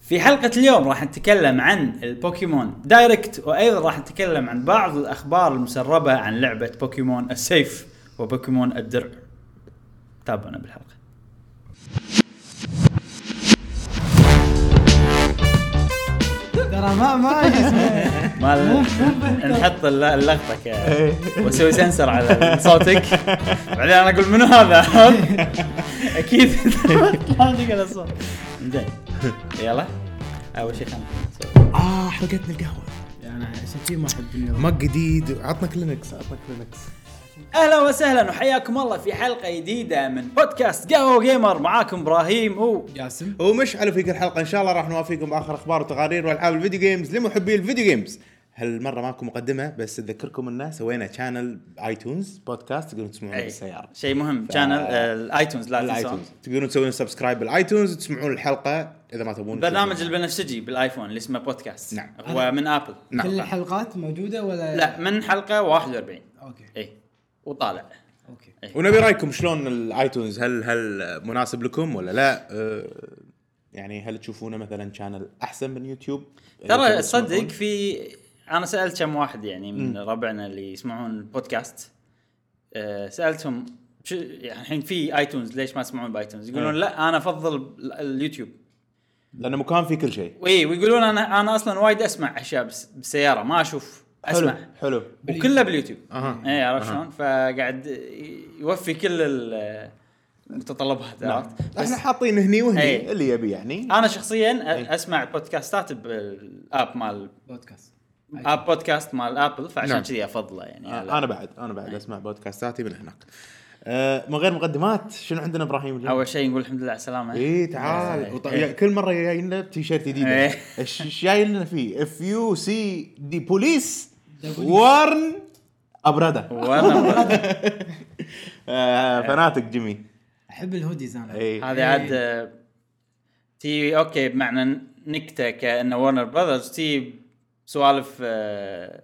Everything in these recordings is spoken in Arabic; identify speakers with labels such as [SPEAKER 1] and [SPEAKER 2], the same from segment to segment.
[SPEAKER 1] في حلقة اليوم راح نتكلم عن البوكيمون دايركت وايضا راح نتكلم عن بعض الاخبار المسربة عن لعبة بوكيمون السيف وبوكيمون الدرع. تابعونا بالحلقة.
[SPEAKER 2] ترى ما ما شو اسمه
[SPEAKER 1] ما نحط الل- اللقطة ك واسوي سنسر على صوتك بعدين انا اقول منو هذا؟ اكيد طلع لك الأصوات. زين يلا اول شيء خلنا
[SPEAKER 3] اه حلقتنا القهوه
[SPEAKER 2] انا عشان كذي ما احب النوم.
[SPEAKER 3] مج جديد عطنا كلينكس عطنا كلينكس
[SPEAKER 1] اهلا وسهلا وحياكم الله في حلقه جديده من بودكاست قهوه جيمر معاكم ابراهيم و
[SPEAKER 2] جاسم
[SPEAKER 3] ومشعل في كل حلقه ان شاء الله راح نوافيكم باخر اخبار وتقارير والعاب الفيديو جيمز لمحبي الفيديو جيمز هالمره ماكو مقدمه بس اذكركم انه سوينا شانل ايتونز بودكاست تقدرون تسمعونه
[SPEAKER 1] أي،
[SPEAKER 3] بالسياره
[SPEAKER 1] شيء مهم شانل آه، الايتونز إيه. لا تنسون
[SPEAKER 3] الايتونز تقدرون تسوون سبسكرايب بالايتونز وتسمعون الحلقه اذا ما تبون
[SPEAKER 1] البرنامج البنفسجي بالايفون اللي اسمه بودكاست
[SPEAKER 3] نعم.
[SPEAKER 1] هو من ابل
[SPEAKER 3] نعم.
[SPEAKER 2] كل الحلقات موجوده ولا
[SPEAKER 1] لا من حلقه 41
[SPEAKER 2] اوكي
[SPEAKER 1] اي إيه. وطالع
[SPEAKER 2] اوكي
[SPEAKER 3] ونبي رايكم شلون الايتونز هل هل مناسب لكم ولا لا أه يعني هل تشوفونه مثلا شانل احسن من يوتيوب
[SPEAKER 1] ترى
[SPEAKER 3] يوتيوب
[SPEAKER 1] تصدق
[SPEAKER 3] تسمعون؟
[SPEAKER 1] في انا سالت كم واحد يعني من ربعنا اللي يسمعون البودكاست أه سالتهم شو يعني الحين في ايتونز ليش ما تسمعون بايتونز؟ يقولون
[SPEAKER 3] أي.
[SPEAKER 1] لا انا افضل ال- اليوتيوب
[SPEAKER 3] لانه مكان فيه كل شيء
[SPEAKER 1] اي ويقولون انا انا اصلا وايد اسمع اشياء بس- بالسياره ما اشوف اسمع
[SPEAKER 3] حلو حلو
[SPEAKER 1] وكله باليوتيوب
[SPEAKER 3] اها
[SPEAKER 1] اي إيه، عرفت شلون؟ فقاعد يوفي كل ال-
[SPEAKER 3] نعم.
[SPEAKER 1] المتطلبات عرفت؟ بس
[SPEAKER 3] احنا حاطين هني
[SPEAKER 1] إيه.
[SPEAKER 3] وهني اللي يبي يعني
[SPEAKER 1] انا شخصيا
[SPEAKER 3] إيه.
[SPEAKER 1] أ- اسمع بودكاستات بالاب مال
[SPEAKER 2] بودكاست
[SPEAKER 1] اب بودكاست مال ابل فعشان
[SPEAKER 3] إيه. نعم. آه.
[SPEAKER 1] كذي افضله يعني على-
[SPEAKER 3] انا بعد انا
[SPEAKER 1] إيه.
[SPEAKER 3] بعد اسمع بودكاستاتي من هناك آه، من غير مقدمات شنو عندنا ابراهيم اليوم؟
[SPEAKER 1] اول شيء نقول الحمد لله على السلامه
[SPEAKER 3] اي تعال
[SPEAKER 1] إيه.
[SPEAKER 3] وط- يا- كل مره جاي لنا تيشيرت جديد
[SPEAKER 1] إيه.
[SPEAKER 3] ايش إيش جاي لنا فيه؟ اف يو سي دي بوليس
[SPEAKER 2] The police.
[SPEAKER 3] وارن ابرادا
[SPEAKER 1] وانا
[SPEAKER 3] آه، فناتك جيمي إيه،
[SPEAKER 2] احب الهوديز انا
[SPEAKER 3] اي
[SPEAKER 1] هذه عاد آه، تي اوكي بمعنى نكته كانه ورنر براذرز تي سوالف آه،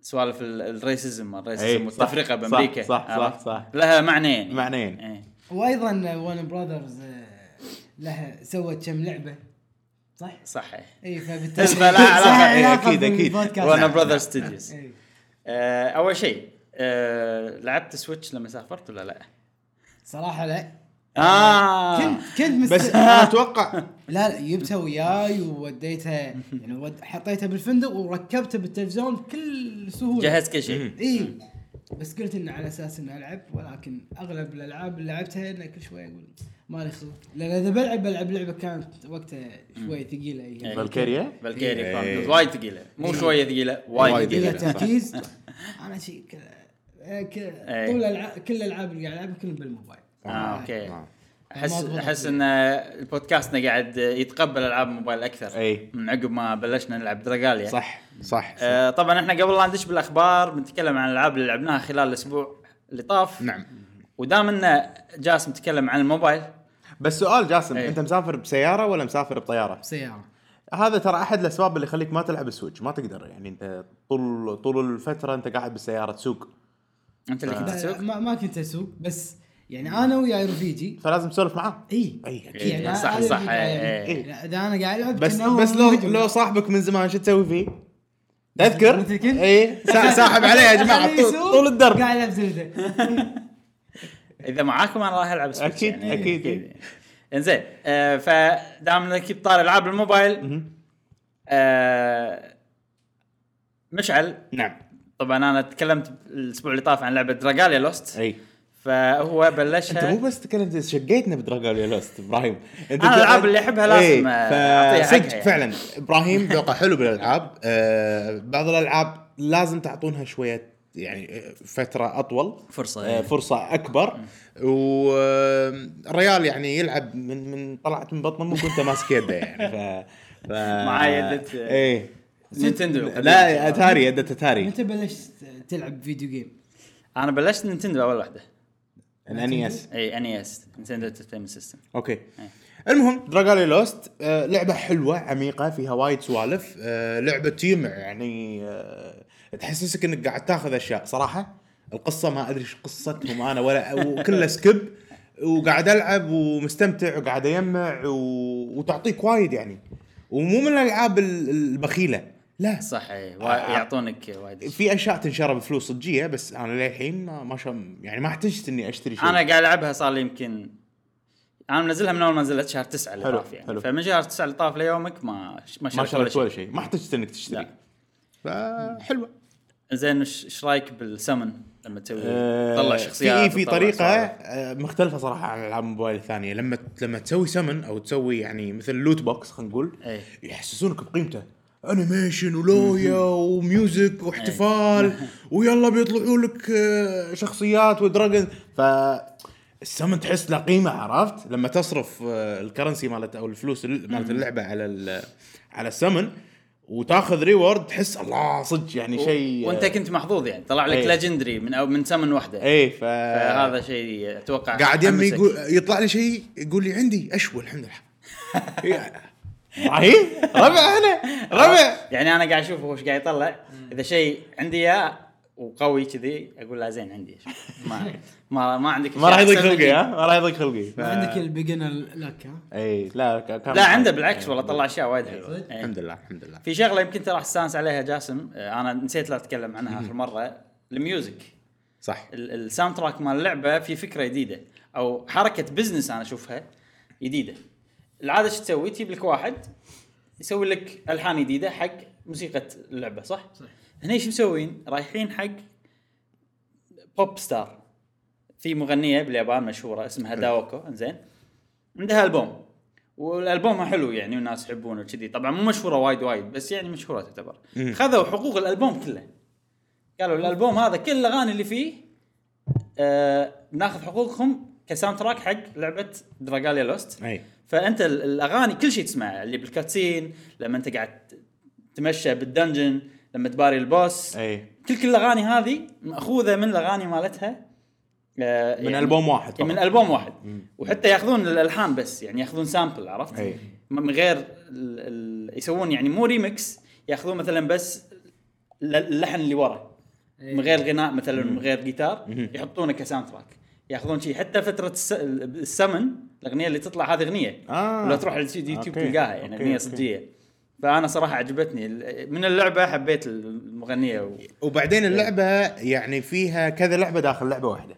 [SPEAKER 1] سوالف ال- الريسزم الريسزم
[SPEAKER 3] إيه،
[SPEAKER 1] والتفرقه
[SPEAKER 3] صح،
[SPEAKER 1] بامريكا
[SPEAKER 3] صح، صح،
[SPEAKER 1] عرفت؟
[SPEAKER 3] صح.
[SPEAKER 1] لها معنيين
[SPEAKER 3] معنيين.
[SPEAKER 1] إيه.
[SPEAKER 2] وايضا ون براذرز لها آه، سوت كم لعبه صح؟
[SPEAKER 1] صح إيه.
[SPEAKER 2] اي فبالتالي
[SPEAKER 1] تسمع لها علاقة.
[SPEAKER 2] لها
[SPEAKER 1] إيه،
[SPEAKER 2] علاقة
[SPEAKER 3] أكيد، أكيد.
[SPEAKER 2] بالبودكاست.
[SPEAKER 1] ورنر براذرز ستوديوز
[SPEAKER 2] إي.
[SPEAKER 1] اول شيء آه، لعبت سويتش لما سافرت ولا لا؟
[SPEAKER 2] صراحه لا
[SPEAKER 1] اه
[SPEAKER 2] كنت كنت مست...
[SPEAKER 3] آه. بس انا اتوقع
[SPEAKER 2] لا لا جبتها وياي ووديتها يعني ود... حطيتها بالفندق وركبتها بالتلفزيون بكل سهوله
[SPEAKER 1] جهزت كل شيء
[SPEAKER 3] مم.
[SPEAKER 2] اي بس قلت انه على اساس اني العب ولكن اغلب الالعاب اللي لعبتها انه كل شوي اقول مالي خلق لان اذا بلعب بلعب لعبه كانت وقتها شوي يعني ثقيله
[SPEAKER 1] إيه.
[SPEAKER 2] هي
[SPEAKER 3] فالكيريا
[SPEAKER 1] فالكيريا
[SPEAKER 3] إيه.
[SPEAKER 1] كرونيكلز وايد ثقيله مو شويه ثقيله وايد
[SPEAKER 3] وايد يعني.
[SPEAKER 2] فيها
[SPEAKER 1] ثقيله
[SPEAKER 3] ثقيلة. صح.
[SPEAKER 2] طيب، تركيز انا شيء ك... ك...
[SPEAKER 1] إيه.
[SPEAKER 2] طول الألعاب كل الالعاب اللي قاعد العبها كلهم بالموبايل
[SPEAKER 1] آه، أوكي.
[SPEAKER 3] آه.
[SPEAKER 1] احس
[SPEAKER 2] ما أضبط
[SPEAKER 1] احس
[SPEAKER 2] فيه.
[SPEAKER 1] ان بودكاستنا قاعد يتقبل العاب موبايل اكثر
[SPEAKER 3] أي.
[SPEAKER 1] من عقب ما بلشنا نلعب دراجاليا
[SPEAKER 3] إيه، صح صح صح.
[SPEAKER 1] آه طبعا احنا قبل لا ندش بالاخبار بنتكلم عن الالعاب اللي لعبناها خلال الاسبوع اللي طاف
[SPEAKER 3] نعم
[SPEAKER 1] ودام ان جاسم تكلم عن الموبايل
[SPEAKER 3] بس سؤال جاسم
[SPEAKER 1] إيه.
[SPEAKER 3] انت مسافر بسياره ولا مسافر بطياره؟
[SPEAKER 2] بسياره
[SPEAKER 3] هذا ترى احد الاسباب اللي يخليك ما تلعب السويتش ما تقدر يعني انت طول طول الفتره انت قاعد بالسياره تسوق
[SPEAKER 1] انت
[SPEAKER 3] آه.
[SPEAKER 1] اللي كنت
[SPEAKER 2] لا،
[SPEAKER 1] تسوق
[SPEAKER 2] ما, ما كنت اسوق بس يعني انا وياي رفيجي
[SPEAKER 3] فلازم تسولف معاه
[SPEAKER 2] اي
[SPEAKER 3] اي
[SPEAKER 1] إيه،
[SPEAKER 2] يعني
[SPEAKER 1] صح،
[SPEAKER 2] أنا
[SPEAKER 1] صح،
[SPEAKER 2] اللي
[SPEAKER 1] إيه،
[SPEAKER 2] قاعد-
[SPEAKER 1] إيه.
[SPEAKER 3] إيه.
[SPEAKER 2] لا، اذا انا قاعد العب
[SPEAKER 3] بس
[SPEAKER 2] كان هو
[SPEAKER 3] بس لو
[SPEAKER 2] موجود.
[SPEAKER 3] لو صاحبك من زمان شو تسوي فيه؟ تذكر؟
[SPEAKER 2] مثل كنت؟
[SPEAKER 3] اي سا- ساحب عليه يا جماعه
[SPEAKER 2] خليه
[SPEAKER 3] طول,
[SPEAKER 2] يسوق،
[SPEAKER 3] طول الدرب
[SPEAKER 2] قاعد العب زلده
[SPEAKER 1] اذا معاكم انا راح العب سويتش
[SPEAKER 3] أكيد، أكيد.
[SPEAKER 1] انزين يعني آه فدام انك بطار العاب الموبايل آه مشعل
[SPEAKER 3] نعم
[SPEAKER 1] طبعا انا تكلمت الاسبوع اللي طاف عن لعبه دراجاليا لوست
[SPEAKER 3] اي
[SPEAKER 1] فهو
[SPEAKER 3] انت
[SPEAKER 1] بلشها
[SPEAKER 3] مو بس تكلمت شقيتنا بدراجون يا لوست ابراهيم انت
[SPEAKER 1] أه. أنا الألعاب اللي أحبها لازم،
[SPEAKER 3] إيه،
[SPEAKER 1] آه،
[SPEAKER 3] ف-
[SPEAKER 1] أعطيها حقها
[SPEAKER 3] صدق
[SPEAKER 1] يعني.
[SPEAKER 3] فعلا ابراهيم ذوقه حلو بالالعاب آه، بعض الالعاب لازم تعطونها شويه يعني آه، فتره اطول
[SPEAKER 1] فرصة،
[SPEAKER 3] آه،
[SPEAKER 1] إيه.
[SPEAKER 3] فرصه اكبر والريال أه، يعني يلعب من من طلعت من بطن امك وانت ماسك يده يعني ف, ف...
[SPEAKER 1] معاي يدة-
[SPEAKER 3] ايه
[SPEAKER 1] نينتندو
[SPEAKER 3] لا اتاري يده اتاري
[SPEAKER 2] متى بلشت تلعب فيديو جيم؟
[SPEAKER 1] انا بلشت نينتندو اول واحده
[SPEAKER 3] الاني اس
[SPEAKER 1] اي اني اس نينتندو انترتينمنت سيستم
[SPEAKER 3] اوكي المهم دراجالي لوست آه لعبه حلوه عميقه فيها وايد سوالف آه لعبه تجمع يعني آه تحسسك انك قاعد تاخذ اشياء صراحه القصه ما ادري شو قصتهم انا ولا وكلها سكيب وقاعد العب ومستمتع وقاعد اجمع و... وتعطيك وايد يعني ومو من الالعاب ال- البخيله لا
[SPEAKER 1] صح
[SPEAKER 3] آه،
[SPEAKER 1] إيه، وا- يعطونك وايد
[SPEAKER 3] في اشياء تنشرى بفلوس صجيه بس انا للحين ما ما شم يعني ما احتجت اني اشتري شيء
[SPEAKER 1] انا قاعد العبها صار لي يمكن انا منزلها من اول ما نزلت شهر 9 اللي
[SPEAKER 3] حلو،
[SPEAKER 1] طاف يعني
[SPEAKER 3] حلو.
[SPEAKER 1] فمن شهر 9 اللي طاف ليومك ما ما
[SPEAKER 3] ما
[SPEAKER 1] شريت ولا
[SPEAKER 3] شريت
[SPEAKER 1] شيء
[SPEAKER 3] ولا شيء ما احتجت انك تشتري
[SPEAKER 1] لا.
[SPEAKER 3] فحلوه
[SPEAKER 1] زين ايش إيش رايك بالسمن لما تسوي
[SPEAKER 3] آه،
[SPEAKER 1] تطلع شخصيات
[SPEAKER 3] في في
[SPEAKER 1] وتطلع
[SPEAKER 3] طريقه
[SPEAKER 1] سوالف؟
[SPEAKER 3] آه، مختلفه صراحه عن العاب الموبايل الثانيه لما لما تسوي سمن او تسوي يعني مثل لوت بوكس خلينا نقول
[SPEAKER 1] إيه.
[SPEAKER 3] يحسسونك بقيمته انيميشن ولويا وميوزك
[SPEAKER 1] إيه.
[SPEAKER 3] واحتفال ويلا بيطلعوا لك آه، شخصيات ودراجون ف السمن تحس له قيمه عرفت لما تصرف آه، الكرنسي مالت او الفلوس ال- مالت اللعبه على ال- على السمن وتاخذ ريورد تحس الله صدق يعني شيء
[SPEAKER 1] وانت كنت محظوظ يعني طلع لك
[SPEAKER 3] إيه.
[SPEAKER 1] ليجندري من او من سمن واحده
[SPEAKER 3] ايه ف...
[SPEAKER 1] فهذا شيء اتوقع
[SPEAKER 3] قاعد يمي
[SPEAKER 1] حمسك.
[SPEAKER 3] يقول يطلع لي شيء يقول لي عندي اشوى الحمد لله رهيب إيه؟ ربع انا ربع
[SPEAKER 1] يعني انا قاعد اشوف هو ايش قاعد يطلع اذا شيء عندي اياه وقوي كذي اقول لا زين عندي ما ما, ما عندك
[SPEAKER 3] ما راح
[SPEAKER 1] شيء
[SPEAKER 3] يضيق آه.
[SPEAKER 1] أحسن مني.
[SPEAKER 3] خلقي ها ما راح يضيق خلقي ف-
[SPEAKER 2] ما عندك البيجنر لك ها
[SPEAKER 3] اي لا ك- كان
[SPEAKER 1] لا عنده بالعكس والله طلع اشياء وايد حلوه
[SPEAKER 2] صدق؟
[SPEAKER 1] إيه.
[SPEAKER 3] الحمد لله الحمد لله
[SPEAKER 1] في شغله يمكن ترى استانس عليها جاسم آه، انا نسيت لا اتكلم عنها اخر مره الميوزك
[SPEAKER 3] صح
[SPEAKER 1] ال- الساوند تراك مال اللعبه في فكره جديده او حركه بزنس انا اشوفها جديده العاده شو تسوي تجيب لك واحد يسوي لك الحان جديده حق موسيقى اللعبه صح؟
[SPEAKER 2] صح.
[SPEAKER 1] هنا ايش مسوين؟ رايحين حق بوب ستار في مغنيه باليابان مشهوره اسمها داوكو انزين عندها البوم والالبومها حلو يعني والناس يحبونه وكذي طبعا مو مشهوره وايد وايد بس يعني مشهوره تعتبر
[SPEAKER 3] مم.
[SPEAKER 1] خذوا حقوق الالبوم كله قالوا الالبوم هذا كل الاغاني اللي فيه آه بناخذ حقوقهم كساوند تراك حق لعبه دراجاليا لوست
[SPEAKER 3] اي
[SPEAKER 1] فانت ال- الاغاني كل شيء تسمعه اللي بالكاتسين لما انت قاعد ت- تمشى بالدنجن لما تباري البوس
[SPEAKER 3] اي
[SPEAKER 1] كل كل الاغاني هذه ماخوذه من الاغاني مالتها آه
[SPEAKER 3] من البوم واحد
[SPEAKER 1] يعني
[SPEAKER 3] طبعاً.
[SPEAKER 1] من البوم واحد وحتى ياخذون الالحان بس يعني ياخذون سامبل عرفت؟
[SPEAKER 3] أي.
[SPEAKER 1] م- من غير ال ال يسوون يعني مو ريمكس ياخذون مثلا بس ل- اللحن اللي ورا من غير غناء مثلا من غير جيتار يحطونه كساوند تراك ياخذون شيء حتى فتره الس- ال- السمن الاغنيه اللي تطلع هذه اغنيه
[SPEAKER 3] آه.
[SPEAKER 1] ولا تروح على اليوتيوب
[SPEAKER 3] أوكي.
[SPEAKER 1] تلقاها يعني
[SPEAKER 3] أوكي،
[SPEAKER 1] اغنيه
[SPEAKER 3] أوكي.
[SPEAKER 1] صجيه فانا صراحه عجبتني ال- من اللعبه حبيت المغنيه و...
[SPEAKER 3] وبعدين اللعبه يعني فيها كذا لعبه داخل لعبه واحده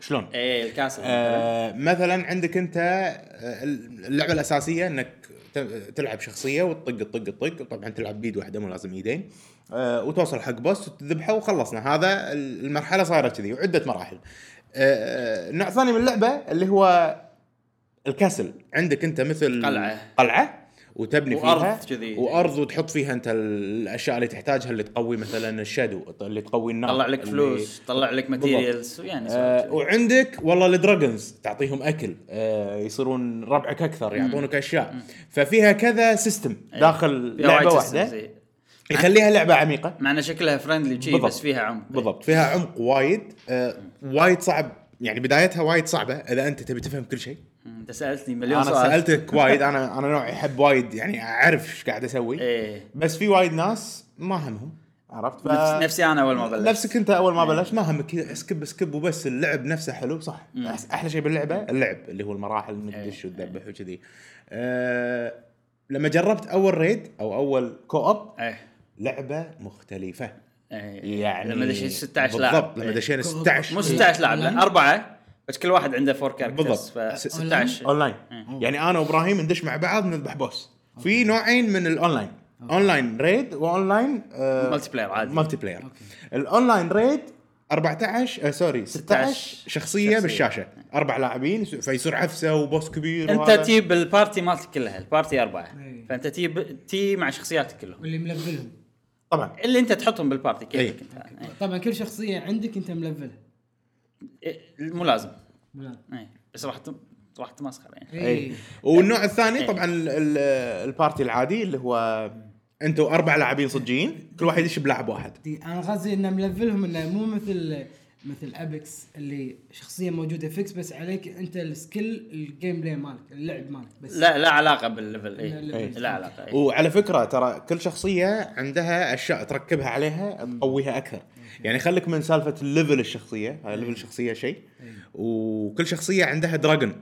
[SPEAKER 3] شلون؟
[SPEAKER 1] ايه الكاسه
[SPEAKER 3] آه، مثلا عندك انت آه، اللعبه الاساسيه انك ت- تلعب شخصيه وتطق تطق تطق طبعا تلعب بيد واحده مو لازم ايدين آه، وتوصل حق بوس وتذبحه وخلصنا هذا المرحله صايره كذي وعده مراحل آه، آه، نوع ثاني من اللعبه اللي هو الكاسل عندك انت مثل
[SPEAKER 1] قلعة.
[SPEAKER 3] قلعه وتبني
[SPEAKER 1] وأرض
[SPEAKER 3] فيها
[SPEAKER 1] كذي.
[SPEAKER 3] وارض وتحط فيها انت الاشياء اللي تحتاجها اللي تقوي مثلا الشادو اللي تقوي النار
[SPEAKER 1] طلع لك
[SPEAKER 3] نعم. اللي-
[SPEAKER 1] فلوس طلع لك ماتيريالز يعني سوالف
[SPEAKER 3] آه
[SPEAKER 1] كذي.
[SPEAKER 3] وعندك والله الدراجونز تعطيهم اكل آه يصيرون ربعك اكثر يعطونك اشياء ففيها كذا سيستم داخل
[SPEAKER 1] إيه. فيها وايد
[SPEAKER 3] لعبه
[SPEAKER 1] إيه.
[SPEAKER 3] واحده
[SPEAKER 1] systems، إيه.
[SPEAKER 3] يخليها لعبه عميقه
[SPEAKER 1] مع ان شكلها فرندلي وشي
[SPEAKER 3] بالضبط.
[SPEAKER 1] بس فيها عمق
[SPEAKER 3] بالضبط فيها عمق وايد آه وايد صعب يعني بدايتها وايد صعبه اذا انت تبي تفهم كل شيء
[SPEAKER 1] مم، انت سالتني أمم، مليون
[SPEAKER 3] انا
[SPEAKER 1] سؤال
[SPEAKER 3] سالتك وايد انا انا نوعي احب وايد يعني اعرف ايش قاعد اسوي
[SPEAKER 1] ايه
[SPEAKER 3] بس في وايد ناس ما همهم عرفت ف...
[SPEAKER 1] نفس نفسي انا اول ما بلشت
[SPEAKER 3] نفسك انت اول ما بلشت ما همك كذا اسكب اسكب وبس اللعب نفسه حلو صح
[SPEAKER 1] مم.
[SPEAKER 3] أحس- احلى شيء باللعبه اللعب اللي هو المراحل انك
[SPEAKER 1] ايه.
[SPEAKER 3] تدش وتذبح وكذي أه لما جربت اول ريد او اول كو اب
[SPEAKER 1] ايه
[SPEAKER 3] لعبه مختلفه
[SPEAKER 1] ايه
[SPEAKER 3] يعني
[SPEAKER 1] لما دشيت 16 لاعب
[SPEAKER 3] بالضبط لما
[SPEAKER 1] إيه.
[SPEAKER 3] دشينا
[SPEAKER 2] كو أب.
[SPEAKER 3] 16
[SPEAKER 1] مو 16 لاعب
[SPEAKER 2] أونلاين؟
[SPEAKER 1] لا اربعه بس كل واحد عنده فور كاركترز
[SPEAKER 3] بالضبط.
[SPEAKER 1] ف
[SPEAKER 3] أونلاين؟
[SPEAKER 1] 16
[SPEAKER 3] اونلاين يعني انا وابراهيم ندش مع بعض نذبح بوس في نوعين من الاونلاين اونلاين ريد واونلاين آه،
[SPEAKER 1] مالتي بلاير عادي.
[SPEAKER 3] مالتي بلاير الاونلاين ريد 14 آه سوري 16 شخصيه,
[SPEAKER 1] شخصية.
[SPEAKER 3] بالشاشه اربع لاعبين يس- فيصير عفسه وبوس كبير
[SPEAKER 1] انت
[SPEAKER 3] وهذا.
[SPEAKER 1] تجيب البارتي مالتك كلها البارتي اربعه
[SPEAKER 2] إيه.
[SPEAKER 1] فانت تجيب تي مع شخصياتك كلهم
[SPEAKER 2] واللي ملفلهم
[SPEAKER 3] طبعا
[SPEAKER 1] اللي انت تحطهم بالبارتي كيفك
[SPEAKER 3] إيه.
[SPEAKER 1] انت إيه.
[SPEAKER 2] طبعا كل شخصيه عندك انت ملفلها
[SPEAKER 1] إيه، مو لازم
[SPEAKER 2] ملان.
[SPEAKER 1] إيه. بس راح تم- راح تمسخر يعني
[SPEAKER 3] اي
[SPEAKER 2] اي
[SPEAKER 3] إيه. والنوع الثاني
[SPEAKER 1] إيه.
[SPEAKER 3] طبعا ال- ال- البارتي العادي اللي هو انتم اربع لاعبين صجيين كل واحد يدش بلاعب واحد
[SPEAKER 2] دي- انا قصدي انه ملفلهم انه مو مثل مثل ابيكس اللي شخصيه موجوده فيكس بس عليك انت السكيل الجيم بلاي مالك اللعب مالك بس
[SPEAKER 1] لا لا علاقه بالليفل اي
[SPEAKER 2] إيه.
[SPEAKER 1] لا علاقه إيه.
[SPEAKER 3] وعلى فكره ترى كل شخصيه عندها اشياء تركبها عليها تقويها اكثر يعني خليك من سالفه الليفل الشخصيه هاي ليفل الشخصيه شيء وكل شخصيه عندها دراجون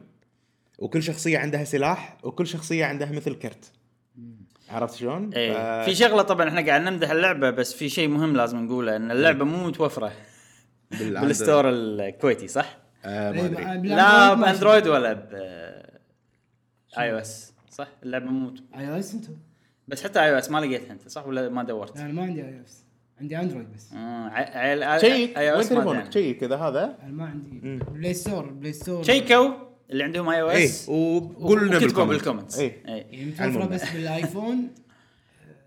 [SPEAKER 3] وكل شخصيه عندها سلاح وكل شخصيه عندها مثل كرت عرفت شلون؟
[SPEAKER 1] ايه
[SPEAKER 3] ف-
[SPEAKER 1] في شغله طبعا احنا قاعد نمدح اللعبه بس في شيء مهم لازم نقوله
[SPEAKER 3] إيه.
[SPEAKER 1] ان اللعبه مو متوفره
[SPEAKER 3] بالعند-
[SPEAKER 1] بالستور الكويتي صح؟
[SPEAKER 3] آه، ما
[SPEAKER 2] إيه،
[SPEAKER 3] ادري
[SPEAKER 2] بالعاب-
[SPEAKER 1] لا
[SPEAKER 2] ما-
[SPEAKER 1] باندرويد ولا ب اي او اس صح؟ اللعبه مو مت-
[SPEAKER 2] اي او اس انتم
[SPEAKER 1] بس حتى اي او اس ما لقيتها انت صح ولا ما دورت؟
[SPEAKER 2] انا ما عندي اي او اس عندي اندرويد بس
[SPEAKER 1] آه، ع- عيل آي-
[SPEAKER 3] شيك
[SPEAKER 1] iOS ما إيه،
[SPEAKER 3] وين تليفونك
[SPEAKER 1] دعم.
[SPEAKER 3] شيك كذا هذا
[SPEAKER 2] انا ما عندي
[SPEAKER 3] مم.
[SPEAKER 2] بلاي ستور بلاي ستور
[SPEAKER 1] شيكوا اللي عندهم اي او
[SPEAKER 3] اي
[SPEAKER 1] اس
[SPEAKER 3] إيه، وقول لنا
[SPEAKER 1] وكتبوا
[SPEAKER 3] بالكومنت
[SPEAKER 1] بالكومنتس
[SPEAKER 3] اي
[SPEAKER 1] اي
[SPEAKER 2] يعني متوفره
[SPEAKER 3] المهم.
[SPEAKER 2] بس بالايفون
[SPEAKER 1] إيه.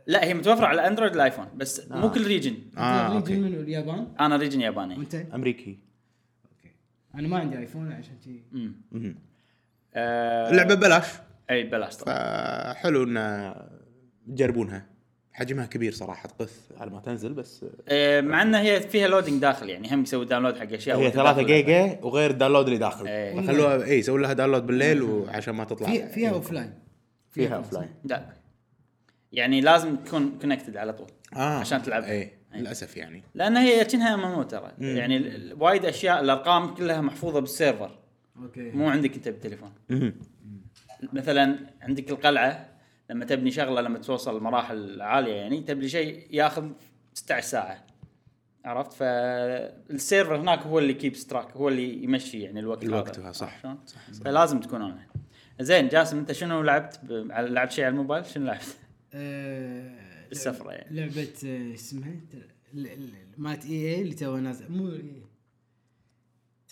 [SPEAKER 1] لا هي متوفره على اندرويد والايفون بس مو
[SPEAKER 3] آه.
[SPEAKER 1] كل ريجن
[SPEAKER 3] آه،
[SPEAKER 2] آه
[SPEAKER 3] أوكي.
[SPEAKER 2] ريجن منو اليابان
[SPEAKER 1] انا ريجن ياباني
[SPEAKER 2] وانت
[SPEAKER 3] امريكي
[SPEAKER 2] اوكي انا ما عندي ايفون عشان كذي
[SPEAKER 1] مم.
[SPEAKER 3] مهم.
[SPEAKER 1] آه،
[SPEAKER 3] اللعبه ببلاش
[SPEAKER 1] اي بلاش طبعا
[SPEAKER 3] فحلو ان تجربونها حجمها كبير صراحه تقث على ما تنزل بس
[SPEAKER 1] آه، مع ان هي فيها لودنج داخل يعني هم يسوي داونلود حق اشياء
[SPEAKER 3] هي
[SPEAKER 1] وأنت
[SPEAKER 3] 3
[SPEAKER 1] داخل
[SPEAKER 3] جيجا وغير الداونلود اللي داخل
[SPEAKER 1] إيه.
[SPEAKER 3] فخلوها اي سووا لها داونلود بالليل وعشان ما تطلع إيه.
[SPEAKER 2] في فيها اوف لاين
[SPEAKER 3] فيها اوف لاين
[SPEAKER 1] لا يعني لازم تكون كونكتد على طول
[SPEAKER 3] آه.
[SPEAKER 1] عشان تلعب.
[SPEAKER 3] اي
[SPEAKER 2] إيه.
[SPEAKER 3] للاسف يعني
[SPEAKER 1] لان هي كأنها ام ام ترى يعني ال- ال- وايد اشياء الارقام كلها محفوظه بالسيرفر
[SPEAKER 2] اوكي
[SPEAKER 1] مو عندك انت بالتليفون مثلا عندك القلعه لما تبني شغله لما توصل لمراحل عاليه يعني تبني شيء ياخذ 16 ساعه عرفت فالسيرفر هناك هو اللي كيب ستراك هو اللي يمشي يعني الوقت
[SPEAKER 3] الوقت
[SPEAKER 1] هذا.
[SPEAKER 3] هذا، صح.
[SPEAKER 1] عرفت شلون؟ فلازم تكون اونلاين زين جاسم انت شنو لعبت ب... على- لعبت شيء على الموبايل شنو لعبت؟
[SPEAKER 2] آه،
[SPEAKER 1] بالسفرة يعني.
[SPEAKER 2] لعبة آه، اسمها تل- ال- ال- مالت اي اي اللي توها نازلة مو اي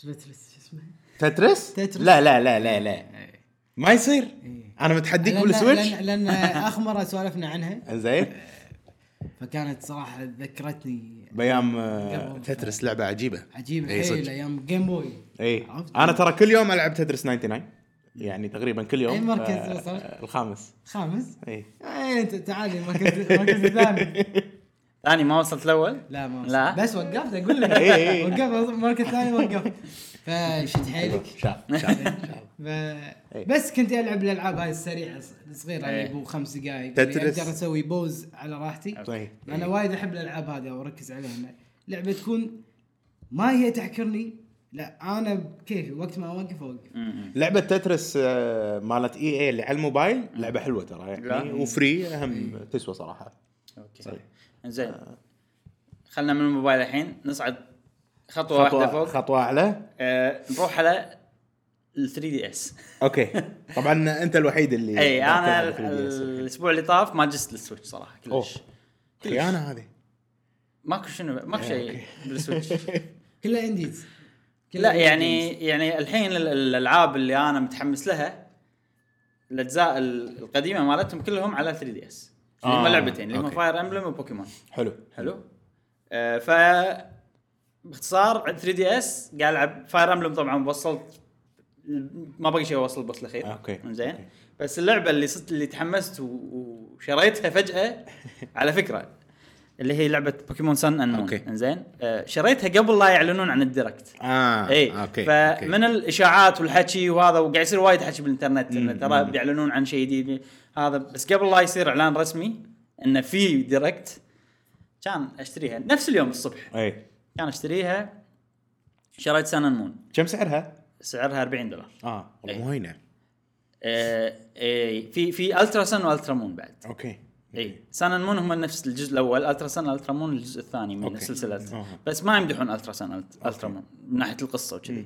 [SPEAKER 2] تريترس شو اسمها؟
[SPEAKER 3] تترس؟
[SPEAKER 2] تترس.
[SPEAKER 3] لا لا لا لا لا
[SPEAKER 2] إيه.
[SPEAKER 3] ما يصير
[SPEAKER 2] إيه.
[SPEAKER 3] انا متحديك
[SPEAKER 2] لأن-
[SPEAKER 3] بالسويتش
[SPEAKER 2] لأن- لان اخر مرة سولفنا عنها
[SPEAKER 3] زين
[SPEAKER 2] فكانت صراحة ذكرتني
[SPEAKER 3] بيام آه،
[SPEAKER 2] قبل.
[SPEAKER 3] تترس لعبه عجيبه
[SPEAKER 2] عجيبة
[SPEAKER 3] إيه، صدق.
[SPEAKER 2] حيل ايام جيم بوي
[SPEAKER 3] اي
[SPEAKER 2] عرفت؟
[SPEAKER 3] انا ترى كل يوم العب تترس 99 يعني تقريبا كل يوم
[SPEAKER 2] أي مركز
[SPEAKER 3] آه،
[SPEAKER 2] وصلت؟
[SPEAKER 3] الخامس إيه.
[SPEAKER 2] خامس
[SPEAKER 3] اي
[SPEAKER 2] اي انت تعال المركز المركز الثاني
[SPEAKER 1] ثاني ما وصلت الاول؟
[SPEAKER 2] لا ما
[SPEAKER 1] لا؟
[SPEAKER 2] بس وقفت اقول لك
[SPEAKER 3] إيه، إيه.
[SPEAKER 2] وقفت المركز الثاني وقفت فشد حيلك
[SPEAKER 3] شاب شاب
[SPEAKER 2] ب-
[SPEAKER 3] إيه.
[SPEAKER 2] بس كنت العب الالعاب هاي السريعه الص- الصغيره
[SPEAKER 1] إيه.
[SPEAKER 2] اللي ابو يعني خمس دقائق اللي
[SPEAKER 3] تترس.
[SPEAKER 2] اقدر اسوي بوز على راحتي
[SPEAKER 3] طيب
[SPEAKER 2] انا وايد احب الالعاب هذه واركز عليها إن لعبه تكون ما هي تحكرني لا انا بكيفي وقت ما اوقف اوقف
[SPEAKER 1] م- م.
[SPEAKER 3] لعبة تترس آه، مالت اي اي اللي على الموبايل لعبة حلوة ترى
[SPEAKER 1] لا.
[SPEAKER 3] يعني وفري اهم تسوى صراحة
[SPEAKER 1] اوكي زين خلنا من الموبايل الحين نصعد خطوه, واحده
[SPEAKER 3] خطوة
[SPEAKER 1] فوق
[SPEAKER 3] خطوة اعلى
[SPEAKER 1] آه، نروح على ال 3 دي اس
[SPEAKER 3] اوكي طبعا انت الوحيد اللي
[SPEAKER 1] اي انا
[SPEAKER 3] ذاكرها بال 3DS.
[SPEAKER 1] الاسبوع إيه، اللي طاف ما جست السويتش صراحه كلش
[SPEAKER 3] أوه. خيانة هذه
[SPEAKER 1] ماكو شنو
[SPEAKER 3] إيه،
[SPEAKER 1] ماكو شيء بالسويتش
[SPEAKER 2] كلها انديز
[SPEAKER 1] لا يعني يعني الحين ال- الالعاب اللي انا متحمس لها الاجزاء ال- القديمه مالتهم كلهم على 3 دي اس اللي هم
[SPEAKER 3] آه،
[SPEAKER 1] لعبتين اللي هم
[SPEAKER 3] أوكي.
[SPEAKER 1] فاير امبلم وبوكيمون
[SPEAKER 3] حلو
[SPEAKER 1] حلو آه ف باختصار عند 3 دي اس قاعد العب فاير امبلم طبعا وصلت ما باقي شيء اوصل بس الاخير
[SPEAKER 3] آه، أوكي.
[SPEAKER 1] زين
[SPEAKER 3] أوكي.
[SPEAKER 1] بس اللعبه اللي صرت اللي تحمست و- وشريتها فجاه على فكره اللي هي لعبه بوكيمون سن ان
[SPEAKER 3] أوكي.
[SPEAKER 1] مون زين آه شريتها قبل لا يعلنون عن الديركت
[SPEAKER 3] اه
[SPEAKER 1] اي
[SPEAKER 3] اوكي
[SPEAKER 1] إيه، فمن الاشاعات والحكي وهذا وقاعد يصير وايد حكي بالانترنت انه ترى بيعلنون عن شيء جديد هذا بس قبل لا يصير اعلان رسمي انه في ديركت كان اشتريها نفس اليوم الصبح
[SPEAKER 3] اي
[SPEAKER 1] كان اشتريها شريت سان مون
[SPEAKER 3] كم سعرها؟
[SPEAKER 1] سعرها 40 دولار
[SPEAKER 3] اه والله
[SPEAKER 1] إيه.
[SPEAKER 3] مو هينة
[SPEAKER 1] آه، اي في في الترا سن والترا مون بعد
[SPEAKER 3] اوكي
[SPEAKER 1] اي سان مون هم نفس الجزء الاول الترا سن الترا مون الجزء الثاني من
[SPEAKER 3] أوكي.
[SPEAKER 1] السلسله
[SPEAKER 3] أها.
[SPEAKER 1] بس ما يمدحون الترا سن الترا مون من ناحيه القصه وكذي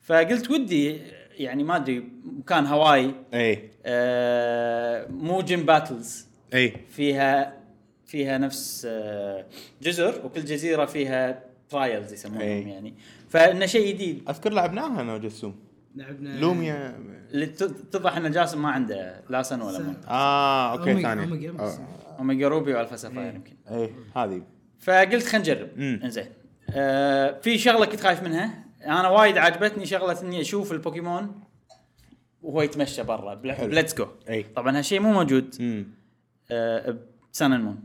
[SPEAKER 1] فقلت ودي يعني ما ادري مكان هواي
[SPEAKER 3] اي
[SPEAKER 1] آه، مو جيم باتلز
[SPEAKER 3] اي
[SPEAKER 1] فيها فيها نفس آه، جزر وكل جزيره فيها ترايلز يسمونهم
[SPEAKER 3] إي.
[SPEAKER 1] يعني فانه شيء جديد
[SPEAKER 3] اذكر لعبناها انا وجسوم
[SPEAKER 2] لعبنا
[SPEAKER 3] لوميا
[SPEAKER 1] اللي ت- تضح ان جاسم ما عنده لا سن ولا مون
[SPEAKER 3] اه اوكي
[SPEAKER 2] أوميجا-
[SPEAKER 3] ثانية
[SPEAKER 2] أوميجا بس.
[SPEAKER 3] آه،
[SPEAKER 1] اوميجا روبي والفا سفاير
[SPEAKER 2] إي.
[SPEAKER 1] يمكن
[SPEAKER 3] اي هذه
[SPEAKER 1] فقلت خلينا نجرب
[SPEAKER 3] مم.
[SPEAKER 1] انزين آه في شغله كنت خايف منها انا وايد عجبتني شغله اني اشوف البوكيمون وهو يتمشى برا
[SPEAKER 3] حلو.
[SPEAKER 1] بليتس جو
[SPEAKER 3] اي
[SPEAKER 1] طبعا هالشيء مو موجود
[SPEAKER 3] امم
[SPEAKER 1] آه بسان مون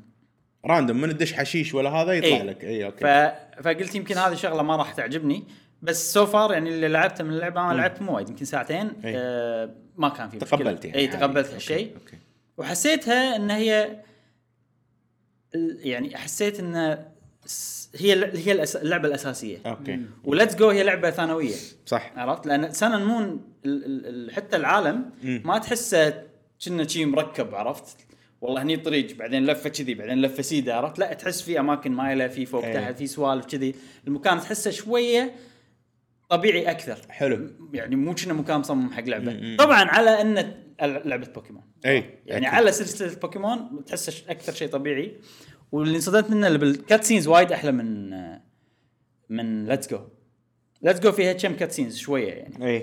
[SPEAKER 3] راندوم من تدش حشيش ولا هذا يطلع
[SPEAKER 1] إيه.
[SPEAKER 3] لك اي
[SPEAKER 1] ف...
[SPEAKER 3] اوكي
[SPEAKER 1] فقلت يمكن هذه الشغله ما راح تعجبني بس سو فار يعني اللي لعبته من اللعبه انا لعبت مو وايد يمكن ساعتين
[SPEAKER 3] إي.
[SPEAKER 1] آه ما كان في مشكله
[SPEAKER 3] تقبلت يعني
[SPEAKER 1] اي
[SPEAKER 3] عادي.
[SPEAKER 1] إيه، تقبلت
[SPEAKER 3] أوكي،
[SPEAKER 1] هالشيء
[SPEAKER 3] اوكي
[SPEAKER 1] وحسيتها ان هي ال- يعني حسيت ان س- هي ال- هي الأس- اللعبه الاساسيه
[SPEAKER 3] اوكي
[SPEAKER 1] وليتس جو هي لعبه ثانويه
[SPEAKER 3] صح
[SPEAKER 1] عرفت لان سان مون حتى العالم
[SPEAKER 3] مم.
[SPEAKER 1] ما تحسه كنا شي مركب عرفت والله هني طريق بعدين لفه كذي بعدين لفه سيده عرفت لا تحس في اماكن مايله في فوق
[SPEAKER 3] إيه.
[SPEAKER 1] تحت في سوالف كذي المكان تحسه شويه طبيعي اكثر
[SPEAKER 3] حلو.
[SPEAKER 1] يعني مو كنا مكان مصمم حق لعبه
[SPEAKER 3] م- م.
[SPEAKER 1] طبعا على ان ال- لعبه بوكيمون
[SPEAKER 3] اي
[SPEAKER 1] يعني
[SPEAKER 3] أكيد.
[SPEAKER 1] على سلسله بوكيمون تحسه ش- اكثر شيء طبيعي واللي انصدمت منه اللي بالكات سينز وايد احلى من من ليتس جو ليتس جو فيها كم كات سينز شويه يعني
[SPEAKER 3] اي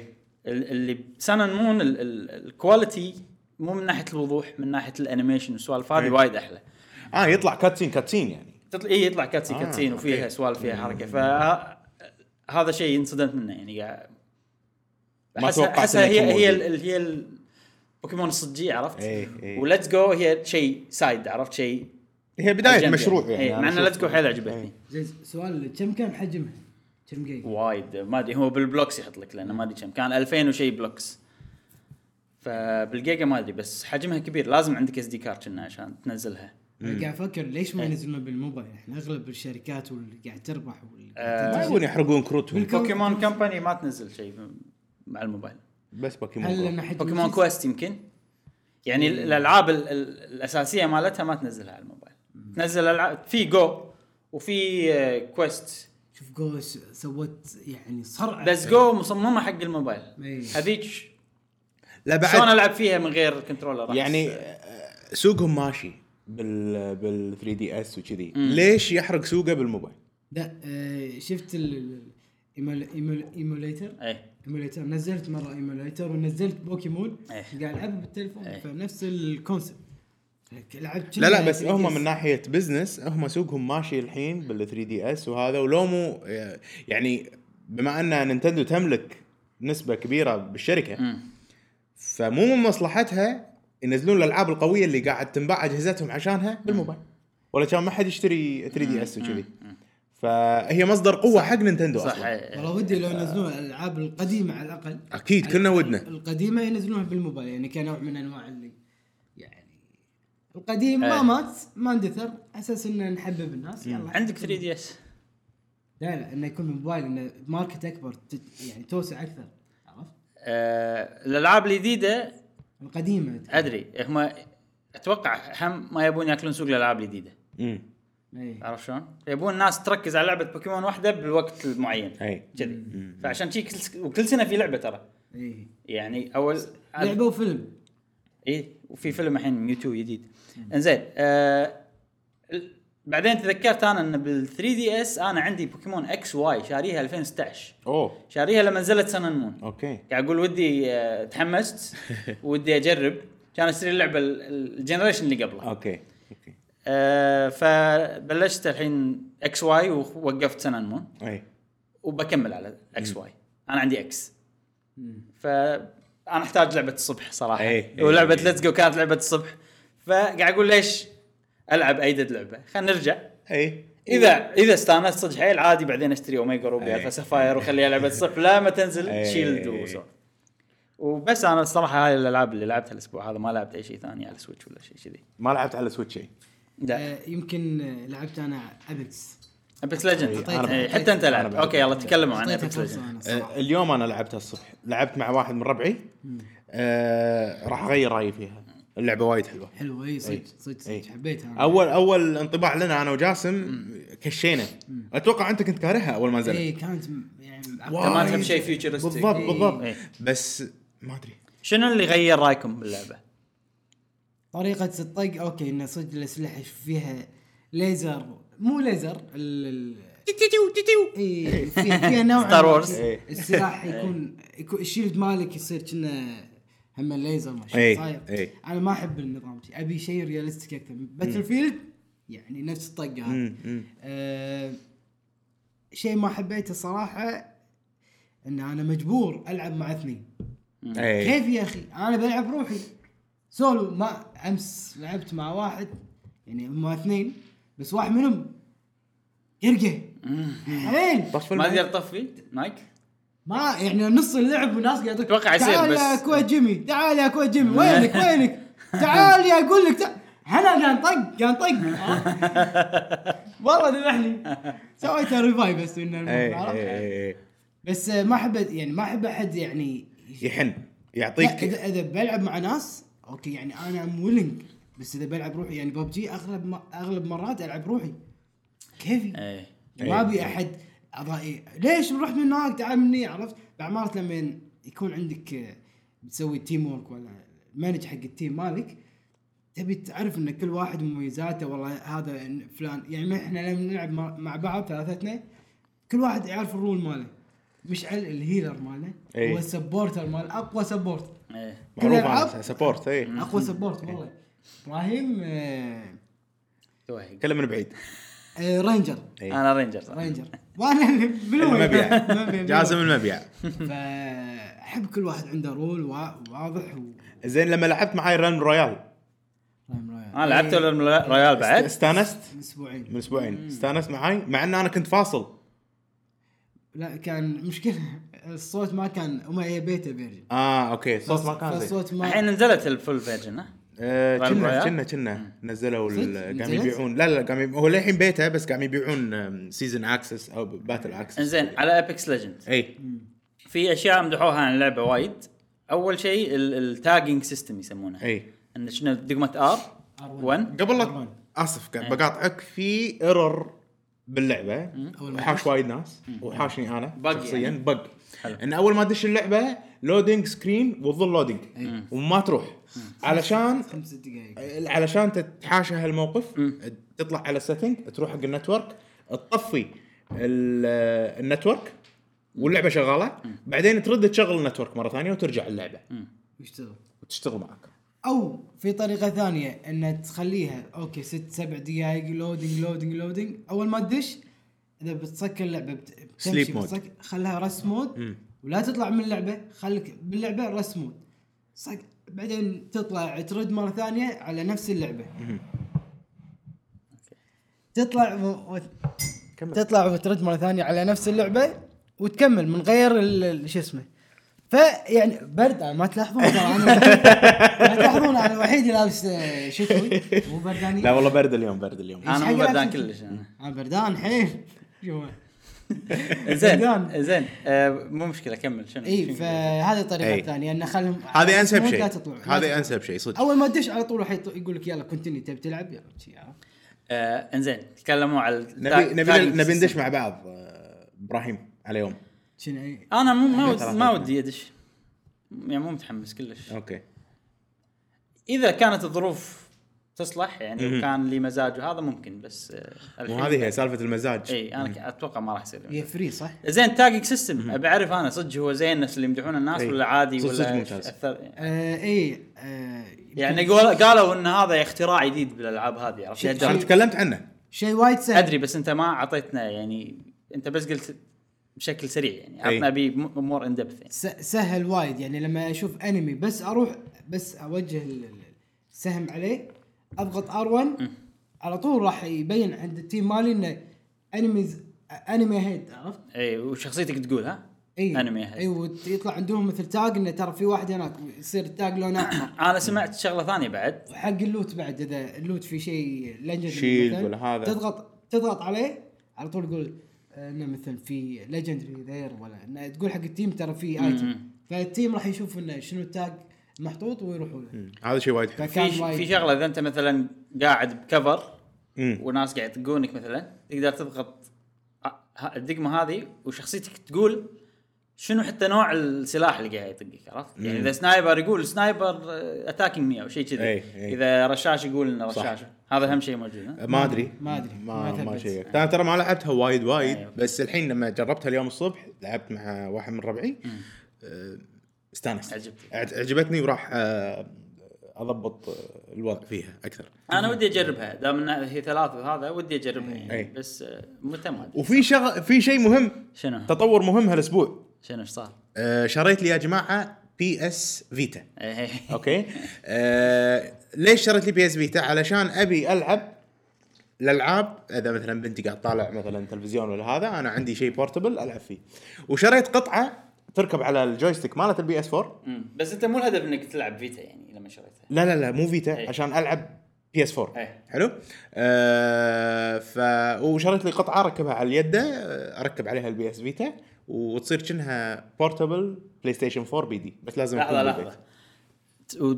[SPEAKER 1] ال- اللي بسان مون ال- ال- الكواليتي مو من ناحيه الوضوح من ناحيه الانيميشن والسوالف هذه
[SPEAKER 3] إيه.
[SPEAKER 1] وايد احلى
[SPEAKER 3] اه يطلع كاتسين كاتسين يعني
[SPEAKER 1] تطلع اي يطلع كاتسي
[SPEAKER 3] آه،
[SPEAKER 1] كاتسين وفيها
[SPEAKER 3] أوكي.
[SPEAKER 1] سوالف فيها حركه فهذا شيء انصدمت منه يعني قاعد
[SPEAKER 3] ما
[SPEAKER 1] أحسها-
[SPEAKER 3] توقعت
[SPEAKER 1] أحسها
[SPEAKER 3] إنه
[SPEAKER 1] هي
[SPEAKER 3] يكون
[SPEAKER 1] هي
[SPEAKER 3] موجود.
[SPEAKER 1] ال- ال- هي ال- بوكيمون الصجيه عرفت؟
[SPEAKER 3] إيه، إيه.
[SPEAKER 1] وليتس جو هي شيء سايد عرفت شيء
[SPEAKER 3] هي بدايه
[SPEAKER 1] جنب
[SPEAKER 3] مشروع
[SPEAKER 1] يعني,
[SPEAKER 3] يعني
[SPEAKER 1] إيه،
[SPEAKER 3] أنا
[SPEAKER 1] مع ان
[SPEAKER 3] أشوف-
[SPEAKER 1] ليتس جو حيل عجبتني
[SPEAKER 3] إيه.
[SPEAKER 2] زين سؤال كم كان حجمها؟ كم جيجا؟
[SPEAKER 1] وايد ما ادري هو بالبلوكس يحط لك لانه ما ادري كم كان 2000 وشي بلوكس فبالجيجا ما ادري بس حجمها كبير لازم عندك اس دي كارد كنا عشان تنزلها
[SPEAKER 2] أنا قاعد افكر ليش ما
[SPEAKER 1] إيه.
[SPEAKER 2] ينزلونه بالموبايل؟ احنا اغلب الشركات واللي قاعد تربح واللي
[SPEAKER 1] آه،
[SPEAKER 2] قاعد
[SPEAKER 3] ما
[SPEAKER 2] تنتج.
[SPEAKER 3] يبون يحرقون كروتهم
[SPEAKER 2] بالك-
[SPEAKER 1] بوكيمون كمباني ما تنزل شيء مع الموبايل
[SPEAKER 3] بس
[SPEAKER 2] هل
[SPEAKER 3] بوكيمون
[SPEAKER 2] لأن
[SPEAKER 3] جو.
[SPEAKER 2] حجم
[SPEAKER 1] بوكيمون
[SPEAKER 2] الجزء-
[SPEAKER 1] كويست يمكن يعني ال- الالعاب ال- ال- الاساسيه مالتها ما تنزلها على الموبايل تنزل العاب في جو وفي آه، كويست
[SPEAKER 2] شوف جو س- سوت يعني صرعه
[SPEAKER 1] بس جو مصممه حق الموبايل
[SPEAKER 2] إيه.
[SPEAKER 1] هذيك
[SPEAKER 3] لا
[SPEAKER 1] شلون
[SPEAKER 3] بعد
[SPEAKER 1] العب فيها من غير كنترولر
[SPEAKER 3] يعني
[SPEAKER 1] أحس.
[SPEAKER 3] آه، سوقهم ماشي بال بال 3 دي اس وكذي ليش يحرق سوقه بالموبايل؟
[SPEAKER 2] لا آه شفت الايموليتر
[SPEAKER 1] ايه
[SPEAKER 2] ايموليتر نزلت مره ايموليتر ونزلت بوكيمون
[SPEAKER 1] إيه.
[SPEAKER 2] قاعد العبها بالتليفون
[SPEAKER 1] إيه.
[SPEAKER 2] فنفس الكونسبت لعبت
[SPEAKER 3] لا لا بس هم من ناحيه بزنس هم سوقهم ماشي الحين بال 3 دي اس وهذا ولو مو يعني بما ان نينتندو تملك نسبه كبيره بالشركه
[SPEAKER 1] مم.
[SPEAKER 3] فمو من مصلحتها ينزلون الالعاب القويه اللي قاعد تنباع اجهزتهم عشانها بالموبايل ولا كان ما حد يشتري 3 دي اس وكذي فهي مصدر قوه حق نينتندو
[SPEAKER 1] صح
[SPEAKER 3] اصلا
[SPEAKER 1] إيه.
[SPEAKER 2] والله ودي لو ينزلون الالعاب القديمه على الاقل
[SPEAKER 3] اكيد كلنا إيه، ودنا
[SPEAKER 2] القديمه ينزلونها بالموبايل يعني كنوع من انواع اللي يعني القديم ما
[SPEAKER 1] إيه.
[SPEAKER 2] مات ما اندثر اساس انه نحبب الناس يلا
[SPEAKER 1] عندك 3 دي اس
[SPEAKER 2] لا لا انه يكون موبايل انه ماركت اكبر تت- يعني توسع اكثر عرفت؟
[SPEAKER 1] الالعاب الجديده
[SPEAKER 2] القديمه
[SPEAKER 1] ادري هم اتوقع هم ما يبون ياكلون سوق الالعاب الجديده
[SPEAKER 3] امم
[SPEAKER 2] اي
[SPEAKER 1] عرفت شلون؟ يبون الناس تركز على لعبه بوكيمون واحده بالوقت المعين
[SPEAKER 3] اي
[SPEAKER 1] كذي فعشان شي كل س- وكل سنه في لعبه ترى
[SPEAKER 2] اي
[SPEAKER 1] يعني اول
[SPEAKER 2] لعبه وفيلم
[SPEAKER 1] اي وفي فيلم الحين ميوتو جديد انزين آه ال- بعدين تذكرت انا ان بال 3 دي اس انا عندي بوكيمون اكس واي شاريها 2016
[SPEAKER 3] اوه
[SPEAKER 1] شاريها لما نزلت سنن مون
[SPEAKER 3] اوكي
[SPEAKER 1] قاعد اقول يعني ودي آه، تحمست ودي اجرب كان اشتري اللعبه ال- ال- الجنريشن اللي قبلها
[SPEAKER 3] اوكي اوكي
[SPEAKER 1] آه فبلشت الحين اكس واي ووقفت سنن مون
[SPEAKER 3] اي
[SPEAKER 1] وبكمل على اكس واي انا عندي اكس فانا احتاج لعبه الصبح صراحه
[SPEAKER 3] إيه، إيه،
[SPEAKER 1] ولعبه
[SPEAKER 3] إيه.
[SPEAKER 1] ليتس جو كانت لعبه الصبح فقاعد اقول ليش العب ايدد لعبه خلينا نرجع
[SPEAKER 3] اي
[SPEAKER 1] اذا اذا استانست صدق حيل عادي بعدين اشتري اوميجا روبي
[SPEAKER 3] إيه.
[SPEAKER 1] الفا سفاير وخليها لعبه الصبح لا ما تنزل
[SPEAKER 3] إيه.
[SPEAKER 1] شيلد وسو وبس انا الصراحه هاي الالعاب اللي لعبتها الاسبوع هذا ما لعبت اي شيء ثاني على سويتش ولا شيء كذي
[SPEAKER 3] ما لعبت على سويتش شيء
[SPEAKER 1] لا
[SPEAKER 2] آه، يمكن آه، لعبت انا ابيكس
[SPEAKER 1] ابيكس
[SPEAKER 3] إيه،
[SPEAKER 1] ليجند
[SPEAKER 2] أنا بعد.
[SPEAKER 1] حتى انت
[SPEAKER 3] أنا
[SPEAKER 1] لعبت
[SPEAKER 3] بعد.
[SPEAKER 1] اوكي يلا تكلموا عن
[SPEAKER 2] اعطيتها
[SPEAKER 1] ابيكس
[SPEAKER 2] فرصه
[SPEAKER 1] ليجند
[SPEAKER 2] انا
[SPEAKER 3] آه،
[SPEAKER 2] صراحه
[SPEAKER 3] اليوم انا لعبتها الصبح لعبت مع واحد من ربعي آه راح اغير رايي فيها اللعبه وايد حلوه
[SPEAKER 2] حلوه اي إيه،
[SPEAKER 1] إيه.
[SPEAKER 2] صدق صدق
[SPEAKER 3] إي.
[SPEAKER 2] صدق حبيتها أنا.
[SPEAKER 3] اول اول انطباع لنا انا وجاسم كشينا اتوقع انت كنت كارهها اول ما نزلت
[SPEAKER 2] اي كانت م- يعني
[SPEAKER 3] واو.
[SPEAKER 1] ما
[SPEAKER 2] معقدة.
[SPEAKER 1] تحب شيء فيوتشرستيك
[SPEAKER 3] بالضبط
[SPEAKER 2] إيه. آه.
[SPEAKER 3] بالضبط
[SPEAKER 1] إيه.
[SPEAKER 3] بس ما ادري
[SPEAKER 1] شنو اللي غير رايكم باللعبه؟
[SPEAKER 2] طريقه الطق اوكي انه صدق الاسلحه فيها ليزر مو ليزر ال ال اي إيه، في- فيها نوع
[SPEAKER 1] Star
[SPEAKER 2] من
[SPEAKER 1] Wars.
[SPEAKER 3] إيه.
[SPEAKER 2] السلاح يكون يكون- الشيلد مالك يصير كنا هم ليزر ما شاء
[SPEAKER 3] إيه،
[SPEAKER 2] الله صاير.
[SPEAKER 3] إيه.
[SPEAKER 2] انا ما احب النظام شي. ابي شيء ريالستيك اكثر باتل فيلد يعني نفس الطقه هذه
[SPEAKER 3] مم، مم.
[SPEAKER 2] آه، شيء ما حبيته صراحه ان انا مجبور العب مع اثنين
[SPEAKER 3] إيه.
[SPEAKER 2] كيف يا اخي انا بلعب روحي سولو ما امس لعبت مع واحد يعني هم اثنين بس واحد منهم يرقى حلين
[SPEAKER 3] طفل
[SPEAKER 1] ما
[SPEAKER 3] معي.
[SPEAKER 1] تقدر تطفي مايك؟
[SPEAKER 2] ما يعني نص اللعب والناس قاعد
[SPEAKER 1] أتوقع يصير
[SPEAKER 2] تعال
[SPEAKER 1] بس-
[SPEAKER 2] يا كويت جيمي تعال يا كويت جيمي وينك وينك تعال يا اقول لك تعال. هلا قام طق قام طق آه. والله ذبحني سويته ريفاي بس انه المهم،
[SPEAKER 3] إيه،
[SPEAKER 2] عرفت؟
[SPEAKER 3] إيه، إيه، إيه.
[SPEAKER 2] بس آه، ما احب يعني ما احب احد يعني
[SPEAKER 3] يحن
[SPEAKER 2] لا،
[SPEAKER 3] يعطيك
[SPEAKER 2] اذا اذا بلعب مع ناس اوكي يعني انا ام ويلنج بس اذا بلعب روحي يعني ببجي اغلب ما اغلب مرات العب روحي كيفي
[SPEAKER 3] إيه.
[SPEAKER 1] ايه
[SPEAKER 2] ما ابي احد اضائي ليش رحت من هناك تعال مني عرفت بعمارة لما يكون عندك آه، بتسوي تيم وورك ولا مانج حق التيم مالك تبي تعرف ان كل واحد مميزاته والله هذا فلان يعني ما احنا لما نلعب مع- مع بعض ثلاثتنا كل واحد يعرف الرول ماله مشعل الهيلر مالنا
[SPEAKER 3] إي.
[SPEAKER 2] هو السبورتر مال اقوى سبورت
[SPEAKER 1] ايه
[SPEAKER 3] معروف إيه.
[SPEAKER 2] كلها
[SPEAKER 3] عنه
[SPEAKER 2] ألعاب.
[SPEAKER 3] سبورت اي
[SPEAKER 2] اقوى سبورت والله ابراهيم آه،
[SPEAKER 1] توهق
[SPEAKER 3] كلام من بعيد
[SPEAKER 2] آه، رينجر
[SPEAKER 3] إيه.
[SPEAKER 1] انا رينجر صح.
[SPEAKER 2] رينجر وانا بلوي
[SPEAKER 3] المبيع
[SPEAKER 2] المبيع.
[SPEAKER 3] جاسم المبيع
[SPEAKER 2] فاحب كل واحد عنده رول وا- واضح و
[SPEAKER 3] زين لما لعبت معاي ران رويال
[SPEAKER 1] انا لعبت
[SPEAKER 2] إيه.
[SPEAKER 1] ولا ريال بعد
[SPEAKER 3] استانست
[SPEAKER 2] من
[SPEAKER 3] من
[SPEAKER 2] اسبوعين
[SPEAKER 3] اسبوعين استانست معاي مع ان انا كنت فاصل
[SPEAKER 2] لا كان مشكله الصوت ما كان وما هي بيتا فيرجن
[SPEAKER 3] اه اوكي الصوت ما كان زين
[SPEAKER 2] الصوت ما
[SPEAKER 1] الحين نزلت الفول فيرجن ها
[SPEAKER 3] آه،
[SPEAKER 1] ران
[SPEAKER 3] كنا
[SPEAKER 1] رويال؟
[SPEAKER 3] كنا كنا نزلوا ال-
[SPEAKER 2] صدق؟
[SPEAKER 3] قام
[SPEAKER 2] نزلت؟
[SPEAKER 3] يبيعون لا لا قام يبيعون- هو للحين بيته بس قام يبيعون سيزون اكسس او باتل اكسس
[SPEAKER 1] انزين على ابيكس ليجند
[SPEAKER 3] اي
[SPEAKER 1] في اشياء مدحوها عن اللعبه وايد اول شيء التاجنج سيستم يسمونه
[SPEAKER 3] اي
[SPEAKER 1] ان شنو دقمه ار 1
[SPEAKER 3] قبل لا
[SPEAKER 2] طبعاً.
[SPEAKER 3] اسف قاعد بقاطعك في ايرور باللعبه
[SPEAKER 2] أول ما
[SPEAKER 3] وحاش وايد ناس وحاشني انا
[SPEAKER 1] بق
[SPEAKER 3] شخصيا
[SPEAKER 1] يعني.
[SPEAKER 3] بق
[SPEAKER 1] حلو.
[SPEAKER 3] ان اول ما ادش اللعبه لودينج سكرين وتظل لودينج وما تروح علشان
[SPEAKER 2] خمس دقائق
[SPEAKER 3] علشان تتحاشى هالموقف تطلع على سيتنج تروح حق النتورك تطفي ال- النتورك واللعبه شغاله بعدين ترد تشغل النتورك مره ثانيه وترجع اللعبه
[SPEAKER 2] يشتغل
[SPEAKER 3] وتشتغل معك
[SPEAKER 2] او في طريقه ثانيه ان تخليها اوكي ست سبع دقائق لودنج لودنج لودنج اول ما تدش اذا بتسكر اللعبه بت- بتمشي
[SPEAKER 3] Sleep mode.
[SPEAKER 2] بتسكر خلها رسم مود ولا تطلع من اللعبه خليك باللعبه رسم مود صك بعدين تطلع ترد مره ثانيه على نفس اللعبه تطلع و... و...
[SPEAKER 3] كمل
[SPEAKER 2] تطلع وترد مره ثانيه على نفس اللعبه وتكمل من غير ال- ال- شو اسمه فيعني برد ما تلاحظون ترى انا ما تلاحظون انا الوحيد اللي لابس آه، شتوي مو برداني
[SPEAKER 3] لا والله برد اليوم برد اليوم
[SPEAKER 2] إيش
[SPEAKER 1] انا
[SPEAKER 2] حق
[SPEAKER 1] مو بردان
[SPEAKER 2] لابس-
[SPEAKER 1] كلش انا
[SPEAKER 2] انا بردان حيل شوف.
[SPEAKER 1] زين
[SPEAKER 2] بردان.
[SPEAKER 1] زين آه، مو مشكله كمل شنو
[SPEAKER 2] اي
[SPEAKER 1] شنو-
[SPEAKER 2] فهذه
[SPEAKER 3] إي.
[SPEAKER 2] طريقه ثانيه انه خلهم
[SPEAKER 3] هذه انسب
[SPEAKER 2] لا
[SPEAKER 3] شيء
[SPEAKER 2] تطلعوا. لا
[SPEAKER 3] هذه
[SPEAKER 2] تطلعوا.
[SPEAKER 3] انسب شيء صدق
[SPEAKER 2] اول ما تدش على طول راح يط- يقول لك يلا كنتني تبي تلعب يلا شي، عرفت؟
[SPEAKER 1] آه، انزين تكلموا على ال-
[SPEAKER 3] نبي نبي
[SPEAKER 1] tagging
[SPEAKER 3] نبي
[SPEAKER 1] system.
[SPEAKER 3] ندش مع بعض آه، ابراهيم على يوم
[SPEAKER 2] شنو إي.
[SPEAKER 1] انا مو ما
[SPEAKER 3] إحنا
[SPEAKER 1] ودي
[SPEAKER 3] ثلاثة.
[SPEAKER 1] ما ودي ادش يعني مو متحمس كلش
[SPEAKER 3] اوكي
[SPEAKER 1] اذا كانت الظروف تصلح يعني
[SPEAKER 3] مهم.
[SPEAKER 1] وكان لي مزاج وهذا ممكن بس آه، الحين-
[SPEAKER 3] وهذه هي سالفه المزاج
[SPEAKER 1] اي انا ك- اتوقع ما راح يصير لي مزاج.
[SPEAKER 2] هي فري صح؟
[SPEAKER 1] زين تاجينج سيستم ابي اعرف انا صدق هو زين الناس اللي يمدحون الناس
[SPEAKER 3] إي.
[SPEAKER 1] ولا عادي
[SPEAKER 3] صدق-
[SPEAKER 1] ولا
[SPEAKER 3] صدق ممتاز.
[SPEAKER 1] أثر-
[SPEAKER 2] آه اي آه
[SPEAKER 1] يعني قول- قالوا ان هذا اختراع جديد بالالعاب هذه عرفت
[SPEAKER 2] شي-
[SPEAKER 3] انا
[SPEAKER 1] لهالدرجة.
[SPEAKER 3] تكلمت عنه
[SPEAKER 2] شيء وايد سهل
[SPEAKER 1] ادري بس انت ما اعطيتنا يعني انت بس قلت بشكل سريع يعني
[SPEAKER 3] إي.
[SPEAKER 1] اعطنا بي مور ان دبث يعني.
[SPEAKER 2] س- سهل وايد يعني لما اشوف انمي بس اروح بس اوجه ال- ال- السهم عليه اضغط ار1 على طول راح يبين عند التيم مالي انه انميز انمي هيد عرفت؟
[SPEAKER 1] اي وشخصيتك تقول ها؟
[SPEAKER 2] اي
[SPEAKER 1] انمي هيد
[SPEAKER 2] اي ويطلع عندهم مثل تاج انه ترى في واحد هناك يصير التاج لونه احمر
[SPEAKER 1] انا سمعت شغله ثانيه بعد
[SPEAKER 2] وحق اللوت بعد اذا اللوت في شيء ليجندري
[SPEAKER 3] شيلد ولا هذا.
[SPEAKER 2] تضغط تضغط عليه على طول يقول آه، انه مثل في ليجندري ذير ولا إنه تقول حق التيم ترى في ايتم فالتيم راح يشوف انه شنو التاج محطوط ويروحوا له
[SPEAKER 3] هذا شيء وايد حلو
[SPEAKER 1] في
[SPEAKER 2] فكان
[SPEAKER 1] ش- في
[SPEAKER 2] وايد
[SPEAKER 1] شغله اذا انت مثلا قاعد بكفر
[SPEAKER 3] مم.
[SPEAKER 1] وناس قاعد يطقونك مثلا تقدر تضغط ه- ه- الدقمه هذه وشخصيتك تقول شنو حتى نوع السلاح اللي قاعد يطقك عرفت؟ يعني اذا سنايبر يقول سنايبر اتاكينج 100 او شيء
[SPEAKER 3] إي،
[SPEAKER 1] كذي
[SPEAKER 3] إي.
[SPEAKER 1] اذا رشاش يقول انه
[SPEAKER 3] إيه، صح.
[SPEAKER 1] رشاش هذا اهم شيء موجود ها؟
[SPEAKER 3] ما ادري
[SPEAKER 2] ما أدري.
[SPEAKER 3] ما
[SPEAKER 2] ما أيوه.
[SPEAKER 3] ما
[SPEAKER 2] ثبت.
[SPEAKER 3] شيء انا ترى ما لعبتها وايد وايد
[SPEAKER 1] أيوة.
[SPEAKER 3] بس الحين لما جربتها اليوم الصبح لعبت مع واحد من ربعي آه، استانست
[SPEAKER 1] عجبتك.
[SPEAKER 3] عج- عجبتني وراح آه، اضبط آه، الوضع فيها اكثر
[SPEAKER 1] انا ودي اجربها دام انها هي ثلاث وهذا ودي اجربها
[SPEAKER 3] إي.
[SPEAKER 1] يعني بس آه، متى ما أدري.
[SPEAKER 3] وفي شغ... في شيء مهم
[SPEAKER 1] شنو
[SPEAKER 3] تطور مهم هالاسبوع
[SPEAKER 1] شنو ايش صار؟
[SPEAKER 3] آه، شريت لي يا جماعه بي اس فيتا
[SPEAKER 1] إيه.
[SPEAKER 3] اوكي آه، ليش شريت لي بي اس فيتا علشان ابي العب الالعاب اذا مثلا بنتي قاعد طالع مثلا تلفزيون ولا هذا انا عندي شيء بورتبل العب فيه وشريت قطعه تركب على الجويستيك مالت البي اس 4
[SPEAKER 1] مم. بس انت مو الهدف انك تلعب فيتا يعني لما شريتها
[SPEAKER 3] لا لا لا مو فيتا
[SPEAKER 1] إيه.
[SPEAKER 3] عشان العب بي اس 4
[SPEAKER 1] إيه.
[SPEAKER 3] حلو آه ف وشريت لي قطعه اركبها على اليد آه، اركب عليها البي اس فيتا وتصير كأنها بورتبل بلاي ستيشن 4 بي دي بس لازم
[SPEAKER 1] لحظه
[SPEAKER 3] أكون بالبيت.
[SPEAKER 1] لحظه ت- و-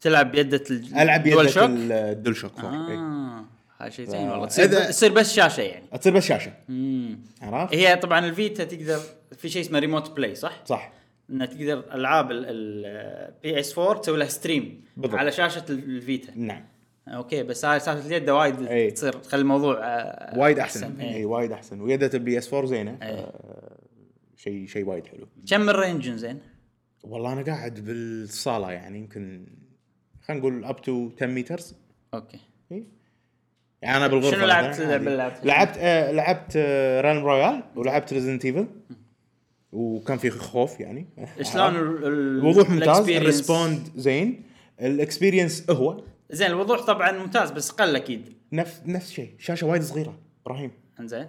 [SPEAKER 1] تلعب بيدة ال-
[SPEAKER 3] العب
[SPEAKER 1] Dual
[SPEAKER 3] يدة
[SPEAKER 1] Shock؟
[SPEAKER 3] الدول شوك آه.
[SPEAKER 1] اه هذا شيء زين
[SPEAKER 3] ف-
[SPEAKER 1] والله تصير
[SPEAKER 3] إذا-
[SPEAKER 1] تصير بس شاشه يعني
[SPEAKER 3] تصير بس شاشه
[SPEAKER 1] مم. إيه.
[SPEAKER 3] عرفت؟
[SPEAKER 1] هي طبعا الفيتا تقدر في شيء اسمه ريموت بلاي صح؟
[SPEAKER 3] صح
[SPEAKER 1] انها تقدر العاب البي اس 4 تسوي لها ستريم
[SPEAKER 3] بالضبط.
[SPEAKER 1] على شاشه ال- الفيتا
[SPEAKER 3] نعم
[SPEAKER 1] اوكي بس هاي سالفه اليد وايد
[SPEAKER 3] إي.
[SPEAKER 1] تصير تخلي الموضوع آه،
[SPEAKER 3] إيه.
[SPEAKER 1] إيه.
[SPEAKER 3] وايد احسن
[SPEAKER 1] إي.
[SPEAKER 3] اي وايد احسن ويدة البي اس 4 زينه
[SPEAKER 1] إي.
[SPEAKER 3] آه، شيء شيء وايد حلو
[SPEAKER 1] كم الرينج زين؟
[SPEAKER 3] والله انا قاعد بالصاله يعني يمكن خلينا نقول اب تو 10 مترز
[SPEAKER 1] اوكي
[SPEAKER 3] إيه؟ يعني انا بالغرفه
[SPEAKER 1] شنو لعبت
[SPEAKER 3] مثلاً،
[SPEAKER 1] اللعبة
[SPEAKER 3] عادي.
[SPEAKER 1] اللي لعبتها؟
[SPEAKER 3] لعبت آه لعبت آه ران رويال ولعبت ريزنت ايفل وكان في خوف يعني
[SPEAKER 1] شلون ال- ال-
[SPEAKER 3] الوضوح ممتاز
[SPEAKER 1] الexperience؟
[SPEAKER 3] الريسبوند زين الاكسبيرينس هو
[SPEAKER 1] زين الوضوح طبعا ممتاز بس قل اكيد
[SPEAKER 3] نفس نفس الشيء شاشه وايد صغيره ابراهيم
[SPEAKER 1] انزين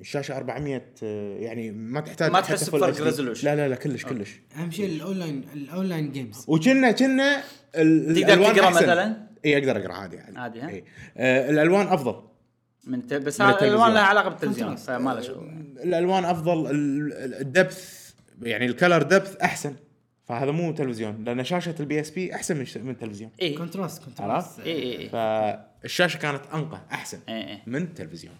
[SPEAKER 3] الشاشه 400 آه، يعني ما تحتاج
[SPEAKER 1] ما
[SPEAKER 3] حتى
[SPEAKER 1] تحس
[SPEAKER 3] full
[SPEAKER 1] بفرق
[SPEAKER 3] HD.
[SPEAKER 1] resolution. آه.
[SPEAKER 3] لا لا لا كلش كلش
[SPEAKER 2] اهم شيء الاونلاين الاونلاين جيمز
[SPEAKER 3] وكنا كنا ال-
[SPEAKER 1] تقدر
[SPEAKER 3] الألوان
[SPEAKER 1] تقرا
[SPEAKER 3] أحسن.
[SPEAKER 1] مثلاً؟
[SPEAKER 3] اي اقدر اقرا عادي عادي
[SPEAKER 1] عادي، ها؟
[SPEAKER 3] إي. آه الالوان افضل
[SPEAKER 1] من ت... بس
[SPEAKER 3] من
[SPEAKER 1] هذا الالوان
[SPEAKER 3] التلفزيون.
[SPEAKER 1] لها علاقه بالتلفزيون
[SPEAKER 2] خلاص.
[SPEAKER 1] فما له شغل
[SPEAKER 3] الالوان افضل الدبث يعني الكلر دبث احسن فهذا مو تلفزيون لان شاشه البي اس بي احسن من ش- من التلفزيون
[SPEAKER 1] اي اي
[SPEAKER 2] كونتراست كونتراست
[SPEAKER 3] عرفت؟
[SPEAKER 1] اي إي.
[SPEAKER 3] فالشاشه كانت انقى احسن
[SPEAKER 1] إي إي.
[SPEAKER 3] من التلفزيون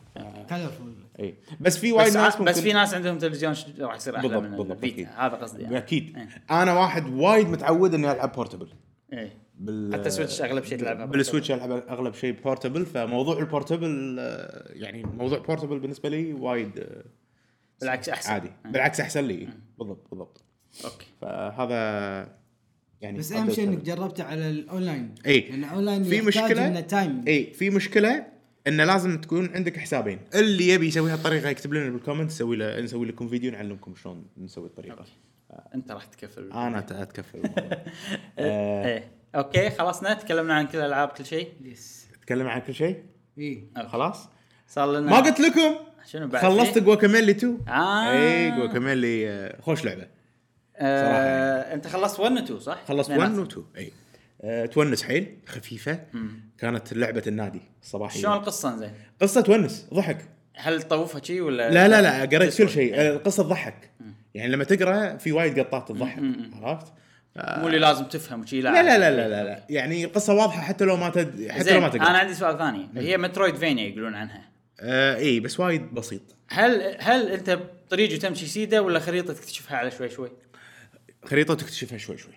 [SPEAKER 2] كلرفول
[SPEAKER 3] اي بس في وايد
[SPEAKER 1] إيه، بس,
[SPEAKER 3] ناس
[SPEAKER 1] بس في ناس عندهم تلفزيون ش- راح يصير احلى
[SPEAKER 3] بالضبط،
[SPEAKER 1] من
[SPEAKER 3] بالضبط، أكيد.
[SPEAKER 1] الفيتا هذا قصدي يعني.
[SPEAKER 3] اكيد
[SPEAKER 1] إيه.
[SPEAKER 3] انا واحد وايد متعود اني العب بورتبل
[SPEAKER 1] ايه
[SPEAKER 3] بال
[SPEAKER 1] حتى سويتش أغلب شيء تلعبه
[SPEAKER 3] بالسويتش العب اغلب شيء بورتبل فموضوع البورتبل آه، يعني موضوع بورتبل بالنسبه لي وايد آه،
[SPEAKER 1] بالعكس احسن
[SPEAKER 3] عادي بالعكس احسن لي بالضبط بالضبط
[SPEAKER 1] اوكي
[SPEAKER 3] فهذا يعني
[SPEAKER 2] بس اهم شيء
[SPEAKER 3] قدر-
[SPEAKER 2] انك جربته على الاونلاين
[SPEAKER 3] إي.
[SPEAKER 2] لان الاونلاين
[SPEAKER 3] في
[SPEAKER 2] يحتاج
[SPEAKER 3] مشكلة؟ إيه.
[SPEAKER 2] انه تايم
[SPEAKER 3] اي في مشكله انه لازم تكون عندك حسابين اللي يبي يسويها الطريقه يكتب لنا بالكومنت نسوي له نسوي لكم فيديو نعلمكم شلون نسوي الطريقه
[SPEAKER 1] انت راح تكفل
[SPEAKER 3] انا أت- اتكفل الموضوع. آه،
[SPEAKER 1] ايه اوكي خلصنا تكلمنا عن كل الالعاب كل شيء
[SPEAKER 2] يس
[SPEAKER 3] تكلم عن كل شيء
[SPEAKER 2] اي
[SPEAKER 1] أوكي.
[SPEAKER 3] خلاص
[SPEAKER 1] صار لنا
[SPEAKER 3] ما قلت لكم
[SPEAKER 1] شنو بعد إيه.
[SPEAKER 3] خلصت
[SPEAKER 1] فيه؟
[SPEAKER 3] جواكاميلي 2
[SPEAKER 1] آه.
[SPEAKER 3] اي جواكاميلي آه، خوش لعبه صراحة
[SPEAKER 1] آه انت خلصت 1 و 2 صح؟
[SPEAKER 3] خلصت 1 و 2 اي آه، تونس حيل خفيفه كانت لعبه النادي
[SPEAKER 1] شلون
[SPEAKER 3] الصباحيه
[SPEAKER 1] القصه زين؟
[SPEAKER 3] قصه تونس ضحك
[SPEAKER 1] هل طوفها شي ولا
[SPEAKER 3] لا لا لا قريت كل شيء
[SPEAKER 1] إيه.
[SPEAKER 3] آه، القصه تضحك يعني لما تقرا في وايد قطات تضحك عرفت؟ آه،
[SPEAKER 1] مو اللي لازم تفهم شي لا
[SPEAKER 3] لا لا لا لا لا, لا. يعني القصه واضحه حتى لو ما تد... حتى لو
[SPEAKER 1] زين
[SPEAKER 3] ما
[SPEAKER 1] انا
[SPEAKER 3] تقرا
[SPEAKER 1] عندي سؤال ثاني هي مترويد فينيا يقولون عنها
[SPEAKER 3] آه اي بس وايد بسيط
[SPEAKER 1] هل هل انت بطريق وتمشي سيده ولا خريطه تكتشفها على شوي شوي؟
[SPEAKER 3] خريطه تكتشفها شوي شوي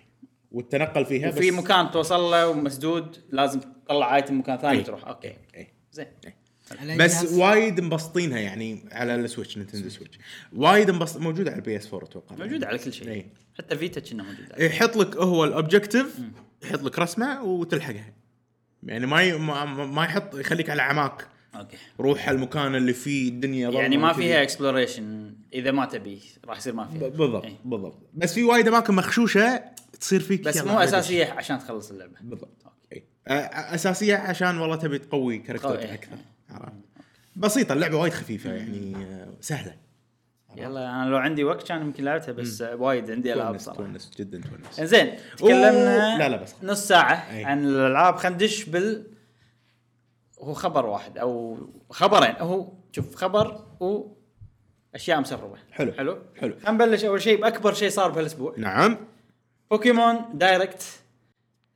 [SPEAKER 3] والتنقل فيها
[SPEAKER 1] وفي
[SPEAKER 3] بس-
[SPEAKER 1] مكان توصل له ومسدود لازم تطلع ايتم مكان ثاني
[SPEAKER 3] إيه.
[SPEAKER 1] تروح اوكي
[SPEAKER 3] إيه.
[SPEAKER 1] زين
[SPEAKER 3] بس وايد مبسطينها يعني على السويتش نينتندو سويتش وايد مبسط موجوده على البي اس 4 اتوقع
[SPEAKER 1] موجود على كل شيء
[SPEAKER 3] إيه.
[SPEAKER 1] حتى فيتا كنا موجود عليه.
[SPEAKER 3] يحط لك هو الاوبجكتيف يحط لك رسمه وتلحقها يعني ما ي... ما, ما- ما يحط يخليك على عماك
[SPEAKER 1] اوكي
[SPEAKER 3] روح المكان اللي فيه الدنيا ظلمة
[SPEAKER 1] يعني ما
[SPEAKER 3] وكذي.
[SPEAKER 1] فيها اكسبلوريشن اذا ما تبي راح يصير ما فيها
[SPEAKER 3] ب- بالضبط
[SPEAKER 1] إيه.
[SPEAKER 3] بالضبط بس في وايد اماكن مخشوشه تصير فيك
[SPEAKER 1] بس
[SPEAKER 3] يلا
[SPEAKER 1] مو
[SPEAKER 3] عادي.
[SPEAKER 1] اساسيه عشان تخلص اللعبه
[SPEAKER 3] بالضبط إيه. أ- أ- اساسيه عشان والله تبي تقوي كاركترك
[SPEAKER 1] إيه.
[SPEAKER 3] اكثر عرفت بسيطه اللعبه وايد خفيفه يعني آه، سهله
[SPEAKER 1] يلا انا لو عندي وقت كان يمكن لعبتها بس وايد عندي العاب
[SPEAKER 3] تونس
[SPEAKER 1] صراحه
[SPEAKER 3] تونس جدا تونس
[SPEAKER 1] زين
[SPEAKER 3] أوه،
[SPEAKER 1] تكلمنا
[SPEAKER 3] لا، لا، بس.
[SPEAKER 1] نص ساعه
[SPEAKER 3] أي.
[SPEAKER 1] عن الالعاب خلينا ندش بال هو خبر واحد او خبرين هو شوف خبر واشياء مسربه
[SPEAKER 3] حلو.
[SPEAKER 1] حلو
[SPEAKER 3] حلو.
[SPEAKER 1] خلينا نبلش اول شيء باكبر شيء صار بهالاسبوع
[SPEAKER 3] نعم
[SPEAKER 1] بوكيمون دايركت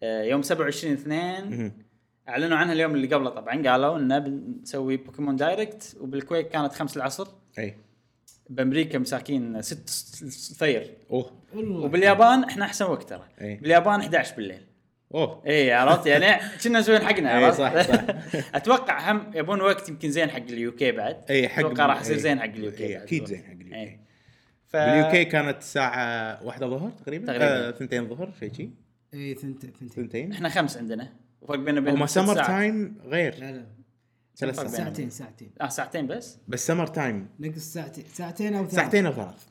[SPEAKER 1] آه، يوم 27 2 اعلنوا عنها اليوم اللي قبله طبعا قالوا انه بنسوي بوكيمون دايركت وبالكويت كانت 5 العصر
[SPEAKER 3] اي
[SPEAKER 1] بامريكا مساكين 6 الثير
[SPEAKER 3] اوه
[SPEAKER 2] والله
[SPEAKER 1] وباليابان احنا احسن وقت ترى
[SPEAKER 3] إيه.
[SPEAKER 1] باليابان 11 بالليل
[SPEAKER 3] اوه
[SPEAKER 1] اي عرفت يعني كنا مسويين حقنا
[SPEAKER 3] إيه،
[SPEAKER 1] عرفت
[SPEAKER 3] صح، صح.
[SPEAKER 1] اتوقع هم يبون وقت يمكن زين حق اليو كي بعد
[SPEAKER 3] اي حق
[SPEAKER 1] اتوقع راح يصير
[SPEAKER 3] إي.
[SPEAKER 1] زين حق اليو كي
[SPEAKER 3] إي، اكيد زين حق اليو كي
[SPEAKER 1] ف...
[SPEAKER 3] باليو كي كانت الساعه واحدة ظهر تقريبا
[SPEAKER 1] تقريباً.
[SPEAKER 3] آه، ثنتين ظهر شيء شي
[SPEAKER 2] اي إيه، ثنتين ثنتين
[SPEAKER 3] ثنتين
[SPEAKER 1] احنا خمس عندنا وفرق بيننا وبين
[SPEAKER 3] هما سمر تايم غير
[SPEAKER 2] لا لا
[SPEAKER 3] ثلاث
[SPEAKER 1] فرق بينهم.
[SPEAKER 3] ساعات
[SPEAKER 2] ساعتين ساعتين
[SPEAKER 1] اه ساعتين بس
[SPEAKER 3] بس سمر تايم
[SPEAKER 2] نقص ساعتين ساعتين
[SPEAKER 1] نعم.
[SPEAKER 2] او ثلاث
[SPEAKER 3] ساعتين او ثلاث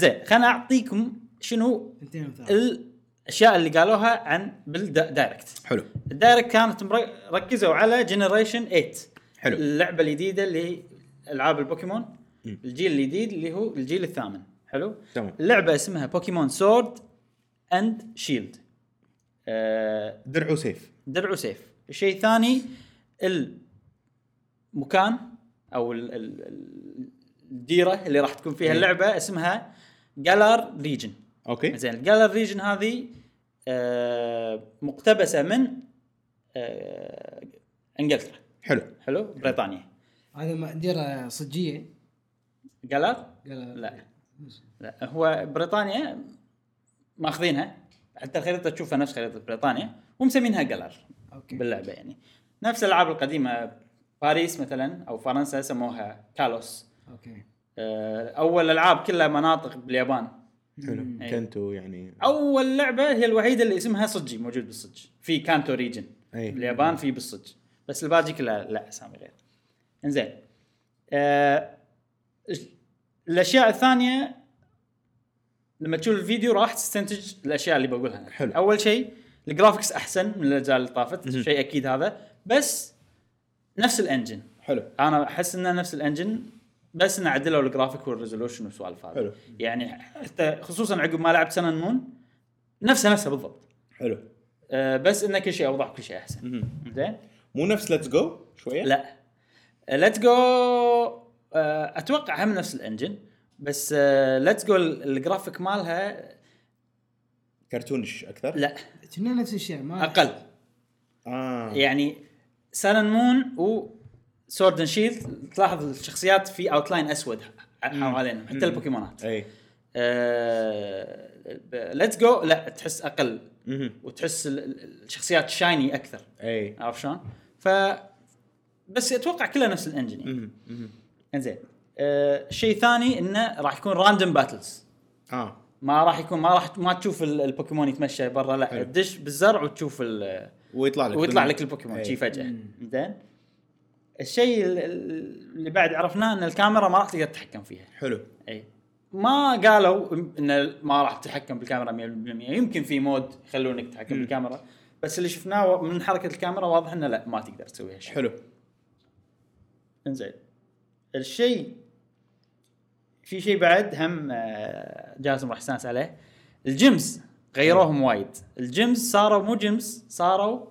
[SPEAKER 1] زين خليني اعطيكم شنو
[SPEAKER 2] ثنتين او ثلاث
[SPEAKER 1] الاشياء اللي قالوها عن بالدايركت
[SPEAKER 3] حلو
[SPEAKER 1] الدايركت كانت مر- ركزوا على جنريشن 8
[SPEAKER 3] حلو.
[SPEAKER 1] اللعبه الجديده اللي العاب البوكيمون
[SPEAKER 3] مم.
[SPEAKER 1] الجيل الجديد اللي هو الجيل الثامن حلو
[SPEAKER 3] تمام.
[SPEAKER 1] اللعبه اسمها بوكيمون سورد اند شيلد آه،
[SPEAKER 3] درع وسيف
[SPEAKER 1] درع وسيف الشيء الثاني المكان او ال- ال- ال- الديره اللي راح
[SPEAKER 3] إيه.
[SPEAKER 1] تكون فيها اللعبه اسمها جالار ريجن
[SPEAKER 3] اوكي
[SPEAKER 1] زين الجالر ريجن هذه آه، مقتبسه من آه، انجلترا
[SPEAKER 3] حلو
[SPEAKER 1] حلو بريطانيا
[SPEAKER 2] هذا مقدره صجيه
[SPEAKER 1] قالت
[SPEAKER 2] قال
[SPEAKER 1] لا لا هو بريطانيا ماخذينها حتى الخريطه تشوفها نفس خريطه بريطانيا ومسمينها جلر
[SPEAKER 2] اوكي
[SPEAKER 1] باللعبه يعني نفس الالعاب القديمه باريس مثلا او فرنسا سموها كالوس
[SPEAKER 2] اوكي
[SPEAKER 1] آه، اول العاب كلها مناطق باليابان
[SPEAKER 3] حلو
[SPEAKER 1] أي.
[SPEAKER 3] كنتو يعني
[SPEAKER 1] اول لعبه هي الوحيده اللي اسمها صجي موجود بالصج في كانتو ريجن
[SPEAKER 3] أي.
[SPEAKER 1] باليابان في بالصج بس الباقي كلها لا اسامي غير انزين آه إيش- الاشياء الثانيه لما تشوف الفيديو راح تستنتج الاشياء اللي بقولها أنا.
[SPEAKER 3] حلو.
[SPEAKER 1] اول شيء الجرافكس احسن من الاجزاء اللي طافت شيء اكيد هذا بس نفس الانجن
[SPEAKER 3] حلو
[SPEAKER 1] انا احس انه نفس الانجن بس انه عدلوا الجرافيك والريزولوشن والسوالف هذه
[SPEAKER 3] حلو.
[SPEAKER 1] يعني حتى خصوصا عقب ما لعبت سنن مون نفسها نفسها بالضبط
[SPEAKER 3] حلو
[SPEAKER 1] أه بس انه كل شيء اوضح وكل شيء احسن زين
[SPEAKER 3] مو نفس ليتس جو شويه
[SPEAKER 1] لا آه، ليتس جو اتوقع آه، هم نفس الانجن بس آه، ليتس جو الجرافيك مالها
[SPEAKER 3] كرتونش اكثر
[SPEAKER 1] لا
[SPEAKER 2] كنا نفس الشيء ما
[SPEAKER 1] اقل
[SPEAKER 3] اه
[SPEAKER 1] يعني سالن مون و سورد اند شيلد تلاحظ الشخصيات في اوتلاين اسود حوالينهم حتى البوكيمونات
[SPEAKER 3] اي
[SPEAKER 1] آه، ليتس جو لا تحس اقل
[SPEAKER 3] مهم.
[SPEAKER 1] وتحس ال- ال- الشخصيات شايني اكثر
[SPEAKER 3] اي
[SPEAKER 1] عرفت شلون؟ ف بس اتوقع كلها نفس الانجن يعني
[SPEAKER 3] مهم. مهم.
[SPEAKER 1] انزين آه، شيء ثاني انه راح يكون راندوم باتلز
[SPEAKER 3] اه
[SPEAKER 1] ما راح يكون ما راح ما تشوف ال- البوكيمون يتمشى برا لا
[SPEAKER 3] حلو.
[SPEAKER 1] تدش بالزرع وتشوف ال-
[SPEAKER 3] ويطلع لك
[SPEAKER 1] ويطلع لك البوكيمون
[SPEAKER 3] أي.
[SPEAKER 1] شي فجاه زين الشيء ال- ال- اللي بعد عرفناه ان الكاميرا ما راح تقدر تتحكم فيها
[SPEAKER 3] حلو
[SPEAKER 1] اي ما قالوا ان ما راح تتحكم بالكاميرا 100% يمكن في مود يخلونك تتحكم بالكاميرا بس اللي شفناه من حركه الكاميرا واضح انه لا ما تقدر تسوي هالشيء
[SPEAKER 3] حلو
[SPEAKER 1] انزين الشيء في شيء بعد هم آه، جاسم راح يستانس عليه الجيمز غيروهم وايد الجيمز صاروا مو جيمز صاروا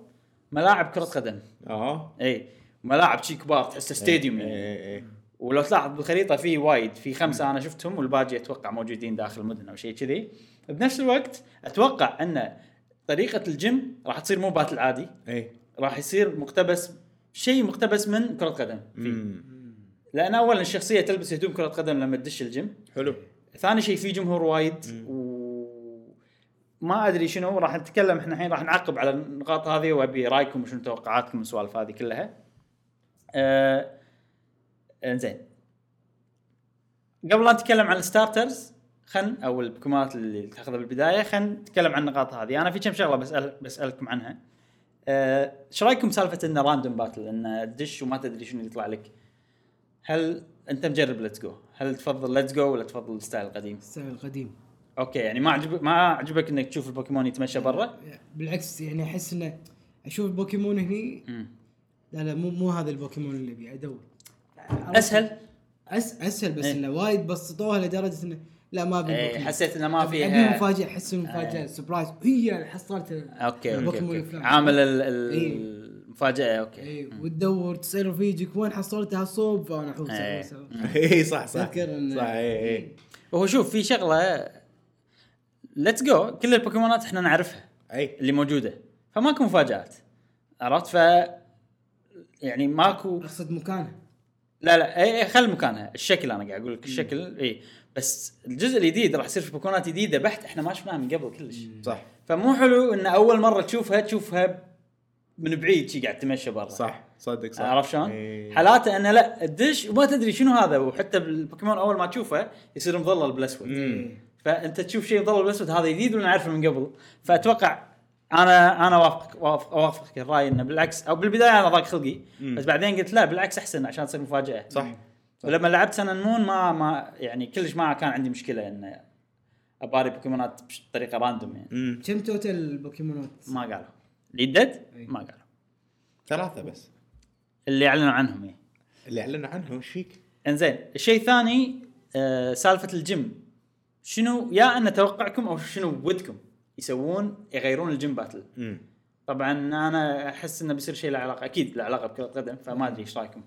[SPEAKER 1] ملاعب كره قدم
[SPEAKER 3] اه
[SPEAKER 1] اي ملاعب شي كبار تحسه ستاديوم
[SPEAKER 3] اي
[SPEAKER 1] يعني
[SPEAKER 3] اي اي
[SPEAKER 1] ولو تلاحظ بالخريطه في وايد في خمسه انا شفتهم والباقي اتوقع موجودين داخل المدن او شيء كذي بنفس الوقت اتوقع ان طريقه الجيم راح تصير مو باتل عادي
[SPEAKER 3] اي
[SPEAKER 1] راح يصير مقتبس شيء مقتبس من كره قدم فيه
[SPEAKER 3] مم.
[SPEAKER 1] لان اولا الشخصيه تلبس هدوم كره قدم لما تدش الجيم
[SPEAKER 3] حلو
[SPEAKER 1] ثاني شيء في جمهور وايد و ما ادري شنو راح نتكلم احنا الحين راح نعقب على النقاط هذه وابي رايكم وشنو توقعاتكم من السوالف هذه كلها. آه انزين قبل لا نتكلم عن الستارترز خن او البكمات اللي تاخذها بالبدايه خلينا نتكلم عن النقاط هذه انا في كم شغله بسال بسالكم عنها آه، ايش رايكم سالفه انه راندوم باتل انه تدش وما تدري شنو يطلع لك هل انت مجرب ليتس جو هل تفضل ليتس جو ولا تفضل الستايل القديم
[SPEAKER 2] الستايل القديم
[SPEAKER 1] اوكي يعني ما عجب ما عجبك انك تشوف البوكيمون يتمشى برا
[SPEAKER 2] بالعكس يعني احس انه اشوف البوكيمون هني
[SPEAKER 1] مم.
[SPEAKER 2] لا لا مو مو هذا البوكيمون اللي ابي ادور
[SPEAKER 1] اسهل
[SPEAKER 2] أس اسهل بس
[SPEAKER 1] إيه.
[SPEAKER 2] انه وايد بسطوها لدرجه انه لا ما ابي
[SPEAKER 1] إيه،
[SPEAKER 2] البوكيمون.
[SPEAKER 1] حسيت انه ما
[SPEAKER 2] أبي- ابي
[SPEAKER 1] فيها
[SPEAKER 2] مفاجاه احس مفاجاه سبرايز هي اللي حصلت
[SPEAKER 1] اوكي اوكي,
[SPEAKER 2] البوكيمون
[SPEAKER 1] أوكي.
[SPEAKER 2] الفلان.
[SPEAKER 1] عامل ال- ال-
[SPEAKER 2] إيه.
[SPEAKER 1] المفاجاه اوكي
[SPEAKER 2] اي إيه، وتدور تسال رفيجك وين حصلت هالصوب فانا احوس
[SPEAKER 1] إيه.
[SPEAKER 2] أحوس- أحوس.
[SPEAKER 3] اي صح صح
[SPEAKER 2] أتذكر إن-
[SPEAKER 3] صح إيه، اي اي
[SPEAKER 1] وهو شوف في شغله ليتس جو كل البوكيمونات احنا نعرفها
[SPEAKER 3] اي
[SPEAKER 1] اللي موجوده فماكو مفاجات عرفت ف يعني ماكو
[SPEAKER 2] اقصد مكانها
[SPEAKER 1] لا لا اي اي خل مكانها الشكل انا قاعد اقول لك الشكل اي بس الجزء الجديد راح يصير في بوكيمونات جديده بحت احنا ما شفناها من قبل كلش
[SPEAKER 3] صح
[SPEAKER 1] فمو حلو ان اول مره تشوفها تشوفها من بعيد شي قاعد تمشى برا
[SPEAKER 3] صح صدق صح إيه.
[SPEAKER 1] عرفت شلون؟
[SPEAKER 3] إي.
[SPEAKER 1] حالاته انه لا تدش وما تدري شنو هذا وحتى بالبوكيمون اول ما تشوفه يصير مظلل بالاسود
[SPEAKER 3] مم.
[SPEAKER 1] فانت تشوف شيء مظلل بالاسود هذا جديد ولا نعرفه من قبل فاتوقع انا انا وافقك وافق اوافقك الراي انه بالعكس او بالبدايه انا ضاق خلقي بس بعدين قلت لا بالعكس احسن عشان تصير مفاجاه
[SPEAKER 3] صح
[SPEAKER 1] ولما لعبت سنن مون ما ما يعني كلش ما كان عندي مشكله انه اباري بوكيمونات بطريقه راندوم يعني
[SPEAKER 3] مم.
[SPEAKER 2] كم توتال البوكيمونات؟
[SPEAKER 1] ما قالوا اللي دد
[SPEAKER 2] أي.
[SPEAKER 1] ما قالوا
[SPEAKER 3] ثلاثه بس
[SPEAKER 1] اللي اعلنوا عنهم ايه
[SPEAKER 3] اللي اعلنوا عنها وش فيك؟
[SPEAKER 1] انزين الشيء الثاني آه سالفه الجيم شنو يا ان توقعكم او شنو ودكم يسوون يغيرون الجيم باتل
[SPEAKER 3] مم.
[SPEAKER 1] طبعا انا احس انه بيصير شيء له علاقه اكيد له علاقه بكره قدم فما ادري ايش رايكم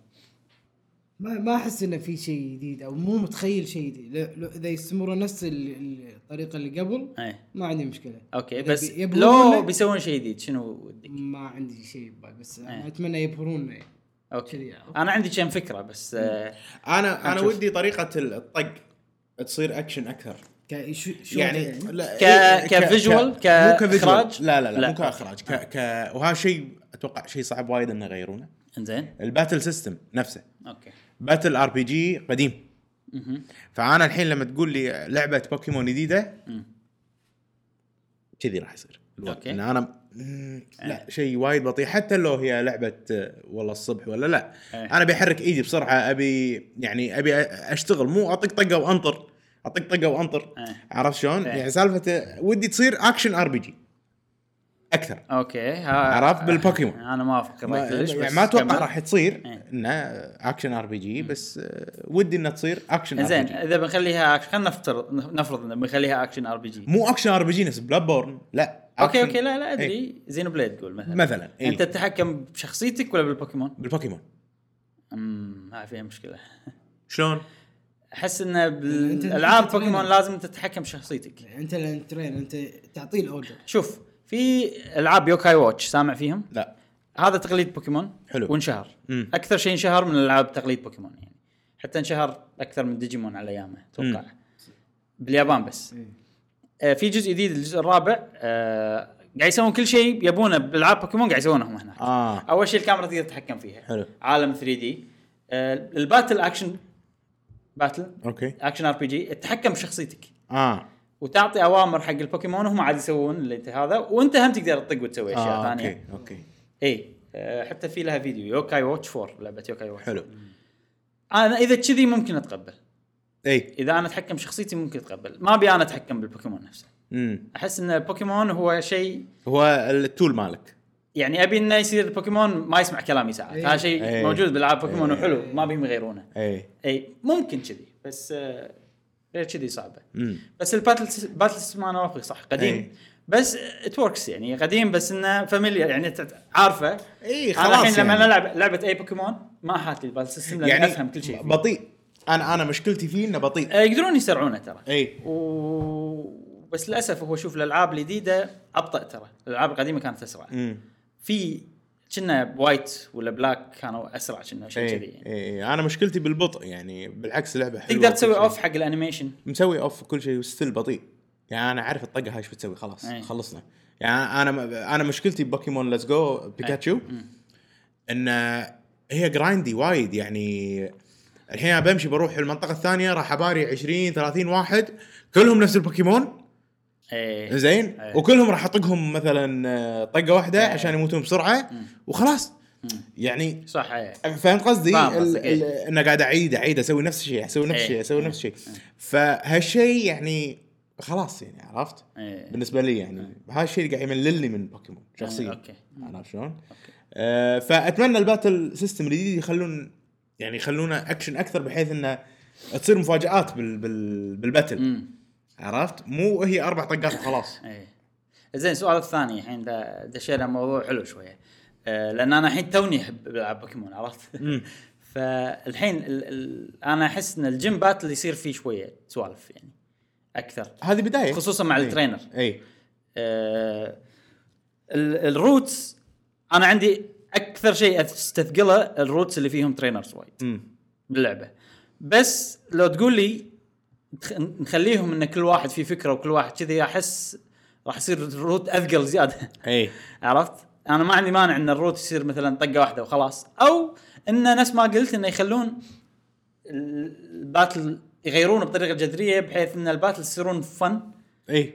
[SPEAKER 2] ما ما احس انه في شيء جديد او مو متخيل شيء جديد لو- لو- اذا يستمرون نفس ال- ال- الطريقه اللي قبل
[SPEAKER 1] ايه
[SPEAKER 2] ما عندي مشكله
[SPEAKER 1] اوكي
[SPEAKER 2] إذا
[SPEAKER 1] بس
[SPEAKER 2] بي- يبهرون
[SPEAKER 1] لو
[SPEAKER 2] لك-
[SPEAKER 1] بيسوون شيء جديد شنو ودك؟
[SPEAKER 2] ما عندي شيء ببالي بس
[SPEAKER 1] إيه.
[SPEAKER 2] أنا اتمنى يبهرونا يعني. كذي
[SPEAKER 1] اوكي
[SPEAKER 2] يعني.
[SPEAKER 1] انا عندي كم فكره بس آه،
[SPEAKER 3] انا انا
[SPEAKER 1] نشوف.
[SPEAKER 3] ودي طريقه الطق تصير اكشن اكثر
[SPEAKER 2] ك- شو- شو
[SPEAKER 3] يعني
[SPEAKER 2] يعني
[SPEAKER 3] لا
[SPEAKER 1] ك-
[SPEAKER 3] إيه،
[SPEAKER 1] كفيجوال،
[SPEAKER 3] مو
[SPEAKER 1] كإخراج؟
[SPEAKER 3] كفيجوال لا لا لا,
[SPEAKER 1] لا.
[SPEAKER 3] مو كاخراج ك ك وهذا شيء اتوقع شيء صعب وايد انه يغيرونه
[SPEAKER 1] انزين
[SPEAKER 3] الباتل سيستم نفسه
[SPEAKER 1] اوكي
[SPEAKER 3] باتل ار بي جي قديم فانا الحين لما تقول لي لعبه بوكيمون جديده
[SPEAKER 1] مم.
[SPEAKER 3] كذي راح يصير الوضع.
[SPEAKER 1] أوكي. إيه.
[SPEAKER 3] ان انا مم، لا شيء وايد بطيء حتى لو هي لعبه آه، والله الصبح ولا لا
[SPEAKER 1] إيه.
[SPEAKER 3] انا بحرك ايدي بسرعه ابي يعني ابي اشتغل مو اطق طقه وانطر اطق طقه وانطر
[SPEAKER 1] إيه.
[SPEAKER 3] عرفت شلون؟
[SPEAKER 1] إيه.
[SPEAKER 3] يعني سالفه ودي تصير اكشن ار بي جي اكثر
[SPEAKER 1] اوكي ها
[SPEAKER 3] عرفت بالبوكيمون.
[SPEAKER 1] انا ما افكر
[SPEAKER 3] ما
[SPEAKER 1] رأيك ليش،
[SPEAKER 3] يعني
[SPEAKER 1] بس
[SPEAKER 3] ما اتوقع
[SPEAKER 1] كمل.
[SPEAKER 3] راح تصير
[SPEAKER 1] إيه.
[SPEAKER 3] انه اكشن ار بي جي بس آه، ودي انها تصير اكشن ار
[SPEAKER 1] زين
[SPEAKER 3] بي جي
[SPEAKER 1] اذا بنخليها أكشن- خلينا نفترض نفرض ان بنخليها اكشن ار بي جي
[SPEAKER 3] مو اكشن ار بي جي نفس بلاد بورن لا
[SPEAKER 1] اوكي
[SPEAKER 3] أكشن-
[SPEAKER 1] اوكي لا لا
[SPEAKER 3] إيه.
[SPEAKER 1] ادري زينو بليد تقول مثلا
[SPEAKER 3] مثلا إيه.
[SPEAKER 1] انت تتحكم بشخصيتك ولا بالبوكيمون؟
[SPEAKER 3] بالبوكيمون
[SPEAKER 1] امم هاي فيها مشكله
[SPEAKER 3] شلون؟
[SPEAKER 1] احس انه
[SPEAKER 2] أنت-
[SPEAKER 1] بالالعاب
[SPEAKER 2] أنت
[SPEAKER 1] بوكيمون
[SPEAKER 2] تبين.
[SPEAKER 1] لازم تتحكم بشخصيتك
[SPEAKER 2] انت لان ترين انت تعطيه الاوردر
[SPEAKER 1] شوف في العاب يوكاي واتش سامع فيهم؟
[SPEAKER 3] لا
[SPEAKER 1] هذا تقليد بوكيمون
[SPEAKER 3] حلو.
[SPEAKER 1] وانشهر
[SPEAKER 3] مم.
[SPEAKER 1] اكثر شيء انشهر من العاب تقليد بوكيمون يعني حتى انشهر اكثر من ديجيمون على ايامه اتوقع باليابان بس
[SPEAKER 2] إيه.
[SPEAKER 1] آه في جزء جديد الجزء الرابع آه قاعد يسوون كل شيء يبونه بالعاب بوكيمون قاعد يسوونه هم هناك
[SPEAKER 3] اه
[SPEAKER 1] اول شيء الكاميرا تقدر تتحكم فيها
[SPEAKER 3] حلو.
[SPEAKER 1] عالم 3 دي آه الباتل اكشن باتل
[SPEAKER 3] اوكي
[SPEAKER 1] اكشن ار بي جي تتحكم بشخصيتك
[SPEAKER 3] اه
[SPEAKER 1] وتعطي اوامر حق البوكيمون وهم عاد يسوون اللي انت هذا وانت هم تقدر تطق وتسوي اشياء
[SPEAKER 3] آه،
[SPEAKER 1] ثانيه
[SPEAKER 3] اوكي اوكي
[SPEAKER 1] اي آه، حتى في لها فيديو يوكاي واتش 4 لعبه يوكاي واتش
[SPEAKER 3] حلو
[SPEAKER 1] انا اذا كذي ممكن اتقبل
[SPEAKER 3] اي
[SPEAKER 1] اذا انا اتحكم شخصيتي ممكن اتقبل ما ابي انا اتحكم بالبوكيمون نفسه
[SPEAKER 3] امم
[SPEAKER 1] احس ان البوكيمون هو شيء
[SPEAKER 3] هو التول مالك
[SPEAKER 1] يعني ابي انه يصير البوكيمون ما يسمع كلامي ساعات
[SPEAKER 2] إيه.
[SPEAKER 1] هذا شيء
[SPEAKER 3] إيه.
[SPEAKER 1] موجود بالعاب بوكيمون وحلو ما بيهم يغيرونه
[SPEAKER 3] اي
[SPEAKER 1] اي ممكن كذي بس آه، غير كذي صعبه
[SPEAKER 3] امم
[SPEAKER 1] بس الباتل باتل سيستم انا وافق صح قديم
[SPEAKER 3] إيه.
[SPEAKER 1] بس ات وركس يعني قديم بس انه فاميليار يعني تت- عارفه
[SPEAKER 3] اي خلاص
[SPEAKER 1] انا الحين لما
[SPEAKER 3] يعني.
[SPEAKER 1] العب لعبه اي بوكيمون ما حاتي الباتل سيستم لان
[SPEAKER 3] يعني
[SPEAKER 1] افهم كل شيء فيه.
[SPEAKER 3] بطيء انا انا مشكلتي فيه انه بطيء إيه.
[SPEAKER 1] آه، يقدرون يسرعونه ترى
[SPEAKER 3] اي
[SPEAKER 1] و... بس للاسف هو شوف الالعاب الجديده ابطا ترى الالعاب القديمه كانت اسرع
[SPEAKER 3] امم
[SPEAKER 1] في كنا بوايت ولا بلاك كانوا اسرع كنا شيء كذي
[SPEAKER 3] اي
[SPEAKER 1] يعني.
[SPEAKER 3] اي انا إيه. مشكلتي بالبطء يعني بالعكس لعبه حلوه
[SPEAKER 1] تقدر
[SPEAKER 3] وكل
[SPEAKER 1] تسوي
[SPEAKER 3] شيء.
[SPEAKER 1] اوف حق الانيميشن
[SPEAKER 3] مسوي اوف كل شيء وستيل بطيء يعني انا عارف الطقه هاي ايش بتسوي خلاص
[SPEAKER 1] أي.
[SPEAKER 3] خلصنا يعني انا انا مشكلتي ببوكيمون ليتس جو بيكاتشو ان هي جرايندي وايد يعني الحين أنا بمشي بروح المنطقه الثانيه راح اباري 20 30 واحد كلهم نفس البوكيمون
[SPEAKER 1] ايه
[SPEAKER 3] زين
[SPEAKER 1] أي.
[SPEAKER 3] وكلهم راح اطقهم مثلا آه، طقه واحده عشان يموتون بسرعه وخلاص يعني
[SPEAKER 1] صح ايه
[SPEAKER 3] فاهم قصدي؟
[SPEAKER 1] فاهم
[SPEAKER 3] ال-
[SPEAKER 1] قصدك،
[SPEAKER 3] ال-
[SPEAKER 1] إيه.
[SPEAKER 3] انه قاعد اعيد اعيد اسوي نفس الشيء اسوي نفس
[SPEAKER 1] إيه.
[SPEAKER 3] الشيء اسوي نفس الشيء فهالشيء يعني خلاص يعني عرفت؟
[SPEAKER 1] إيه.
[SPEAKER 3] بالنسبه لي يعني هالشيء اللي قاعد يمللني من بوكيمون شخصيا
[SPEAKER 1] أوكي.
[SPEAKER 3] عرفت شلون؟ آه، فاتمنى الباتل سيستم الجديد يخلون يعني يخلونه اكشن اكثر بحيث انه تصير مفاجات بال بال بالباتل
[SPEAKER 1] امم
[SPEAKER 3] عرفت؟ مو هي اربع طقات وخلاص
[SPEAKER 1] ايه زين السؤال الثاني الحين دا- دشينا موضوع حلو شويه آه، لان انا الحين توني احب العب بوكيمون عرفت؟ فالحين ال ال انا احس ان الجيم باتل يصير فيه شويه سوالف يعني اكثر
[SPEAKER 3] هذه إيه. بدايه
[SPEAKER 1] خصوصا مع الترينر
[SPEAKER 3] اي
[SPEAKER 1] آه، ال- الروتس انا عندي اكثر شيء استثقله الروتس اللي فيهم ترينرز وايد
[SPEAKER 3] امم
[SPEAKER 1] باللعبه بس لو تقول لي تخ- نخليهم ان كل واحد فيه فكره وكل واحد كذي احس راح يصير الروت اثقل زياده
[SPEAKER 3] اي
[SPEAKER 1] عرفت؟ انا ما عندي مانع ان الروت يصير مثلا طقه واحده وخلاص او انه نفس ما قلت انه يخلون ال- الباتل يغيرونه بطريقه جذريه بحيث ان الباتل يصيرون فن
[SPEAKER 3] اي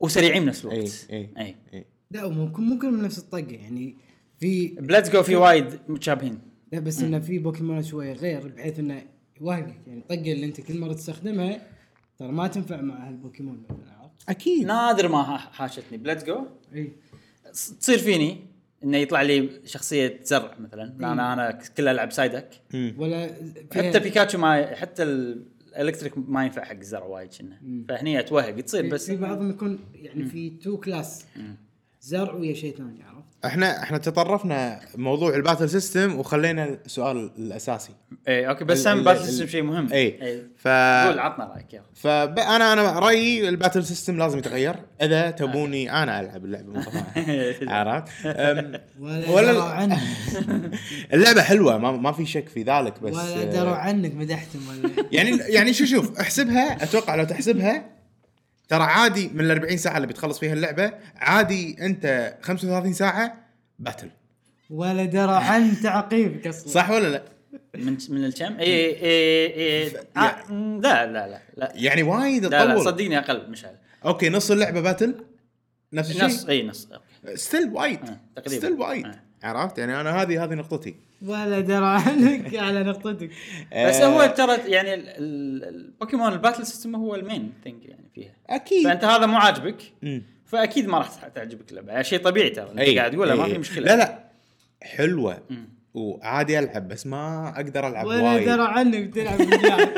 [SPEAKER 1] وسريعين بنفس
[SPEAKER 3] اي
[SPEAKER 1] الوقت.
[SPEAKER 3] اي
[SPEAKER 1] اي
[SPEAKER 3] اي
[SPEAKER 2] لا ممكن ممكن من نفس الطقه يعني في
[SPEAKER 1] بليتس جو في وايد متشابهين
[SPEAKER 2] لا بس انه في بوكيمون شويه غير بحيث انه يوهقك يعني الطقه اللي انت كل مره تستخدمها ترى ما تنفع مع هالبوكيمون مثلا عرفت؟
[SPEAKER 3] اكيد
[SPEAKER 1] نادر ما ح- حاشتني بليتس جو
[SPEAKER 2] اي
[SPEAKER 1] تصير فيني انه يطلع لي شخصيه زرع مثلا لان انا كل العب سايدك
[SPEAKER 3] مم.
[SPEAKER 2] ولا فيها-
[SPEAKER 1] حتى بيكاتشو ما حتى ال- الالكتريك ما ينفع حق الزرع وايد شنه فهني اتوهق تصير
[SPEAKER 2] في-
[SPEAKER 1] بس
[SPEAKER 2] في بعضهم يكون يعني في تو كلاس زرع ويا شيء ثاني عرفت؟
[SPEAKER 3] احنا احنا تطرفنا موضوع الباتل سيستم وخلينا السؤال الاساسي
[SPEAKER 1] اي اوكي
[SPEAKER 3] ال-
[SPEAKER 1] إيه، بس هم
[SPEAKER 3] ال-
[SPEAKER 1] باتل
[SPEAKER 3] ال- إيه.
[SPEAKER 1] سيستم شيء مهم
[SPEAKER 3] اي ف
[SPEAKER 1] إيه. قول عطنا رايك يلا
[SPEAKER 3] فانا انا رايي الباتل سيستم لازم يتغير اذا
[SPEAKER 1] آه.
[SPEAKER 3] تبوني انا العب اللعبه مو طبعاً. عرفت أم،
[SPEAKER 2] ولا,
[SPEAKER 3] ولا-
[SPEAKER 2] دروا عنك
[SPEAKER 3] اللعبه حلوه ما, ما في شك في ذلك بس
[SPEAKER 2] ولا
[SPEAKER 3] آه،
[SPEAKER 2] دروا عنك مدحتهم ولا
[SPEAKER 3] يعني يعني شو شوف احسبها اتوقع لو تحسبها ترى عادي من ال 40 ساعه اللي بتخلص فيها اللعبه عادي انت 35 ساعه باتل
[SPEAKER 2] ولا دروا عن تعقيبك اصلا
[SPEAKER 3] صح ولا لا؟
[SPEAKER 1] من من الكم إيه، اي اي اي إي- آه، م، لا لا لا لا
[SPEAKER 3] يعني وايد
[SPEAKER 1] لا, لا
[SPEAKER 3] تطول
[SPEAKER 1] صدقني اقل مشعل
[SPEAKER 3] اوكي نص اللعبه باتل نفس
[SPEAKER 1] نص
[SPEAKER 3] الشيء
[SPEAKER 1] اي نص أوكي.
[SPEAKER 3] ستيل وايد
[SPEAKER 1] آه، تقريباً.
[SPEAKER 3] ستيل وايد
[SPEAKER 1] آه.
[SPEAKER 3] عرفت يعني انا هذه هذه نقطتي
[SPEAKER 2] ولا دروا عنك على نقطتك
[SPEAKER 1] بس
[SPEAKER 3] آه،
[SPEAKER 1] هو ترى يعني ال- ال- البوكيمون الباتل سيستم هو المين ثينج يعني فيها
[SPEAKER 3] اكيد
[SPEAKER 1] فانت هذا مو عاجبك
[SPEAKER 3] مم.
[SPEAKER 1] فاكيد ما راح تع- تعجبك اللعبه شيء طبيعي ترى
[SPEAKER 3] أي،
[SPEAKER 1] انت قاعد تقوله ما
[SPEAKER 3] أي.
[SPEAKER 1] في مشكله
[SPEAKER 3] إيه، لا لا حلوه
[SPEAKER 1] مم.
[SPEAKER 3] وعادي العب بس ما اقدر العب
[SPEAKER 2] ولا
[SPEAKER 3] وايد
[SPEAKER 2] دروا عنك تلعب باللعب.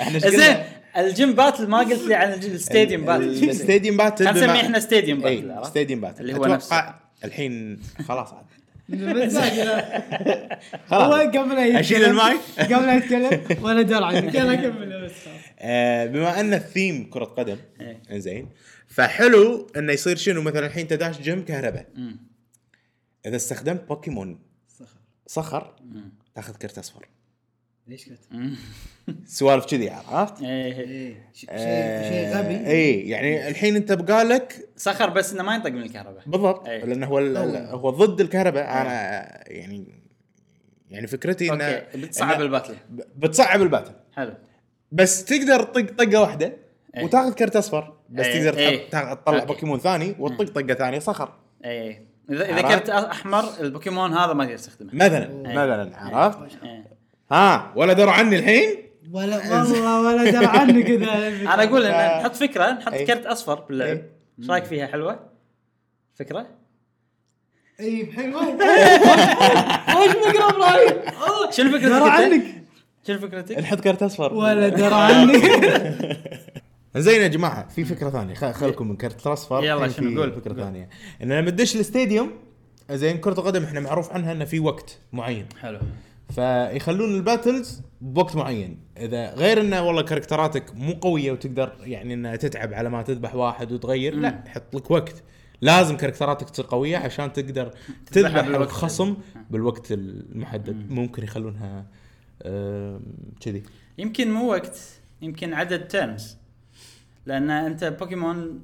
[SPEAKER 3] احنا إيش
[SPEAKER 1] زين
[SPEAKER 3] قلنا؟
[SPEAKER 1] الجيم باتل ما قلت لي عن الج- الستاديوم باتل
[SPEAKER 3] الستاديوم باتل
[SPEAKER 1] خلنا نسميه
[SPEAKER 3] بما- إيه،
[SPEAKER 1] احنا ستاديوم
[SPEAKER 3] إي،
[SPEAKER 1] باتل عرفت؟
[SPEAKER 3] ستاديوم باتل
[SPEAKER 1] اللي
[SPEAKER 3] اللي
[SPEAKER 1] هو
[SPEAKER 3] هو
[SPEAKER 1] نفسه.
[SPEAKER 3] اتوقع الحين خلاص عاد
[SPEAKER 2] بالمزاج، لا. هو
[SPEAKER 3] خلاص
[SPEAKER 2] قبل أن
[SPEAKER 3] أشيل
[SPEAKER 2] يتكلم-
[SPEAKER 3] المايك؟
[SPEAKER 2] قبل أن يتكلم ولا دروا عنك يلا كمل بس خلاص.
[SPEAKER 3] آه، بما ان الثيم كره قدم
[SPEAKER 1] إي.
[SPEAKER 3] زين فحلو انه يصير شنو مثلا الحين انت داش جيم كهرباء
[SPEAKER 1] مم.
[SPEAKER 3] اذا استخدمت بوكيمون
[SPEAKER 2] صخر.
[SPEAKER 3] صخر
[SPEAKER 1] مم.
[SPEAKER 3] تاخذ كرت اصفر
[SPEAKER 2] ليش كنت؟
[SPEAKER 1] مم.
[SPEAKER 3] سوالف كذي عرفت؟
[SPEAKER 1] إيه.
[SPEAKER 2] ايه ش- شيء
[SPEAKER 3] آه،
[SPEAKER 2] شيء غبي
[SPEAKER 3] اي يعني الحين انت بقالك
[SPEAKER 1] صخر بس انه ما ينطق من الكهرباء
[SPEAKER 3] بالضبط
[SPEAKER 1] إي.
[SPEAKER 3] لانه هو ال- ال- هو ضد الكهرباء انا يعني يعني فكرتي انه
[SPEAKER 1] اوكي بتصعب
[SPEAKER 3] إنه
[SPEAKER 1] الباتل
[SPEAKER 3] ب- بتصعب الباتل
[SPEAKER 1] حلو
[SPEAKER 3] بس تقدر تطق طقه واحده
[SPEAKER 1] إيه.
[SPEAKER 3] وتاخذ كرت اصفر بس
[SPEAKER 1] إيه،
[SPEAKER 3] تقدر
[SPEAKER 1] إيه.
[SPEAKER 3] تحط- تع- تطلع
[SPEAKER 1] أوكي.
[SPEAKER 3] بوكيمون ثاني وتطق طقه ثانيه صخر
[SPEAKER 1] اي اذا اذا
[SPEAKER 3] عرفت؟
[SPEAKER 1] إيه. كرت احمر البوكيمون هذا ما تقدر تستخدمه
[SPEAKER 3] مثلا
[SPEAKER 2] إيه.
[SPEAKER 3] مثلا عرفت؟
[SPEAKER 1] إيه.
[SPEAKER 3] ها ولا دروا عني الحين
[SPEAKER 2] ولا والله ولا دروا عنك اذا
[SPEAKER 1] انا اقول ان
[SPEAKER 3] آه.
[SPEAKER 1] نحط فكره نحط
[SPEAKER 3] إيه.
[SPEAKER 1] كرت اصفر باللعب
[SPEAKER 3] إيه.
[SPEAKER 1] ايش رايك فيها حلوه؟ فكره؟
[SPEAKER 2] اي حلوه وش بقرا ابراهيم والله
[SPEAKER 1] شنو فكرتك؟
[SPEAKER 2] درى
[SPEAKER 1] أنت؟
[SPEAKER 2] عنك
[SPEAKER 1] شنو فكرتك؟
[SPEAKER 3] نحط كرت اصفر
[SPEAKER 2] ولا درى عنك
[SPEAKER 3] زين يا جماعه في فكره ثانيه خل- خلكم من كرت الاصفر
[SPEAKER 1] إيه. يلا،
[SPEAKER 3] الحين
[SPEAKER 1] شنو؟
[SPEAKER 3] في
[SPEAKER 1] قول.
[SPEAKER 3] فكره
[SPEAKER 1] قول.
[SPEAKER 3] ثانيه ان لما تدش الاستاديوم زين كره القدم احنا معروف عنها انه في وقت معين
[SPEAKER 1] حلو
[SPEAKER 3] فيخلون الباتلز بوقت معين اذا غير انه والله كاركتراتك مو قويه وتقدر يعني انها تتعب على ما تذبح واحد وتغير لا حط لك وقت لازم كاركتراتك تصير قويه عشان تقدر تذبح
[SPEAKER 1] بالوقت.
[SPEAKER 3] الخصم بالوقت المحدد ممكن يخلونها آم، كذي
[SPEAKER 1] يمكن مو وقت يمكن عدد تيرنز لان انت بوكيمون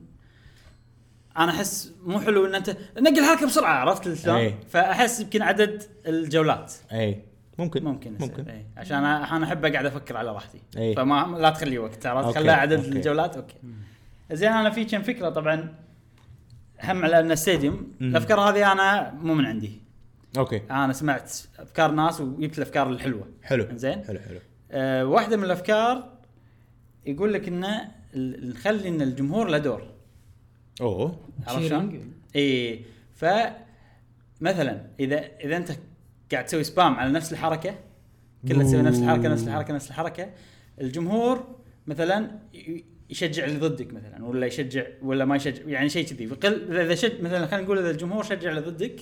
[SPEAKER 1] انا احس مو حلو ان انت نقل حركه بسرعه عرفت شلون؟
[SPEAKER 3] إيه.
[SPEAKER 1] فاحس يمكن عدد الجولات
[SPEAKER 3] اي إيه، ممكن
[SPEAKER 1] ممكن
[SPEAKER 3] ممكن
[SPEAKER 1] ممكن ايه. عشان أ- انا احب اقعد افكر على راحتي
[SPEAKER 3] إيه.
[SPEAKER 1] فما لا تخلي وقت عرفت
[SPEAKER 3] أوكي،
[SPEAKER 1] خليها عدد
[SPEAKER 3] أوكي.
[SPEAKER 1] الجولات اوكي زين انا في كم فكره طبعا هم على ان ستاديوم
[SPEAKER 3] مم.
[SPEAKER 1] الافكار هذه انا مو من عندي
[SPEAKER 3] اوكي
[SPEAKER 1] انا سمعت افكار ناس وجبت الافكار الحلوه
[SPEAKER 3] حلو
[SPEAKER 1] زين.
[SPEAKER 3] حلو حلو
[SPEAKER 1] أه واحده من الافكار يقول لك انه ال- نخلي ان الجمهور له دور
[SPEAKER 3] اوه
[SPEAKER 1] عرفت شلون؟ اي ف مثلا اذا اذا انت قاعد تسوي سبام على نفس الحركه كلها تسوي نفس الحركه نفس الحركه نفس الحركه الجمهور مثلا ي- يشجع اللي ضدك مثلا ولا يشجع ولا ما يشجع يعني شيء كذي قل اذا شج مثلا خلينا نقول اذا الجمهور شجع اللي ضدك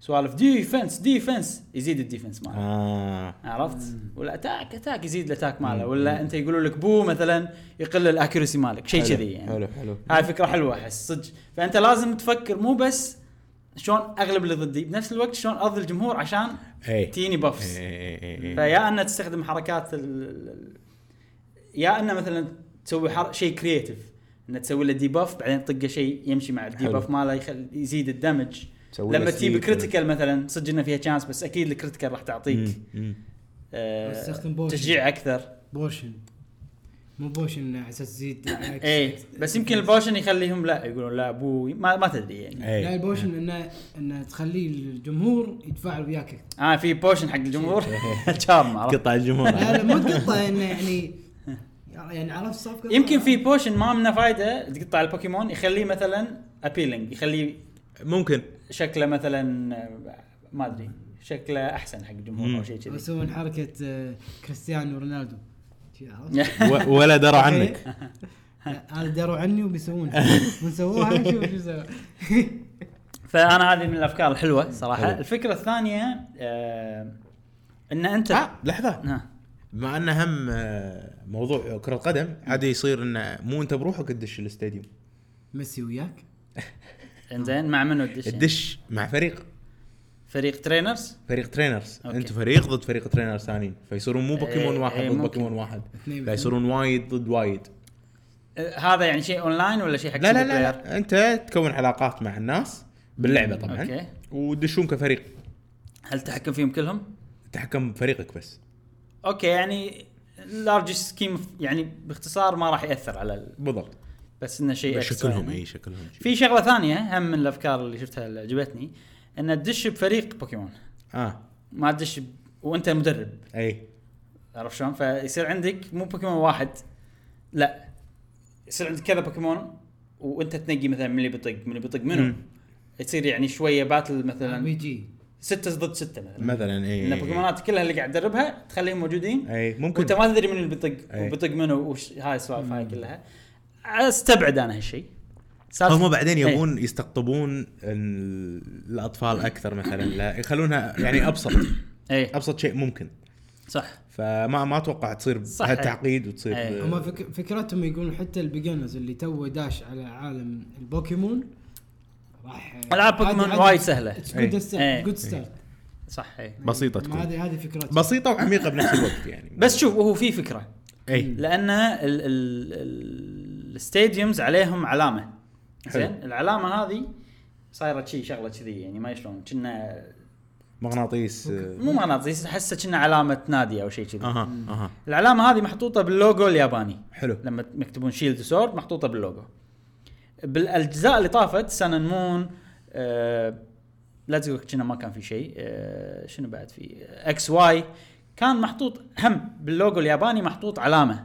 [SPEAKER 1] سوالف ديفنس ديفنس يزيد الديفنس ماله آه.
[SPEAKER 3] اه
[SPEAKER 1] عرفت؟ ولا اتاك اتاك يزيد الاتاك ماله ولا انت يقولوا لك بو مثلا يقل الاكيرسي مالك شيء
[SPEAKER 3] حلو،
[SPEAKER 1] كذي يعني
[SPEAKER 3] حلو حلو
[SPEAKER 1] هاي فكره حلوه احس صدق فانت لازم تفكر مو بس شلون اغلب اللي ضدي بنفس الوقت شلون ارضي الجمهور عشان
[SPEAKER 3] اي
[SPEAKER 1] تجيني
[SPEAKER 3] إيه،
[SPEAKER 1] بافس فيا ان تستخدم حركات ال... ال- يا ان مثلا تسوي حر... شيء كرييتيف ان تسوي له ديباف بعدين تطقه شيء يمشي مع الديباف
[SPEAKER 3] حلو.
[SPEAKER 1] ماله يخل... يزيد الدمج
[SPEAKER 3] تسوي له
[SPEAKER 1] لما تجيب
[SPEAKER 3] سليب.
[SPEAKER 1] كريتيكال مثلا صدق انه فيها تشانس بس اكيد الكريتيكال راح تعطيك آه،
[SPEAKER 2] استخدم بوشن.
[SPEAKER 1] تشجيع اكثر
[SPEAKER 2] بوشن مو بوشن على اساس تزيد
[SPEAKER 1] ايه بس يمكن البوشن يخليهم لا يقولون لا ابوي ما, ما تدري يعني
[SPEAKER 3] إيه.
[SPEAKER 2] لا البوشن انه انه تخليه الجمهور يتفاعل وياك أكثر.
[SPEAKER 1] اه في بوشن حق الجمهور
[SPEAKER 3] إيه.
[SPEAKER 1] تشارم عرفت؟
[SPEAKER 3] قطع الجمهور
[SPEAKER 2] لا لا مو تقطع انه يعني يعني عرفت صفقه
[SPEAKER 1] يمكن في بوشن ما منه فايده تقطع البوكيمون يخليه مثلا ابيلينج يخليه
[SPEAKER 3] ممكن
[SPEAKER 1] شكله مثلا آه، ما ادري شكله احسن حق الجمهور او شيء كذي
[SPEAKER 2] يسوون حركه آه، كريستيانو رونالدو شي عرفت؟
[SPEAKER 3] و- ولا درى عنك
[SPEAKER 2] عنك هذا داروا عني وبيسوونها ونسووها شوف شو سوى
[SPEAKER 1] فانا هذه من الافكار الحلوه صراحه الفكره الثانيه آه ان انت
[SPEAKER 3] آه لحظه
[SPEAKER 1] آه.
[SPEAKER 3] مع انه هم آه، موضوع كره القدم عادي يصير انه مو انت بروحك تدش الاستاديوم
[SPEAKER 2] ميسي وياك
[SPEAKER 1] انزين مع منو تدش يعني؟
[SPEAKER 3] تدش مع فريق
[SPEAKER 1] فريق ترينرز
[SPEAKER 3] فريق ترينرز
[SPEAKER 1] أوكي.
[SPEAKER 3] انتم فريق ضد فريق ترينرز ثانيين فيصيرون مو بوكيمون
[SPEAKER 1] إيه،
[SPEAKER 3] واحد
[SPEAKER 1] إيه،
[SPEAKER 3] ضد
[SPEAKER 1] ممكن.
[SPEAKER 3] بوكيمون واحد
[SPEAKER 2] اثنين
[SPEAKER 3] فيصيرون وايد ضد وايد
[SPEAKER 1] آه هذا يعني شيء اونلاين ولا شيء حق
[SPEAKER 3] لا لا
[SPEAKER 1] single
[SPEAKER 3] لا,
[SPEAKER 1] player؟
[SPEAKER 3] لا. انت تكون علاقات مع الناس باللعبه طبعا
[SPEAKER 1] أوكي.
[SPEAKER 3] وتدشون كفريق
[SPEAKER 1] هل تحكم فيهم كلهم؟
[SPEAKER 3] تحكم بفريقك بس
[SPEAKER 1] اوكي يعني لارج سكيم يعني باختصار ما راح ياثر على ال...
[SPEAKER 3] بالضبط
[SPEAKER 1] بس انه شيء extra
[SPEAKER 3] شكلهم
[SPEAKER 1] يعني.
[SPEAKER 3] اي شكلهم شي.
[SPEAKER 1] في شغله ثانيه هم من الافكار اللي شفتها اللي عجبتني ان تدش بفريق بوكيمون
[SPEAKER 3] اه
[SPEAKER 1] ما تدش ب... وانت مدرب
[SPEAKER 3] اي
[SPEAKER 1] عرفت شلون؟ فيصير عندك مو بوكيمون واحد لا يصير عندك كذا بوكيمون وانت تنقي مثلا من اللي بيطق من اللي بيطق منو
[SPEAKER 3] مم.
[SPEAKER 1] يصير يعني شويه باتل
[SPEAKER 2] ار بي
[SPEAKER 1] مثلا
[SPEAKER 2] جي
[SPEAKER 1] ستة ضد ستة مثلا
[SPEAKER 3] مثلا اي
[SPEAKER 1] ان
[SPEAKER 3] اي
[SPEAKER 1] البوكيمونات كلها اللي قاعد تدربها تخليهم موجودين
[SPEAKER 3] اي إيه، ممكن إيه.
[SPEAKER 1] وانت ما تدري من اللي بيطق
[SPEAKER 3] أي.
[SPEAKER 1] وبيطق منو وش هاي السوالف هاي كلها استبعد انا هالشيء سالفة-
[SPEAKER 3] هم بعدين
[SPEAKER 1] إيه.
[SPEAKER 3] يبون يستقطبون ال- الاطفال اكثر مثلا لا يخلونها يعني ابسط
[SPEAKER 1] اي
[SPEAKER 3] ابسط شيء ممكن
[SPEAKER 1] إيه. صح
[SPEAKER 3] فما ما اتوقع تصير
[SPEAKER 1] صح.
[SPEAKER 3] هالتعقيد وتصير
[SPEAKER 1] إيه.
[SPEAKER 2] هم فك... فكرتهم يقولون حتى البيجنرز اللي تو داش على عالم البوكيمون راح
[SPEAKER 1] ألعاب بوكيمون وايد سهلة.
[SPEAKER 2] اتس
[SPEAKER 3] إيه.
[SPEAKER 2] جود
[SPEAKER 1] إيه.
[SPEAKER 2] ستارت جود ستارت
[SPEAKER 1] صح إيه. اي
[SPEAKER 3] بسيطه تكون
[SPEAKER 2] هذه هذه فكرتهم
[SPEAKER 3] بسيطه وعميقه بنفس الوقت يعني إيه.
[SPEAKER 1] بس شوف وهو في فكره
[SPEAKER 3] اي
[SPEAKER 1] لان ال- ال- ال- الستاديومز عليهم علامه
[SPEAKER 3] حلو.
[SPEAKER 1] زين العلامه هذه صايره شي شغله كذي يعني ما شلون كنا
[SPEAKER 3] مغناطيس آه،
[SPEAKER 1] مو مناطيس احسها كنا علامه نادي او شيء كذي
[SPEAKER 3] اها اها
[SPEAKER 1] العلامه هذه محطوطه باللوجو الياباني
[SPEAKER 3] آه، حلو
[SPEAKER 1] لما يكتبون شيلد سورد محطوطه باللوجو بالاجزاء اللي طافت سانن مون آه لا تقول كنا ما كان في شيء آه شنو بعد في اكس واي كان محطوط هم باللوجو الياباني محطوط علامه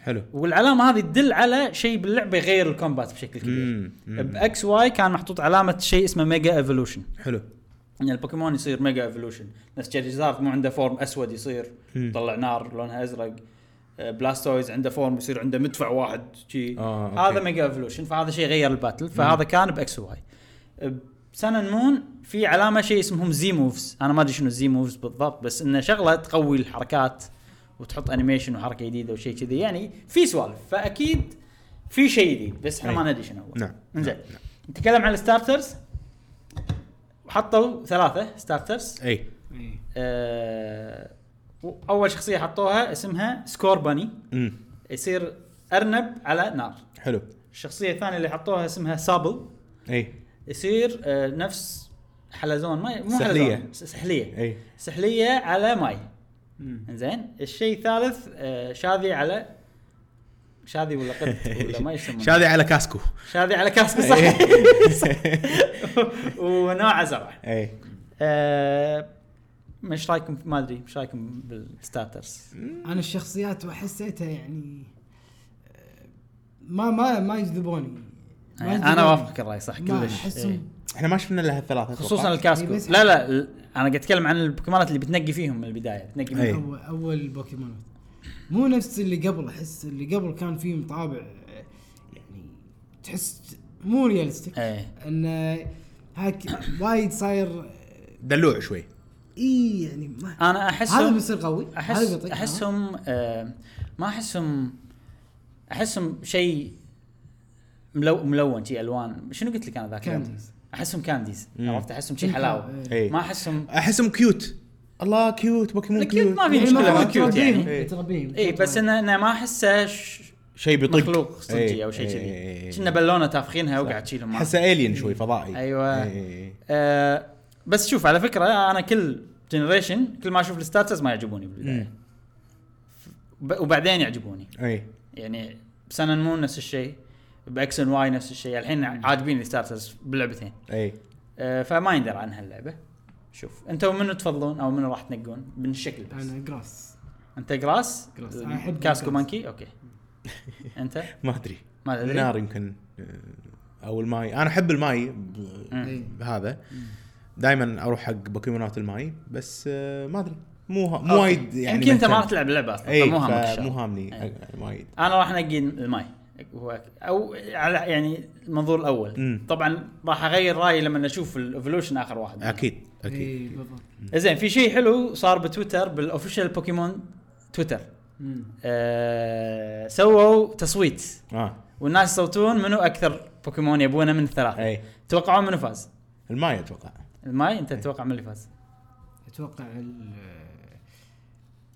[SPEAKER 3] حلو
[SPEAKER 1] والعلامه هذه تدل على شيء باللعبه يغير الكومبات بشكل كبير
[SPEAKER 3] مم، مم.
[SPEAKER 1] باكس واي كان محطوط علامه شيء اسمه ميجا ايفولوشن
[SPEAKER 3] حلو
[SPEAKER 1] ان يعني البوكيمون يصير ميجا ايفولوشن نفس جيريزارد مو عنده فورم اسود يصير يطلع نار لونها ازرق آه، بلاستويز عنده فورم يصير عنده مدفع واحد شي
[SPEAKER 3] آه، أوكي.
[SPEAKER 1] هذا ميجا ايفولوشن فهذا شيء غير الباتل فهذا كان باكس واي بسن مون في علامه شيء اسمهم زي موفز انا ما ادري شنو زي موفز بالضبط بس انه شغله تقوي الحركات وتحط انيميشن وحركه جديده وشيء كذي يعني في سوالف فاكيد في شيء جديد بس احنا
[SPEAKER 3] أي.
[SPEAKER 1] ما ندري شنو هو
[SPEAKER 3] نعم،
[SPEAKER 1] انزين نتكلم عن الستارترز حطوا ثلاثه ستارترز
[SPEAKER 3] اي
[SPEAKER 2] إيه.
[SPEAKER 1] آه اول شخصيه حطوها اسمها سكور باني
[SPEAKER 3] امم
[SPEAKER 1] يصير ارنب على نار
[SPEAKER 3] حلو
[SPEAKER 1] الشخصيه الثانيه اللي حطوها اسمها سابل
[SPEAKER 3] اي
[SPEAKER 1] يصير آه نفس حلزون ما مو
[SPEAKER 3] سحلية.
[SPEAKER 1] حلزون س- سحليه
[SPEAKER 3] اي
[SPEAKER 1] سحليه على ماي
[SPEAKER 2] مم.
[SPEAKER 1] زين الشيء الثالث آه شاذي على شاذي ولا قد ولا ما يسمونه
[SPEAKER 3] شاذي إيه. على كاسكو
[SPEAKER 1] شاذي على كاسكو صح ونوع زرع
[SPEAKER 3] اي
[SPEAKER 1] آه، مش رايكم ما ادري مش رايكم بالستاترز
[SPEAKER 2] انا الشخصيات وحسيتها يعني آه، ما ما ما يجذبوني ما يجذبوني.
[SPEAKER 1] انا اوافقك الراي صح
[SPEAKER 2] ما
[SPEAKER 1] إيه. كلش إيه.
[SPEAKER 2] احسهم
[SPEAKER 3] احنا ما شفنا الا هالثلاثه
[SPEAKER 1] خصوصا
[SPEAKER 3] أتوقع.
[SPEAKER 1] الكاسكو
[SPEAKER 2] إيه، بس-
[SPEAKER 1] لا لا ال- انا قاعد اتكلم عن البوكيمونات اللي بتنقي فيهم من البدايه تنقي
[SPEAKER 3] إيه.
[SPEAKER 1] منهم
[SPEAKER 2] اول اول بوكيمونات مو نفس اللي قبل احس اللي قبل كان فيهم طابع آه، يعني تحس مو ريالستيك
[SPEAKER 1] ايه
[SPEAKER 2] انه هاك وايد صاير آه،
[SPEAKER 3] دلوع شوي
[SPEAKER 2] اي يعني ما
[SPEAKER 1] انا
[SPEAKER 2] هذا
[SPEAKER 1] احسهم
[SPEAKER 2] بيصير قوي
[SPEAKER 1] احس
[SPEAKER 2] هذا بيعطيك
[SPEAKER 1] احسهم آه، ما احسهم احسهم شيء ملو ملون شي الوان شنو قلت لك انا ذاك اليوم؟
[SPEAKER 2] كانديز.
[SPEAKER 1] احسهم كانديز
[SPEAKER 3] مم.
[SPEAKER 1] عرفت احسهم شي حلاوه
[SPEAKER 2] إيه.
[SPEAKER 3] اي
[SPEAKER 1] ما احسهم
[SPEAKER 3] احسهم كيوت الله كيوت بوكيمون
[SPEAKER 1] الكيوت
[SPEAKER 3] كيوت
[SPEAKER 1] ما في
[SPEAKER 2] يعني
[SPEAKER 1] مشكله
[SPEAKER 2] ما
[SPEAKER 1] مو كيوت يعني
[SPEAKER 3] إيه.
[SPEAKER 2] تربيهم تربيهم
[SPEAKER 1] اي بس انه أنا ما احسه ش-
[SPEAKER 3] شيء بيطق
[SPEAKER 1] مخلوق
[SPEAKER 3] إيه.
[SPEAKER 1] صجي او شيء كذي كنا بالونه تافخينها وقاعد تشيلهم معك.
[SPEAKER 3] حسه الين شوي فضائي إيه،
[SPEAKER 1] أيوة.
[SPEAKER 3] إي، إي، إي.
[SPEAKER 1] آه بس شوف على فكره انا كل جنريشن كل ما اشوف الستاتس ما يعجبوني بالبدايه
[SPEAKER 3] مم.
[SPEAKER 1] ب- وبعدين يعجبوني
[SPEAKER 3] اي
[SPEAKER 1] يعني بسن مون نفس الشيء باكس ان واي نفس الشيء الحين عاجبيني الستاتس باللعبتين
[SPEAKER 3] اي
[SPEAKER 1] آه فما يندر عن هاللعبه شوف انتم منو تفضلون او منو راح تنقون من الشكل بس آه،
[SPEAKER 2] انا جراس
[SPEAKER 1] انت جراس
[SPEAKER 2] جراس. أنا أحب
[SPEAKER 1] كاسكو
[SPEAKER 2] جراس.
[SPEAKER 1] مانكي اوكي انت
[SPEAKER 3] ما ادري
[SPEAKER 1] ما تدري؟
[SPEAKER 3] النار يمكن آه، او الماي انا احب الماي ب-
[SPEAKER 2] إي.
[SPEAKER 3] بهذا دائما اروح حق بوكيمونات الماي بس آه، ما ادري مو ها- مو
[SPEAKER 1] أوكي.
[SPEAKER 3] وايد يعني
[SPEAKER 1] يمكن انت ما
[SPEAKER 3] مهتم. إيه،
[SPEAKER 1] راح تلعب اللعبه اصلا
[SPEAKER 3] اي
[SPEAKER 1] فمو إيه. همك
[SPEAKER 3] فمو
[SPEAKER 1] الشغلة.
[SPEAKER 3] هامني
[SPEAKER 1] إي.
[SPEAKER 3] آه، وايد
[SPEAKER 1] انا راح انقي الماي هو او على يعني المنظور الاول
[SPEAKER 3] مم.
[SPEAKER 1] طبعا راح اغير رايي لما اشوف الايفولوشن اخر واحد
[SPEAKER 3] اكيد اكيد
[SPEAKER 2] اي إيه، بالضبط
[SPEAKER 1] زين في شيء حلو صار بتويتر بالاوفيشال بوكيمون تويتر
[SPEAKER 2] مم.
[SPEAKER 1] آه سووا تصويت
[SPEAKER 3] اه
[SPEAKER 1] والناس يصوتون منو اكثر بوكيمون يبونه من الثلاثه
[SPEAKER 3] اي
[SPEAKER 1] توقعون منو فاز
[SPEAKER 3] إيه. الماي اتوقع
[SPEAKER 1] الماي انت تتوقع من اللي فاز
[SPEAKER 2] اتوقع ال-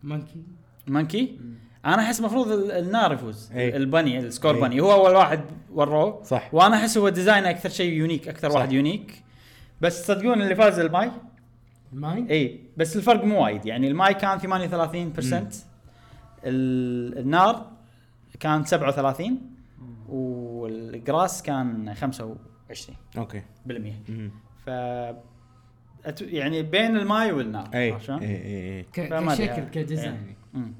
[SPEAKER 2] مانكي
[SPEAKER 1] مانكي انا احس المفروض ال- النار يفوز
[SPEAKER 3] إي.
[SPEAKER 1] البني السكور
[SPEAKER 3] إي.
[SPEAKER 1] بني هو اول واحد وروه
[SPEAKER 3] صح.
[SPEAKER 1] وانا احس هو ديزاين اكثر شيء يونيك اكثر
[SPEAKER 3] صح.
[SPEAKER 1] واحد يونيك بس تصدقون اللي فاز الماي
[SPEAKER 2] الماي
[SPEAKER 1] اي بس الفرق مو وايد يعني الماي كان 38% ال- النار كان 37 والجراس كان 25%
[SPEAKER 3] اوكي
[SPEAKER 1] بالمية.
[SPEAKER 3] مم.
[SPEAKER 1] ف أت- يعني بين الماي والنار
[SPEAKER 3] اي
[SPEAKER 1] عرفت شلون؟
[SPEAKER 3] اي اي اي
[SPEAKER 2] ك-
[SPEAKER 1] فما أدري
[SPEAKER 2] كشكل
[SPEAKER 1] يعني.
[SPEAKER 2] كديزاين
[SPEAKER 1] مم.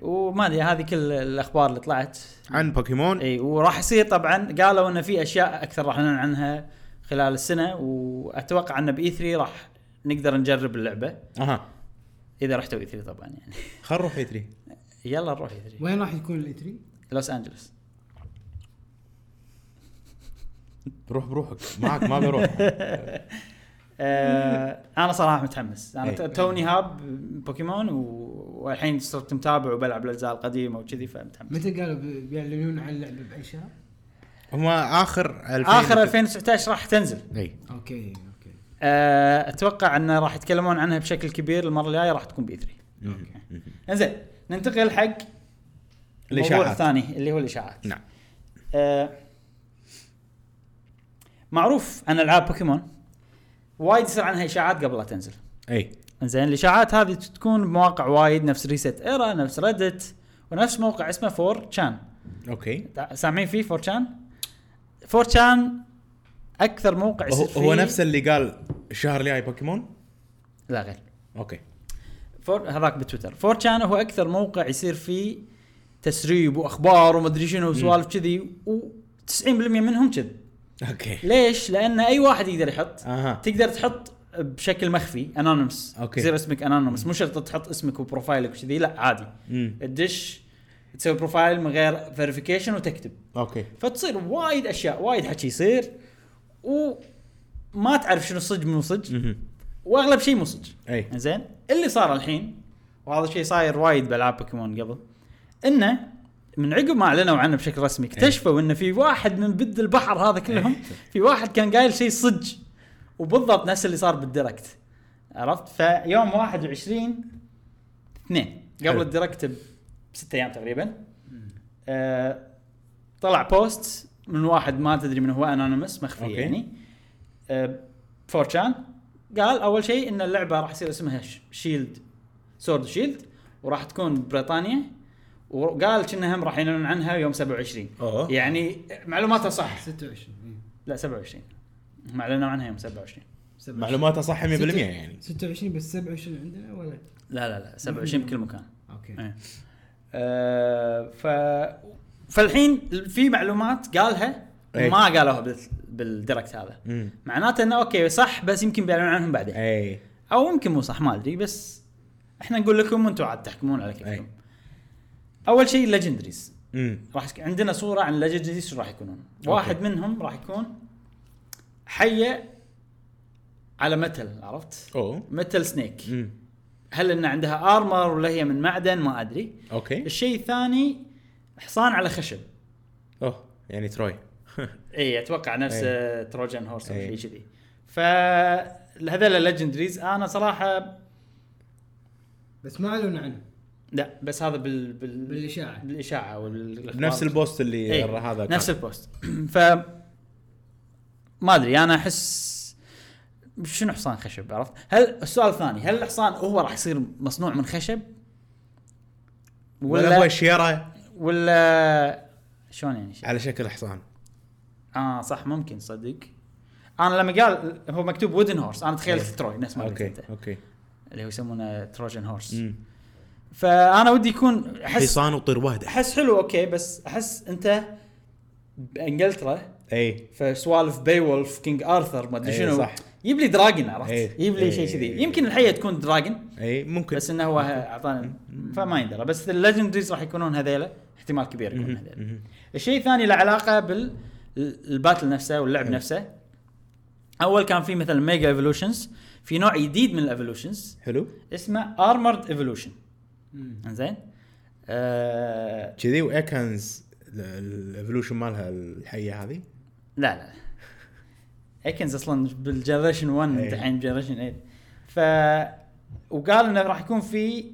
[SPEAKER 1] وما ادري هذه كل الاخبار اللي طلعت
[SPEAKER 3] عن بوكيمون
[SPEAKER 1] اي وراح يصير طبعا قالوا ان في اشياء اكثر راح نعلن عنها خلال السنه واتوقع ان باي 3 راح نقدر نجرب اللعبه
[SPEAKER 3] اها
[SPEAKER 1] اذا رحتوا اي 3 طبعا يعني
[SPEAKER 3] خل نروح اي 3
[SPEAKER 1] يلا نروح اي 3
[SPEAKER 2] وين راح يكون E الاتري؟
[SPEAKER 1] لوس انجلوس
[SPEAKER 3] روح بروحك معك ما بروح
[SPEAKER 1] آه انا صراحه متحمس انا
[SPEAKER 3] إي.
[SPEAKER 1] ت- توني هاب بوكيمون و... والحين صرت متابع وبلعب الاجزاء القديمه وكذي فمتحمس
[SPEAKER 2] متى قالوا بي- بيعلنون عن اللعبه باي شهر؟
[SPEAKER 3] هم إيه. اخر 2000
[SPEAKER 1] اخر 2019 راح تنزل
[SPEAKER 3] اي
[SPEAKER 2] اوكي اوكي
[SPEAKER 1] آه، اتوقع انه راح يتكلمون عنها بشكل كبير المره الجايه راح تكون بي 3 انزين ننتقل حق الموضوع
[SPEAKER 3] الاشاعات
[SPEAKER 1] الثاني اللي هو الاشاعات
[SPEAKER 3] نعم
[SPEAKER 1] آه، معروف عن العاب بوكيمون وايد يصير عنها اشاعات قبل لا تنزل
[SPEAKER 3] اي
[SPEAKER 1] انزين الاشاعات هذه تكون بمواقع وايد نفس ريست ايرا نفس ريدت ونفس موقع اسمه 4 شان
[SPEAKER 3] اوكي
[SPEAKER 1] سامعين فيه 4 شان 4 شان اكثر موقع
[SPEAKER 3] هو,
[SPEAKER 1] يصير فيه
[SPEAKER 3] هو نفسه اللي قال الشهر الجاي بوكيمون
[SPEAKER 1] لا غير
[SPEAKER 3] اوكي
[SPEAKER 1] فور هذاك بتويتر فور شان هو اكثر موقع يصير فيه تسريب واخبار ومدري شنو وسوالف كذي و90% منهم كذب
[SPEAKER 3] اوكي
[SPEAKER 1] ليش؟ لان اي واحد يقدر يحط
[SPEAKER 3] اها
[SPEAKER 1] تقدر تحط بشكل مخفي انونيمس
[SPEAKER 3] أوكي.
[SPEAKER 1] يصير اسمك انونيمس مو شرط تحط اسمك وبروفايلك وكذي لا عادي
[SPEAKER 3] مم.
[SPEAKER 1] تدش تسوي بروفايل من غير فيريفيكيشن وتكتب
[SPEAKER 3] اوكي
[SPEAKER 1] فتصير وايد اشياء وايد حكي يصير وما تعرف شنو صدق مو صدق
[SPEAKER 3] مهم. إيه.
[SPEAKER 1] واغلب شيء مو صدق
[SPEAKER 3] اي
[SPEAKER 1] زين اللي صار الحين وهذا الشيء صاير وايد بالعاب بوكيمون قبل انه من عقب ما اعلنوا عنه بشكل رسمي
[SPEAKER 3] إيه.
[SPEAKER 1] اكتشفوا انه في واحد من بد البحر هذا كلهم في واحد كان قايل شيء صدق وبالضبط نفس اللي صار بالديركت عرفت فيوم 21 اثنين قبل
[SPEAKER 3] حلو.
[SPEAKER 1] الديركت بست ايام تقريبا آه طلع بوست من واحد ما تدري من هو انونيمس مخفي
[SPEAKER 3] أوكي.
[SPEAKER 1] يعني آه فورشان قال اول شيء ان اللعبه راح يصير اسمها شيلد سورد شيلد وراح تكون بريطانيا وقال كنا هم راح يعلنون عنها يوم 27
[SPEAKER 3] اوه
[SPEAKER 1] يعني معلوماته صح
[SPEAKER 2] 26
[SPEAKER 1] لا 27 هم اعلنوا عنها يوم 27
[SPEAKER 2] إي.
[SPEAKER 3] معلوماته صح 100% يعني
[SPEAKER 2] 26 بس 27 عندنا ولا
[SPEAKER 1] لا لا لا 27 بكل مكان
[SPEAKER 2] اوكي
[SPEAKER 1] إيه. آه، ف فالحين في معلومات قالها
[SPEAKER 3] إيه.
[SPEAKER 1] ما قالوها بال- بالديركت هذا
[SPEAKER 3] مم. إيه.
[SPEAKER 1] معناته انه اوكي صح بس يمكن بيعلنون عنهم بعدين
[SPEAKER 3] اي
[SPEAKER 1] او يمكن مو صح ما ادري بس احنا نقول لكم وانتم عاد تحكمون على كيفكم
[SPEAKER 3] أي.
[SPEAKER 1] اول شيء الليجندريز
[SPEAKER 3] مم.
[SPEAKER 1] راح تك- عندنا صوره عن الليجندريز شو راح يكونون واحد
[SPEAKER 3] أوكي.
[SPEAKER 1] منهم راح يكون حيه على متل عرفت
[SPEAKER 3] اوه
[SPEAKER 1] متل سنيك
[SPEAKER 3] مم.
[SPEAKER 1] هل ان عندها ارمر ولا هي من معدن ما ادري
[SPEAKER 3] اوكي
[SPEAKER 1] الشيء الثاني حصان على خشب
[SPEAKER 3] اوه يعني تروي
[SPEAKER 1] اي اتوقع نفس
[SPEAKER 3] إي.
[SPEAKER 1] آه، تروجان هورس او
[SPEAKER 3] إي.
[SPEAKER 1] شيء كذي فهذول الليجندريز انا صراحه
[SPEAKER 2] بس ما اعلنوا عنه
[SPEAKER 1] لا بس هذا بال بال
[SPEAKER 2] بالاشاعه
[SPEAKER 1] بالاشاعه وبال
[SPEAKER 3] نفس البوست اللي
[SPEAKER 1] إيه،
[SPEAKER 3] هذا
[SPEAKER 1] نفس
[SPEAKER 3] كان.
[SPEAKER 1] البوست ف ما ادري انا احس شنو حصان خشب عرفت؟ هل السؤال الثاني هل الحصان هو راح يصير مصنوع من خشب؟
[SPEAKER 3] ولا هو
[SPEAKER 1] ولا
[SPEAKER 3] الشيره
[SPEAKER 1] ولا شلون يعني شيء؟
[SPEAKER 3] على شكل حصان
[SPEAKER 1] اه صح ممكن صدق انا لما قال هو مكتوب وودن هورس انا تخيلت
[SPEAKER 3] إيه.
[SPEAKER 1] تروي نفس ما قلت
[SPEAKER 3] اوكي
[SPEAKER 1] انت
[SPEAKER 3] اوكي
[SPEAKER 1] اللي هو يسمونه تروجن هورس
[SPEAKER 3] مم.
[SPEAKER 1] فانا ودي يكون احس
[SPEAKER 3] حصان وطير واحده
[SPEAKER 1] احس حلو اوكي بس احس انت بانجلترا
[SPEAKER 3] اي
[SPEAKER 1] فسوالف باي وولف كينج ارثر ما ادري
[SPEAKER 3] إيه،
[SPEAKER 1] شنو
[SPEAKER 3] صح.
[SPEAKER 1] يجيب لي دراجن عرفت
[SPEAKER 3] إيه.
[SPEAKER 1] يجيب لي
[SPEAKER 3] إيه.
[SPEAKER 1] شيء كذي يمكن الحيه تكون دراجن
[SPEAKER 3] اي ممكن
[SPEAKER 1] بس انه هو اعطانا فما يندرى بس الليجندريز راح يكونون هذيلا احتمال كبير يكون هذيل الشيء الثاني له علاقه بالباتل نفسه واللعب نفسه اول كان في مثلا ميجا ايفولوشنز في نوع جديد من الايفولوشنز
[SPEAKER 3] حلو
[SPEAKER 1] اسمه ارمرد ايفولوشن
[SPEAKER 2] مم.
[SPEAKER 1] انزين آه
[SPEAKER 3] كذي وايكنز الايفولوشن مالها الحيه هذه
[SPEAKER 1] لا لا ايكنز اصلا بالجنريشن 1
[SPEAKER 3] إيه.
[SPEAKER 1] انت الحين بجنريشن 8 ف وقال انه راح يكون في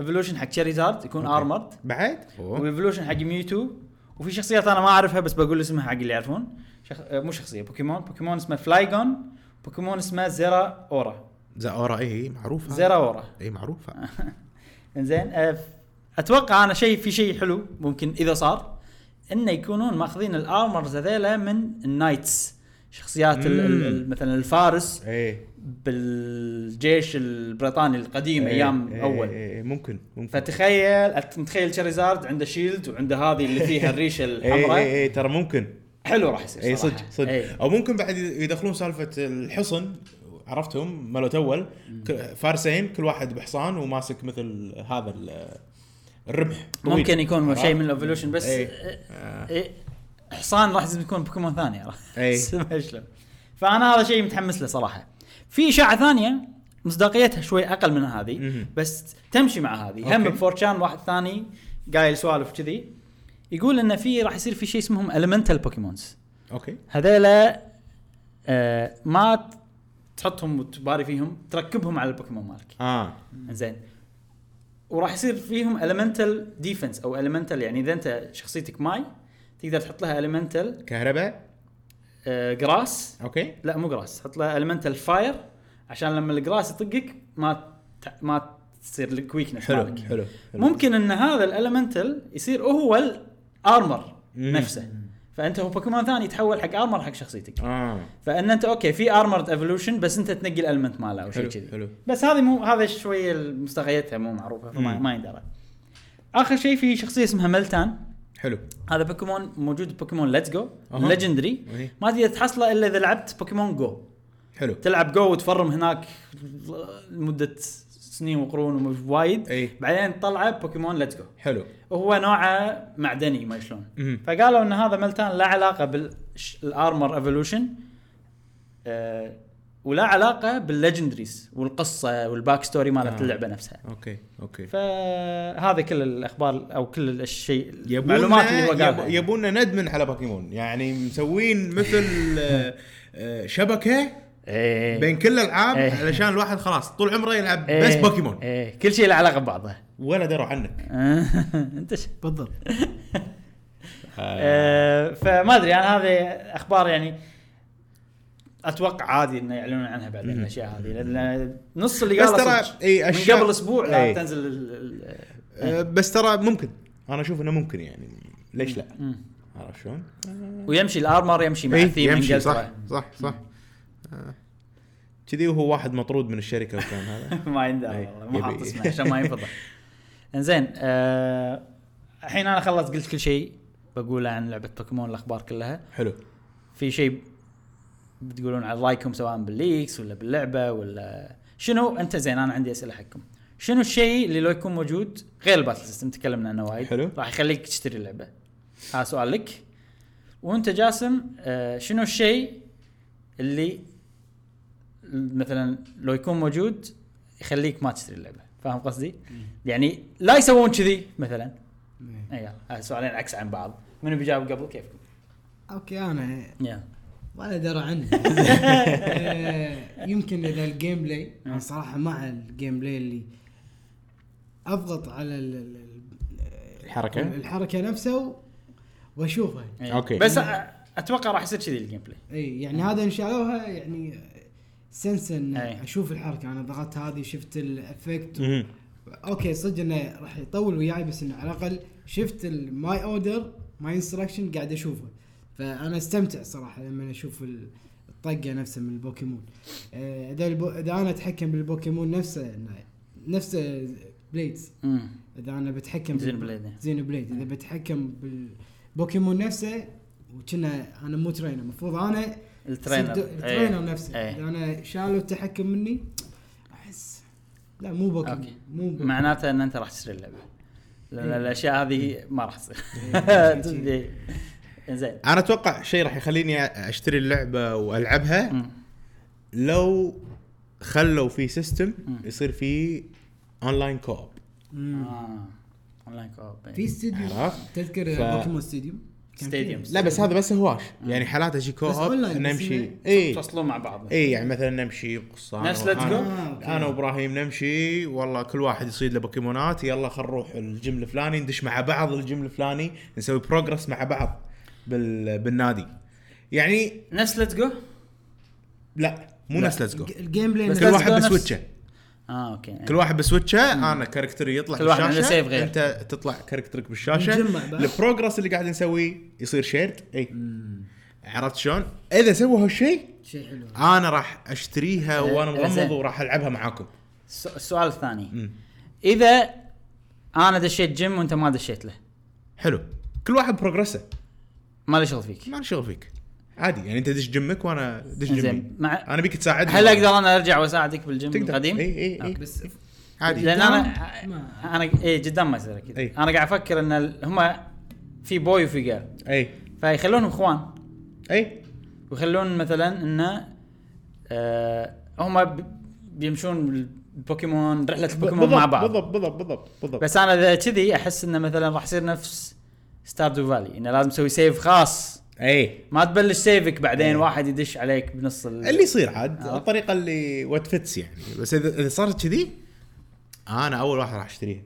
[SPEAKER 1] ايفولوشن حق شيريزارد يكون ارمرد
[SPEAKER 3] بعد؟
[SPEAKER 1] والايفولوشن حق ميوتو وفي شخصيات انا ما اعرفها بس بقول اسمها حق اللي يعرفون شخ... آه، مو شخصيه بوكيمون بوكيمون اسمه فلايجون بوكيمون اسمه زيرا اورا
[SPEAKER 3] زاورا اي معروفه
[SPEAKER 1] زيرا اورا
[SPEAKER 3] اي
[SPEAKER 1] آه.
[SPEAKER 3] معروفه
[SPEAKER 1] انزين آه، ف- اتوقع انا شيء في شيء حلو ممكن اذا صار انه يكونون ماخذين الارمرز هذيلا من النايتس شخصيات ال- ال- ال- مثلا الفارس
[SPEAKER 3] اي
[SPEAKER 1] بالجيش البريطاني القديم
[SPEAKER 3] إي.
[SPEAKER 1] ايام
[SPEAKER 3] إي.
[SPEAKER 1] اول
[SPEAKER 3] إي. إي. ممكن ممكن
[SPEAKER 1] فتخيل أت- متخيل شاريزارد عنده شيلد وعنده هذه اللي فيها
[SPEAKER 3] إيه،
[SPEAKER 1] الريشه
[SPEAKER 3] اي
[SPEAKER 1] الحمراء
[SPEAKER 3] اي اي ترى ممكن
[SPEAKER 1] حلو راح يصير
[SPEAKER 3] اي
[SPEAKER 1] صراحة.
[SPEAKER 3] إيه،
[SPEAKER 1] إيه.
[SPEAKER 3] صدق صدق
[SPEAKER 1] إي.
[SPEAKER 3] او ممكن بعد يدخلون سالفه الحصن عرفتهم مالوت اول ك- فارسين كل واحد بحصان وماسك مثل هذا ال- الرمح طويل. إيه.
[SPEAKER 1] ممكن يكون
[SPEAKER 3] عرفت؟
[SPEAKER 1] شيء من الايفولوشن بس
[SPEAKER 3] إي.
[SPEAKER 1] آه، إي، حصان راح لازم يكون بوكيمون ثاني
[SPEAKER 3] إي.
[SPEAKER 1] عرفت؟ ما شلون فانا هذا شيء متحمس له صراحه في اشاعه ثانيه مصداقيتها شوي اقل من هذه
[SPEAKER 3] مهم.
[SPEAKER 1] بس تمشي مع هذه هم
[SPEAKER 3] أوكي.
[SPEAKER 1] بفورشان واحد ثاني قايل سوالف كذي يقول ان في راح يصير في شيء اسمهم المنتال بوكيمونز
[SPEAKER 3] اوكي
[SPEAKER 1] هذيلا آه ما ت- تحطهم وتباري فيهم تركبهم على البوكيمون مالك
[SPEAKER 3] اه
[SPEAKER 1] زين وراح يصير فيهم المنتال ديفنس او المنتال يعني اذا انت شخصيتك ماي تقدر تحط لها المنتال
[SPEAKER 3] كهرباء
[SPEAKER 1] جراس
[SPEAKER 3] اوكي
[SPEAKER 1] لا مو جراس حط لها المنتال فاير عشان لما الجراس يطقك ما ت- ما تصير لك ويكنس
[SPEAKER 3] حلو حلو
[SPEAKER 1] ممكن ان هذا الالمنتال يصير هو الارمر
[SPEAKER 3] مم.
[SPEAKER 1] نفسه فانت هو بوكيمون ثاني يتحول حق ارمر حق شخصيتك
[SPEAKER 3] اه
[SPEAKER 1] فان انت اوكي في ارمرد ايفولوشن بس انت تنقي الالمنت ماله او شيء
[SPEAKER 3] حلو،
[SPEAKER 1] كذي
[SPEAKER 3] حلو.
[SPEAKER 1] بس هذه مو هذا شويه مصداقيتها مو معروفه فما
[SPEAKER 3] مم.
[SPEAKER 1] ما يندرى اخر شيء في شخصيه اسمها ملتان
[SPEAKER 3] حلو
[SPEAKER 1] هذا بوكيمون موجود بوكيمون ليتس جو
[SPEAKER 3] أها.
[SPEAKER 1] ليجندري
[SPEAKER 3] إيه.
[SPEAKER 1] ما تقدر تحصله الا اذا لعبت بوكيمون جو
[SPEAKER 3] حلو
[SPEAKER 1] تلعب جو وتفرم هناك لمده سنين وقرون وايد
[SPEAKER 3] إيه.
[SPEAKER 1] بعدين طلعه بوكيمون ليتس جو
[SPEAKER 3] حلو
[SPEAKER 1] وهو نوعه معدني ما شلون
[SPEAKER 3] مهم.
[SPEAKER 1] فقالوا ان هذا ملتان لا علاقه بالارمر ايفولوشن آه ولا علاقه بالليجندريز والقصه والباك ستوري مالت
[SPEAKER 3] آه.
[SPEAKER 1] اللعبه نفسها
[SPEAKER 3] اوكي اوكي
[SPEAKER 1] فهذا كل الاخبار او كل الشيء
[SPEAKER 3] يبونا-
[SPEAKER 1] المعلومات اللي هو
[SPEAKER 3] يب-
[SPEAKER 1] قالها
[SPEAKER 3] يبونا ندمن على بوكيمون يعني مسوين مثل آه، آه، شبكه
[SPEAKER 1] إيه.
[SPEAKER 3] بين كل الالعاب
[SPEAKER 1] إيه.
[SPEAKER 3] علشان الواحد خلاص طول عمره يلعب
[SPEAKER 1] إيه.
[SPEAKER 3] بس بوكيمون
[SPEAKER 1] إيه. كل شيء له علاقه ببعضه
[SPEAKER 3] ولا دروا عنك
[SPEAKER 1] انت ش...
[SPEAKER 2] بالضبط
[SPEAKER 1] آه فما ادري انا هذه اخبار يعني اتوقع عادي انه يعلنون عنها بعدين
[SPEAKER 3] مم.
[SPEAKER 1] الاشياء هذه لان نص اللي
[SPEAKER 3] بس
[SPEAKER 1] قاله
[SPEAKER 3] ترى
[SPEAKER 1] صدق.
[SPEAKER 3] إي،
[SPEAKER 1] من
[SPEAKER 3] أشياء-
[SPEAKER 1] قبل اسبوع لا
[SPEAKER 3] إي.
[SPEAKER 1] تنزل ال- ال- إيه.
[SPEAKER 3] آه، بس ترى ممكن انا اشوف انه ممكن يعني ليش لا
[SPEAKER 1] مم.
[SPEAKER 3] عرفت شلون؟
[SPEAKER 1] ويمشي الارمر يمشي مع
[SPEAKER 3] إيه،
[SPEAKER 1] الثيم
[SPEAKER 3] يمشي
[SPEAKER 1] يمشي
[SPEAKER 3] صح صح صح آه. كذي وهو واحد مطرود من الشركه وكان هذا
[SPEAKER 1] ما يندرى
[SPEAKER 3] إي،
[SPEAKER 1] والله ما حاط
[SPEAKER 3] يبي.
[SPEAKER 1] اسمه عشان ما ينفضح انزين آه، الحين انا خلصت قلت كل شيء بقوله عن لعبه بوكيمون الاخبار كلها
[SPEAKER 3] حلو
[SPEAKER 1] في شيء بتقولون عن رايكم سواء بالليكس ولا باللعبه ولا شنو انت زين انا عندي اسئله حقكم شنو الشيء اللي لو يكون موجود غير الباتل سيستم تكلمنا عنه وايد
[SPEAKER 3] حلو.
[SPEAKER 1] راح يخليك تشتري اللعبه هذا سؤال لك وانت جاسم آه، شنو الشيء اللي مثلا لو يكون موجود يخليك ما تشتري اللعبه فاهم قصدي؟ يعني لا يسوون كذي مثلا
[SPEAKER 2] إيه.
[SPEAKER 1] اي يلا هذا سؤالين عكس عن بعض منو بيجاوب قبل كيفكم؟
[SPEAKER 2] اوكي انا
[SPEAKER 1] يلا
[SPEAKER 2] ولا درى عنه آه، يمكن اذا الجيم بلاي انا صراحه مع الجيم بلاي اللي اضغط على ال- ال- ال-
[SPEAKER 3] الحركه
[SPEAKER 2] الحركه نفسها واشوفها
[SPEAKER 1] إيه.
[SPEAKER 3] أوكي.
[SPEAKER 1] بس أ- اتوقع راح يصير كذي الجيم بلاي
[SPEAKER 2] اي يعني هذا ان شالوها يعني سنس ان
[SPEAKER 1] أي.
[SPEAKER 2] اشوف الحركه انا ضغطت هذه شفت الافكت
[SPEAKER 3] مهم.
[SPEAKER 2] اوكي صدق انه راح يطول وياي بس انه على الاقل شفت الماي اوردر ماي انستراكشن قاعد اشوفه فانا استمتع صراحه لما اشوف ال- الطقه نفسها من البوكيمون آه، اذا البو... اذا انا اتحكم بالبوكيمون نفسه إنه- نفسه بليدز
[SPEAKER 1] امم
[SPEAKER 2] اذا انا بتحكم بال-
[SPEAKER 1] زين إيه. بليد
[SPEAKER 2] زينو بليد اذا بتحكم بالبوكيمون نفسه وكنا انا مو ترينر المفروض انا
[SPEAKER 1] الترينر
[SPEAKER 2] صرت الترينر نفسه
[SPEAKER 1] إيه.
[SPEAKER 2] اذا انا شالوا التحكم مني احس لا مو بوكيمون
[SPEAKER 1] أوكي.
[SPEAKER 2] مو بوكيمون.
[SPEAKER 1] معناته ان انت راح تشتري اللعبه لان الاشياء هذه ما راح تصير إيه. زين
[SPEAKER 3] انا اتوقع شيء راح يخليني اشتري اللعبه والعبها
[SPEAKER 1] مم.
[SPEAKER 3] لو خلوا في سيستم يصير فيه اونلاين كوب
[SPEAKER 1] آه. اونلاين كوب
[SPEAKER 2] في استديو
[SPEAKER 3] عرفت؟
[SPEAKER 2] تذكر
[SPEAKER 3] ف-
[SPEAKER 2] بوكيمون استديو كان فيه.
[SPEAKER 1] Stadiums.
[SPEAKER 3] لا بس هذا بس هواش يعني حالات اجي كوب
[SPEAKER 2] بس أونلاين، بس يعني
[SPEAKER 3] نمشي
[SPEAKER 2] إنه-
[SPEAKER 3] اي
[SPEAKER 1] يتواصلون مع بعض
[SPEAKER 3] اي يعني مثلا نمشي قصه أنا
[SPEAKER 1] نفس Let's
[SPEAKER 3] وأنا-
[SPEAKER 1] Go؟
[SPEAKER 2] آه، أوكي.
[SPEAKER 3] انا وابراهيم نمشي والله كل واحد يصيد له بوكيمونات يلا خل نروح الجيم الفلاني ندش مع بعض الجيم الفلاني نسوي بروجرس مع بعض بال... بالنادي يعني
[SPEAKER 1] نفس ليتس جو
[SPEAKER 3] لا مو نفس ليتس جو
[SPEAKER 2] الج- الجيم بلاي
[SPEAKER 1] بس
[SPEAKER 3] كل
[SPEAKER 1] Let's
[SPEAKER 2] نفسه.
[SPEAKER 3] واحد
[SPEAKER 1] Go نفس-
[SPEAKER 3] بسويتشه
[SPEAKER 1] اه اوكي
[SPEAKER 3] كل واحد بسويتشه انا كاركتري يطلع
[SPEAKER 1] كل واحد عنده
[SPEAKER 3] بالشاشة،
[SPEAKER 1] save غير.
[SPEAKER 3] انت تطلع كاركترك بالشاشه
[SPEAKER 2] نجمع بعض.
[SPEAKER 3] البروجرس اللي قاعد نسويه يصير شيرد اي عرفت شلون؟ اذا سووا هالشيء
[SPEAKER 2] شيء حلو
[SPEAKER 3] انا راح اشتريها وانا
[SPEAKER 1] إيه، زين.
[SPEAKER 3] مغمض وراح العبها معاكم
[SPEAKER 1] الس- السؤال الثاني
[SPEAKER 3] مم.
[SPEAKER 1] اذا انا دشيت جيم وانت ما دشيت له
[SPEAKER 3] حلو كل واحد بروجرسه
[SPEAKER 1] ما لي شغل فيك
[SPEAKER 3] ما لي شغل فيك عادي يعني انت دش جمك وانا دش جمي
[SPEAKER 1] زين مع
[SPEAKER 3] انا بيك تساعدني
[SPEAKER 1] هل اقدر انا ارجع واساعدك بالجيم
[SPEAKER 3] تقدر
[SPEAKER 1] القديم؟
[SPEAKER 3] اي اي اي
[SPEAKER 1] أوكي.
[SPEAKER 2] بس
[SPEAKER 3] عادي إيه.
[SPEAKER 1] لان انا
[SPEAKER 2] ما-
[SPEAKER 1] انا اي جدا إيه، ما يصير اكيد
[SPEAKER 3] إي.
[SPEAKER 1] انا قاعد افكر ان ال- هم في بوي وفي جيرل
[SPEAKER 3] اي
[SPEAKER 1] فيخلونهم اخوان
[SPEAKER 3] اي
[SPEAKER 1] ويخلون مثلا انه آه هم ب- بيمشون البوكيمون رحله البوكيمون مع بعض
[SPEAKER 3] بالضبط بالضبط بالضبط بالضبط
[SPEAKER 1] بس انا اذا كذي احس انه مثلا راح يصير نفس ستاردو فالي انه لازم تسوي سيف خاص
[SPEAKER 3] اي
[SPEAKER 1] ما تبلش سيفك بعدين واحد يدش عليك بنص ال...
[SPEAKER 3] إيه. اللي يصير عاد
[SPEAKER 1] عرفت.
[SPEAKER 3] الطريقه اللي وات فتس يعني بس اذا اذا صارت كذي انا اول واحد راح اشتريها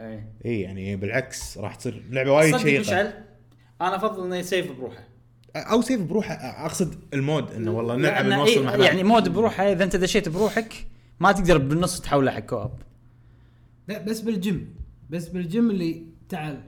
[SPEAKER 1] إيه.
[SPEAKER 3] اي يعني بالعكس راح تصير لعبه وايد
[SPEAKER 1] صدق
[SPEAKER 3] شيقه
[SPEAKER 1] مشعل انا افضل انه يسيف بروحه
[SPEAKER 3] او سيف بروحه اقصد المود انه والله نلعب
[SPEAKER 1] لأن
[SPEAKER 3] نوصل
[SPEAKER 1] إيه،
[SPEAKER 3] مع بعض
[SPEAKER 1] يعني مود بروحه اذا انت دشيت بروحك ما تقدر بالنص تحوله حق كوب
[SPEAKER 2] لا بس بالجيم بس بالجيم اللي تعال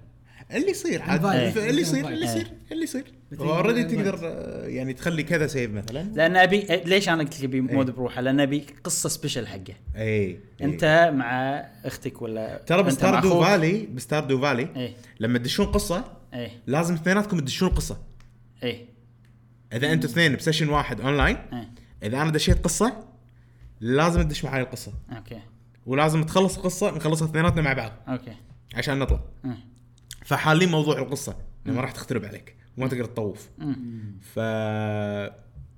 [SPEAKER 3] اللي يصير عاد
[SPEAKER 2] الفايب.
[SPEAKER 3] ف- اللي يصير
[SPEAKER 2] إيه.
[SPEAKER 3] اللي يصير اللي يصير
[SPEAKER 2] مثل
[SPEAKER 3] اوريدي
[SPEAKER 2] الفايب.
[SPEAKER 3] تقدر آه، يعني تخلي كذا سيف مثلا
[SPEAKER 1] لان ابي إيه، ليش انا قلت لك ابي مود بروحه لان ابي قصه سبيشل حقه
[SPEAKER 3] اي
[SPEAKER 1] انت مع اختك ولا
[SPEAKER 3] إيه. ترى
[SPEAKER 1] أنت مع
[SPEAKER 3] بستاردو
[SPEAKER 1] أخوك.
[SPEAKER 3] فالي بستاردو فالي
[SPEAKER 1] ايه
[SPEAKER 3] لما تدشون قصه
[SPEAKER 1] ايه
[SPEAKER 3] لازم اثنيناتكم تدشون قصه
[SPEAKER 1] ايه
[SPEAKER 3] اذا انتوا اثنين بسيشن واحد اونلاين
[SPEAKER 1] ايه
[SPEAKER 3] اذا انا دشيت قصه لازم تدش معي القصه
[SPEAKER 1] اوكي
[SPEAKER 3] ولازم تخلص القصه نخلصها اثنيناتنا مع بعض
[SPEAKER 1] اوكي
[SPEAKER 3] عشان نطلع
[SPEAKER 1] مم.
[SPEAKER 3] فحالين موضوع القصه إنه ما راح تخترب عليك وما تقدر تطوف ف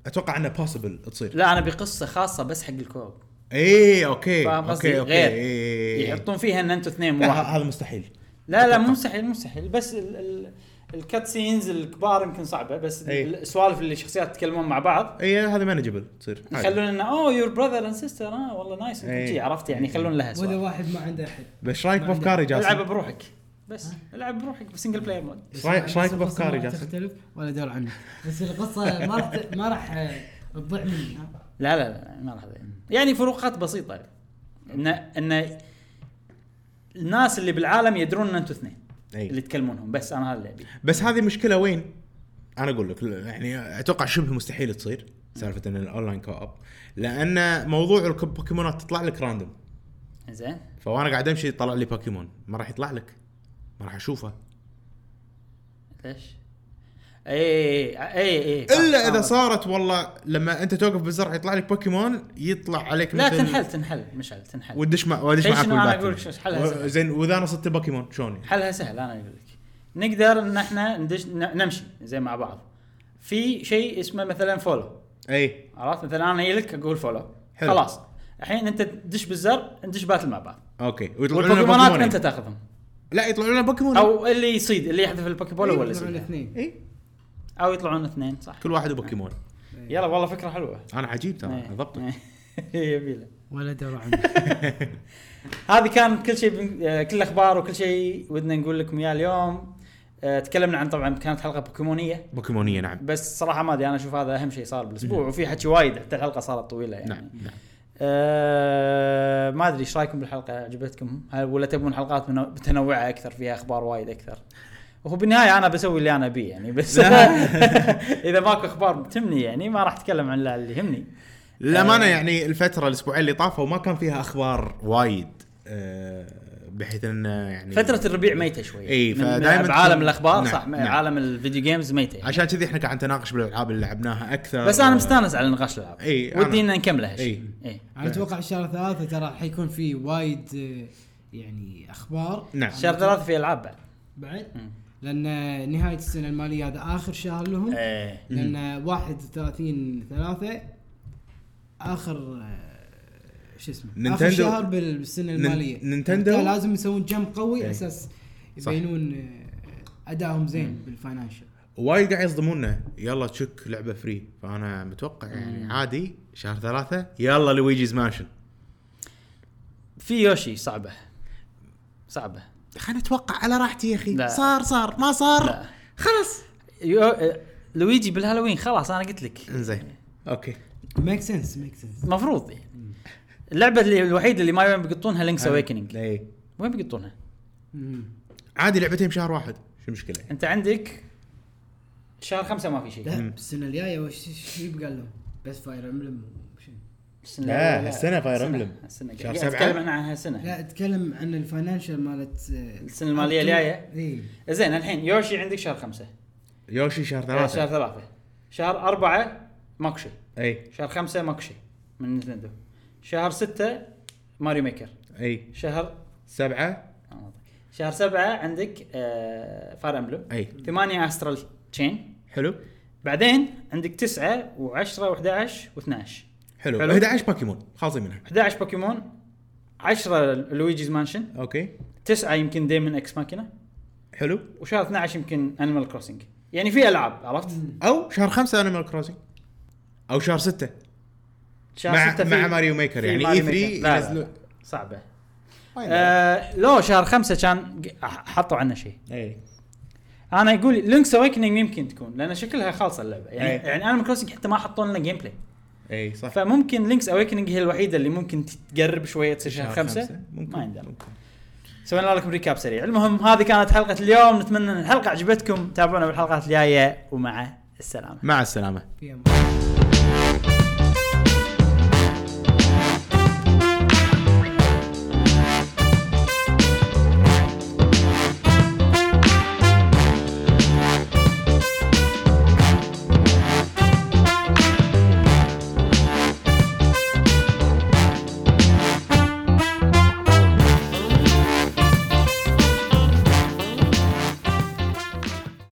[SPEAKER 3] اتوقع انه بوسيبل تصير إيه،
[SPEAKER 1] لا انا بقصه خاصه بس حق الكوب
[SPEAKER 3] اي اوكي
[SPEAKER 1] فاهم قصدي؟
[SPEAKER 3] اوكي اوكي
[SPEAKER 1] غير.
[SPEAKER 3] إيه.
[SPEAKER 1] يحطون فيها ان انتم اثنين مو
[SPEAKER 3] لا
[SPEAKER 1] واحد
[SPEAKER 3] ه- هذا مستحيل
[SPEAKER 1] لا لا مو مستحيل مو مستحيل بس ال ال الكات سينز الكبار يمكن صعبه بس
[SPEAKER 3] أي.
[SPEAKER 1] ال- السوالف اللي الشخصيات يتكلمون مع بعض
[SPEAKER 3] اي إيه، هذا مانجبل تصير عادي.
[SPEAKER 1] يخلون "Oh, انه اوه يور براذر اند سيستر اه والله نايس انتم
[SPEAKER 3] أي.
[SPEAKER 1] جي عرفت يعني يخلون لها
[SPEAKER 2] واذا
[SPEAKER 1] سوالف
[SPEAKER 2] واحد ما عنده احد
[SPEAKER 3] بس ايش رايك
[SPEAKER 2] ما عندي.
[SPEAKER 3] بافكاري
[SPEAKER 1] العب
[SPEAKER 3] جاسم؟
[SPEAKER 1] بروحك بس العب بروحك بسنجل بلاير مود
[SPEAKER 2] بس
[SPEAKER 3] إيش رأيك- إيش رأيك
[SPEAKER 2] القصة
[SPEAKER 3] بأفكاري
[SPEAKER 2] ما راح
[SPEAKER 3] جاسم؟
[SPEAKER 2] تختلف ولا دور عنك بس القصه ما راح ت- ما راح آه، تضيع مني ها؟
[SPEAKER 1] لا لا لا ما راح أضايق. يعني فروقات بسيطه ان ان الناس اللي بالعالم يدرون ان انتم اثنين اللي
[SPEAKER 3] اي
[SPEAKER 1] تكلمونهم بس انا هذا اللي ابي
[SPEAKER 3] بس هذه مشكله وين؟ انا اقول لك ل- يعني اتوقع شبه مستحيل تصير سالفه ان الاونلاين كو اب لان موضوع البوكيمونات تطلع لك راندوم
[SPEAKER 1] زين
[SPEAKER 3] فوانا قاعد امشي طلع لي بوكيمون ما راح يطلع لك ما راح اشوفه
[SPEAKER 1] ليش؟ إيه، اي اي اي
[SPEAKER 3] الا
[SPEAKER 1] آه.
[SPEAKER 3] اذا صارت والله لما انت توقف بالزرع يطلع لك بوكيمون يطلع عليك
[SPEAKER 1] لا
[SPEAKER 3] مثل-
[SPEAKER 1] تنحل تنحل مشعل تنحل
[SPEAKER 3] ودش مع ودش
[SPEAKER 1] شيء
[SPEAKER 3] معك
[SPEAKER 1] شنو أنا
[SPEAKER 3] بالباتل.
[SPEAKER 1] أقول لك شو- حلها
[SPEAKER 3] و-
[SPEAKER 1] سهلة.
[SPEAKER 3] زين واذا انا صدت بوكيمون شلون؟
[SPEAKER 1] حلها سهل انا اقول لك نقدر ان احنا ندش ن- نمشي زي مع بعض في شيء اسمه مثلا فولو
[SPEAKER 3] اي
[SPEAKER 1] عرفت مثلا انا لك اقول فولو
[SPEAKER 3] حلو.
[SPEAKER 1] خلاص الحين انت تدش بالزر ندش باتل مع بعض
[SPEAKER 3] اوكي ويطلعون لنا
[SPEAKER 1] والبوكيمونات
[SPEAKER 3] بوكيمونين.
[SPEAKER 1] انت تاخذهم
[SPEAKER 3] لا يطلعون لنا بوكيمون
[SPEAKER 1] او اللي يصيد اللي يحذف البوكيبول هو اللي
[SPEAKER 2] أيوة، يطلعون
[SPEAKER 1] يصيد
[SPEAKER 2] الاثنين
[SPEAKER 3] اي
[SPEAKER 1] او يطلعون اثنين صح
[SPEAKER 3] إيه، كل واحد بوكيمون
[SPEAKER 1] يلا والله فكره حلوه
[SPEAKER 3] انا عجيب ترى
[SPEAKER 1] إيه.
[SPEAKER 3] ضبطه
[SPEAKER 1] يبيله
[SPEAKER 2] ولا دور عنك
[SPEAKER 1] هذه كان كل شيء بن- آه، كل الاخبار وكل شيء ودنا نقول لكم اياه اليوم آه، تكلمنا عن طبعا كانت حلقه بوكيمونيه
[SPEAKER 3] بوكيمونيه نعم
[SPEAKER 1] بس صراحه ما ادري انا اشوف هذا اهم شيء صار بالاسبوع وفي حكي وايد حتى الحلقه صارت طويله يعني
[SPEAKER 3] نعم نعم
[SPEAKER 1] أه ما ادري ايش رايكم بالحلقه عجبتكم هل ولا تبون حلقات منو- متنوعه اكثر فيها اخبار وايد اكثر وهو بالنهايه انا بسوي اللي انا ابيه يعني بس اذا ماكو اخبار تهمني يعني ما راح اتكلم عن اللي يهمني آه.
[SPEAKER 3] للامانه يعني الفتره الاسبوعين اللي طافوا ما كان فيها اخبار وايد آه، بحيث ان يعني
[SPEAKER 1] فتره الربيع ميته شوي
[SPEAKER 3] إي،
[SPEAKER 1] من- من
[SPEAKER 3] إيه، فدايماً
[SPEAKER 1] بعالم
[SPEAKER 3] تكون-
[SPEAKER 1] الاخبار
[SPEAKER 3] نعم،
[SPEAKER 1] صح
[SPEAKER 3] نعم.
[SPEAKER 1] عالم الفيديو جيمز ميته يعني.
[SPEAKER 3] عشان كذي احنا قاعد نتناقش بالالعاب اللي لعبناها اكثر
[SPEAKER 1] بس انا مستانس على نقاش الالعاب
[SPEAKER 3] إي، إيه، أنا- إيه.
[SPEAKER 1] ودي ان نكمله
[SPEAKER 3] إي.
[SPEAKER 1] اي
[SPEAKER 2] انا اتوقع شهر ثلاثه ترى حيكون في وايد آه، يعني اخبار
[SPEAKER 3] نعم.
[SPEAKER 1] شهر ثلاثة في العاب بعد
[SPEAKER 2] بعد لان نهايه السنه الماليه هذا اخر شهر لهم
[SPEAKER 3] إيه.
[SPEAKER 1] ايه
[SPEAKER 2] لان 31 3 اخر آه، شو اسمه اخر
[SPEAKER 3] نينتندو-
[SPEAKER 2] شهر بال- بالسنه
[SPEAKER 3] نين-
[SPEAKER 2] الماليه
[SPEAKER 3] نينتندو-
[SPEAKER 2] فبالتالي لازم يسوون جم قوي
[SPEAKER 3] إيه.
[SPEAKER 2] على اساس
[SPEAKER 3] صح.
[SPEAKER 2] يبينون آه، ادائهم زين بالفاينانشال
[SPEAKER 3] وايد قاعد يصدمونا يلا تشك لعبه فري فانا متوقع يعني عادي شهر ثلاثة يلا لويجيز مانشن
[SPEAKER 1] في يوشي صعبة صعبة
[SPEAKER 3] خلينا نتوقع على راحتي يا اخي
[SPEAKER 1] لا.
[SPEAKER 3] صار صار ما صار
[SPEAKER 1] لا.
[SPEAKER 3] خلاص
[SPEAKER 1] يو... آه، لويجي بالهالوين خلاص انا قلت لك
[SPEAKER 3] انزين اوكي
[SPEAKER 2] ميك سنس ميك سنس
[SPEAKER 1] مفروض يعني اللعبة اللي الوحيدة اللي ما بيقطونها لينكس
[SPEAKER 3] أيوة.
[SPEAKER 1] اويكننج
[SPEAKER 3] اي
[SPEAKER 1] وين بيقطونها؟
[SPEAKER 3] إيه. عادي لعبتين بشهر واحد شو المشكله
[SPEAKER 1] انت عندك شهر خمسة ما في شيء
[SPEAKER 2] لا السنه الجايه وش شو يبقى لهم بس فاير امبلم
[SPEAKER 1] السنة-
[SPEAKER 3] لا، هالسنة Fire
[SPEAKER 1] السنة-
[SPEAKER 3] Emblem.
[SPEAKER 1] السنة
[SPEAKER 3] شهر
[SPEAKER 1] قاعد
[SPEAKER 3] سبعة.
[SPEAKER 1] اتكلم عنها هالسنة
[SPEAKER 2] لا اتكلم عن الفاينانشال مالت آه، إيه،
[SPEAKER 1] السنة المالية الجاية؟
[SPEAKER 2] اي
[SPEAKER 1] زين الحين يوشي عندك شهر خمسة
[SPEAKER 3] يوشي شهر
[SPEAKER 1] آه، شهر
[SPEAKER 3] ثلاثة
[SPEAKER 1] ثلاثة شهر أربعة ماكو شيء
[SPEAKER 3] اي
[SPEAKER 1] شهر خمسة ماكو شيء من نتندو شهر ستة ماريو ميكر
[SPEAKER 3] اي
[SPEAKER 1] شهر
[SPEAKER 3] إيه. سبعة
[SPEAKER 1] شهر سبعة عندك آه فار امبلم
[SPEAKER 3] أي.
[SPEAKER 1] ثمانية استرال تشين
[SPEAKER 3] حلو
[SPEAKER 1] بعدين عندك تسعة وعشرة و11 و12
[SPEAKER 3] حلو,
[SPEAKER 1] حلو.
[SPEAKER 3] 11 باكيمون خالصين منها
[SPEAKER 1] 11 بوكيمون 10 لويجيز مانشن
[SPEAKER 3] اوكي
[SPEAKER 1] تسعة يمكن ديمن اكس ماكينة
[SPEAKER 3] حلو
[SPEAKER 1] وشهر 12 يمكن انيمال كروسنج يعني في العاب عرفت؟
[SPEAKER 3] او شهر خمسة انيمال كروسنج او شهر ستة
[SPEAKER 1] شهر
[SPEAKER 3] مع-
[SPEAKER 1] ستة في-
[SPEAKER 3] مع ماريو ميكر
[SPEAKER 1] في
[SPEAKER 3] يعني
[SPEAKER 1] ماريو
[SPEAKER 3] E3
[SPEAKER 1] ميكر. لا، لا،
[SPEAKER 3] ينزلوا-
[SPEAKER 1] لا صعبه
[SPEAKER 3] آه.
[SPEAKER 1] آه لو شهر خمسة كان ق- حطوا عنه شيء
[SPEAKER 3] اي
[SPEAKER 1] انا يقول لينكس اويكننج يمكن تكون لان شكلها خالصه اللعبه يعني
[SPEAKER 3] إيه.
[SPEAKER 1] يعني انا كروسنج حتى ما حطوا لنا جيم بلاي
[SPEAKER 3] اي إيه، صح
[SPEAKER 1] فممكن لينكس اويكننج هي الوحيده اللي ممكن تقرب شويه تصير شهر خمسة
[SPEAKER 3] ممكن
[SPEAKER 1] ما يندرى
[SPEAKER 3] ممكن.
[SPEAKER 1] سوينا لكم ريكاب سريع المهم هذه كانت حلقه اليوم نتمنى ان الحلقه عجبتكم تابعونا بالحلقات الجايه ومع السلامه
[SPEAKER 3] مع السلامة
[SPEAKER 2] في أمل.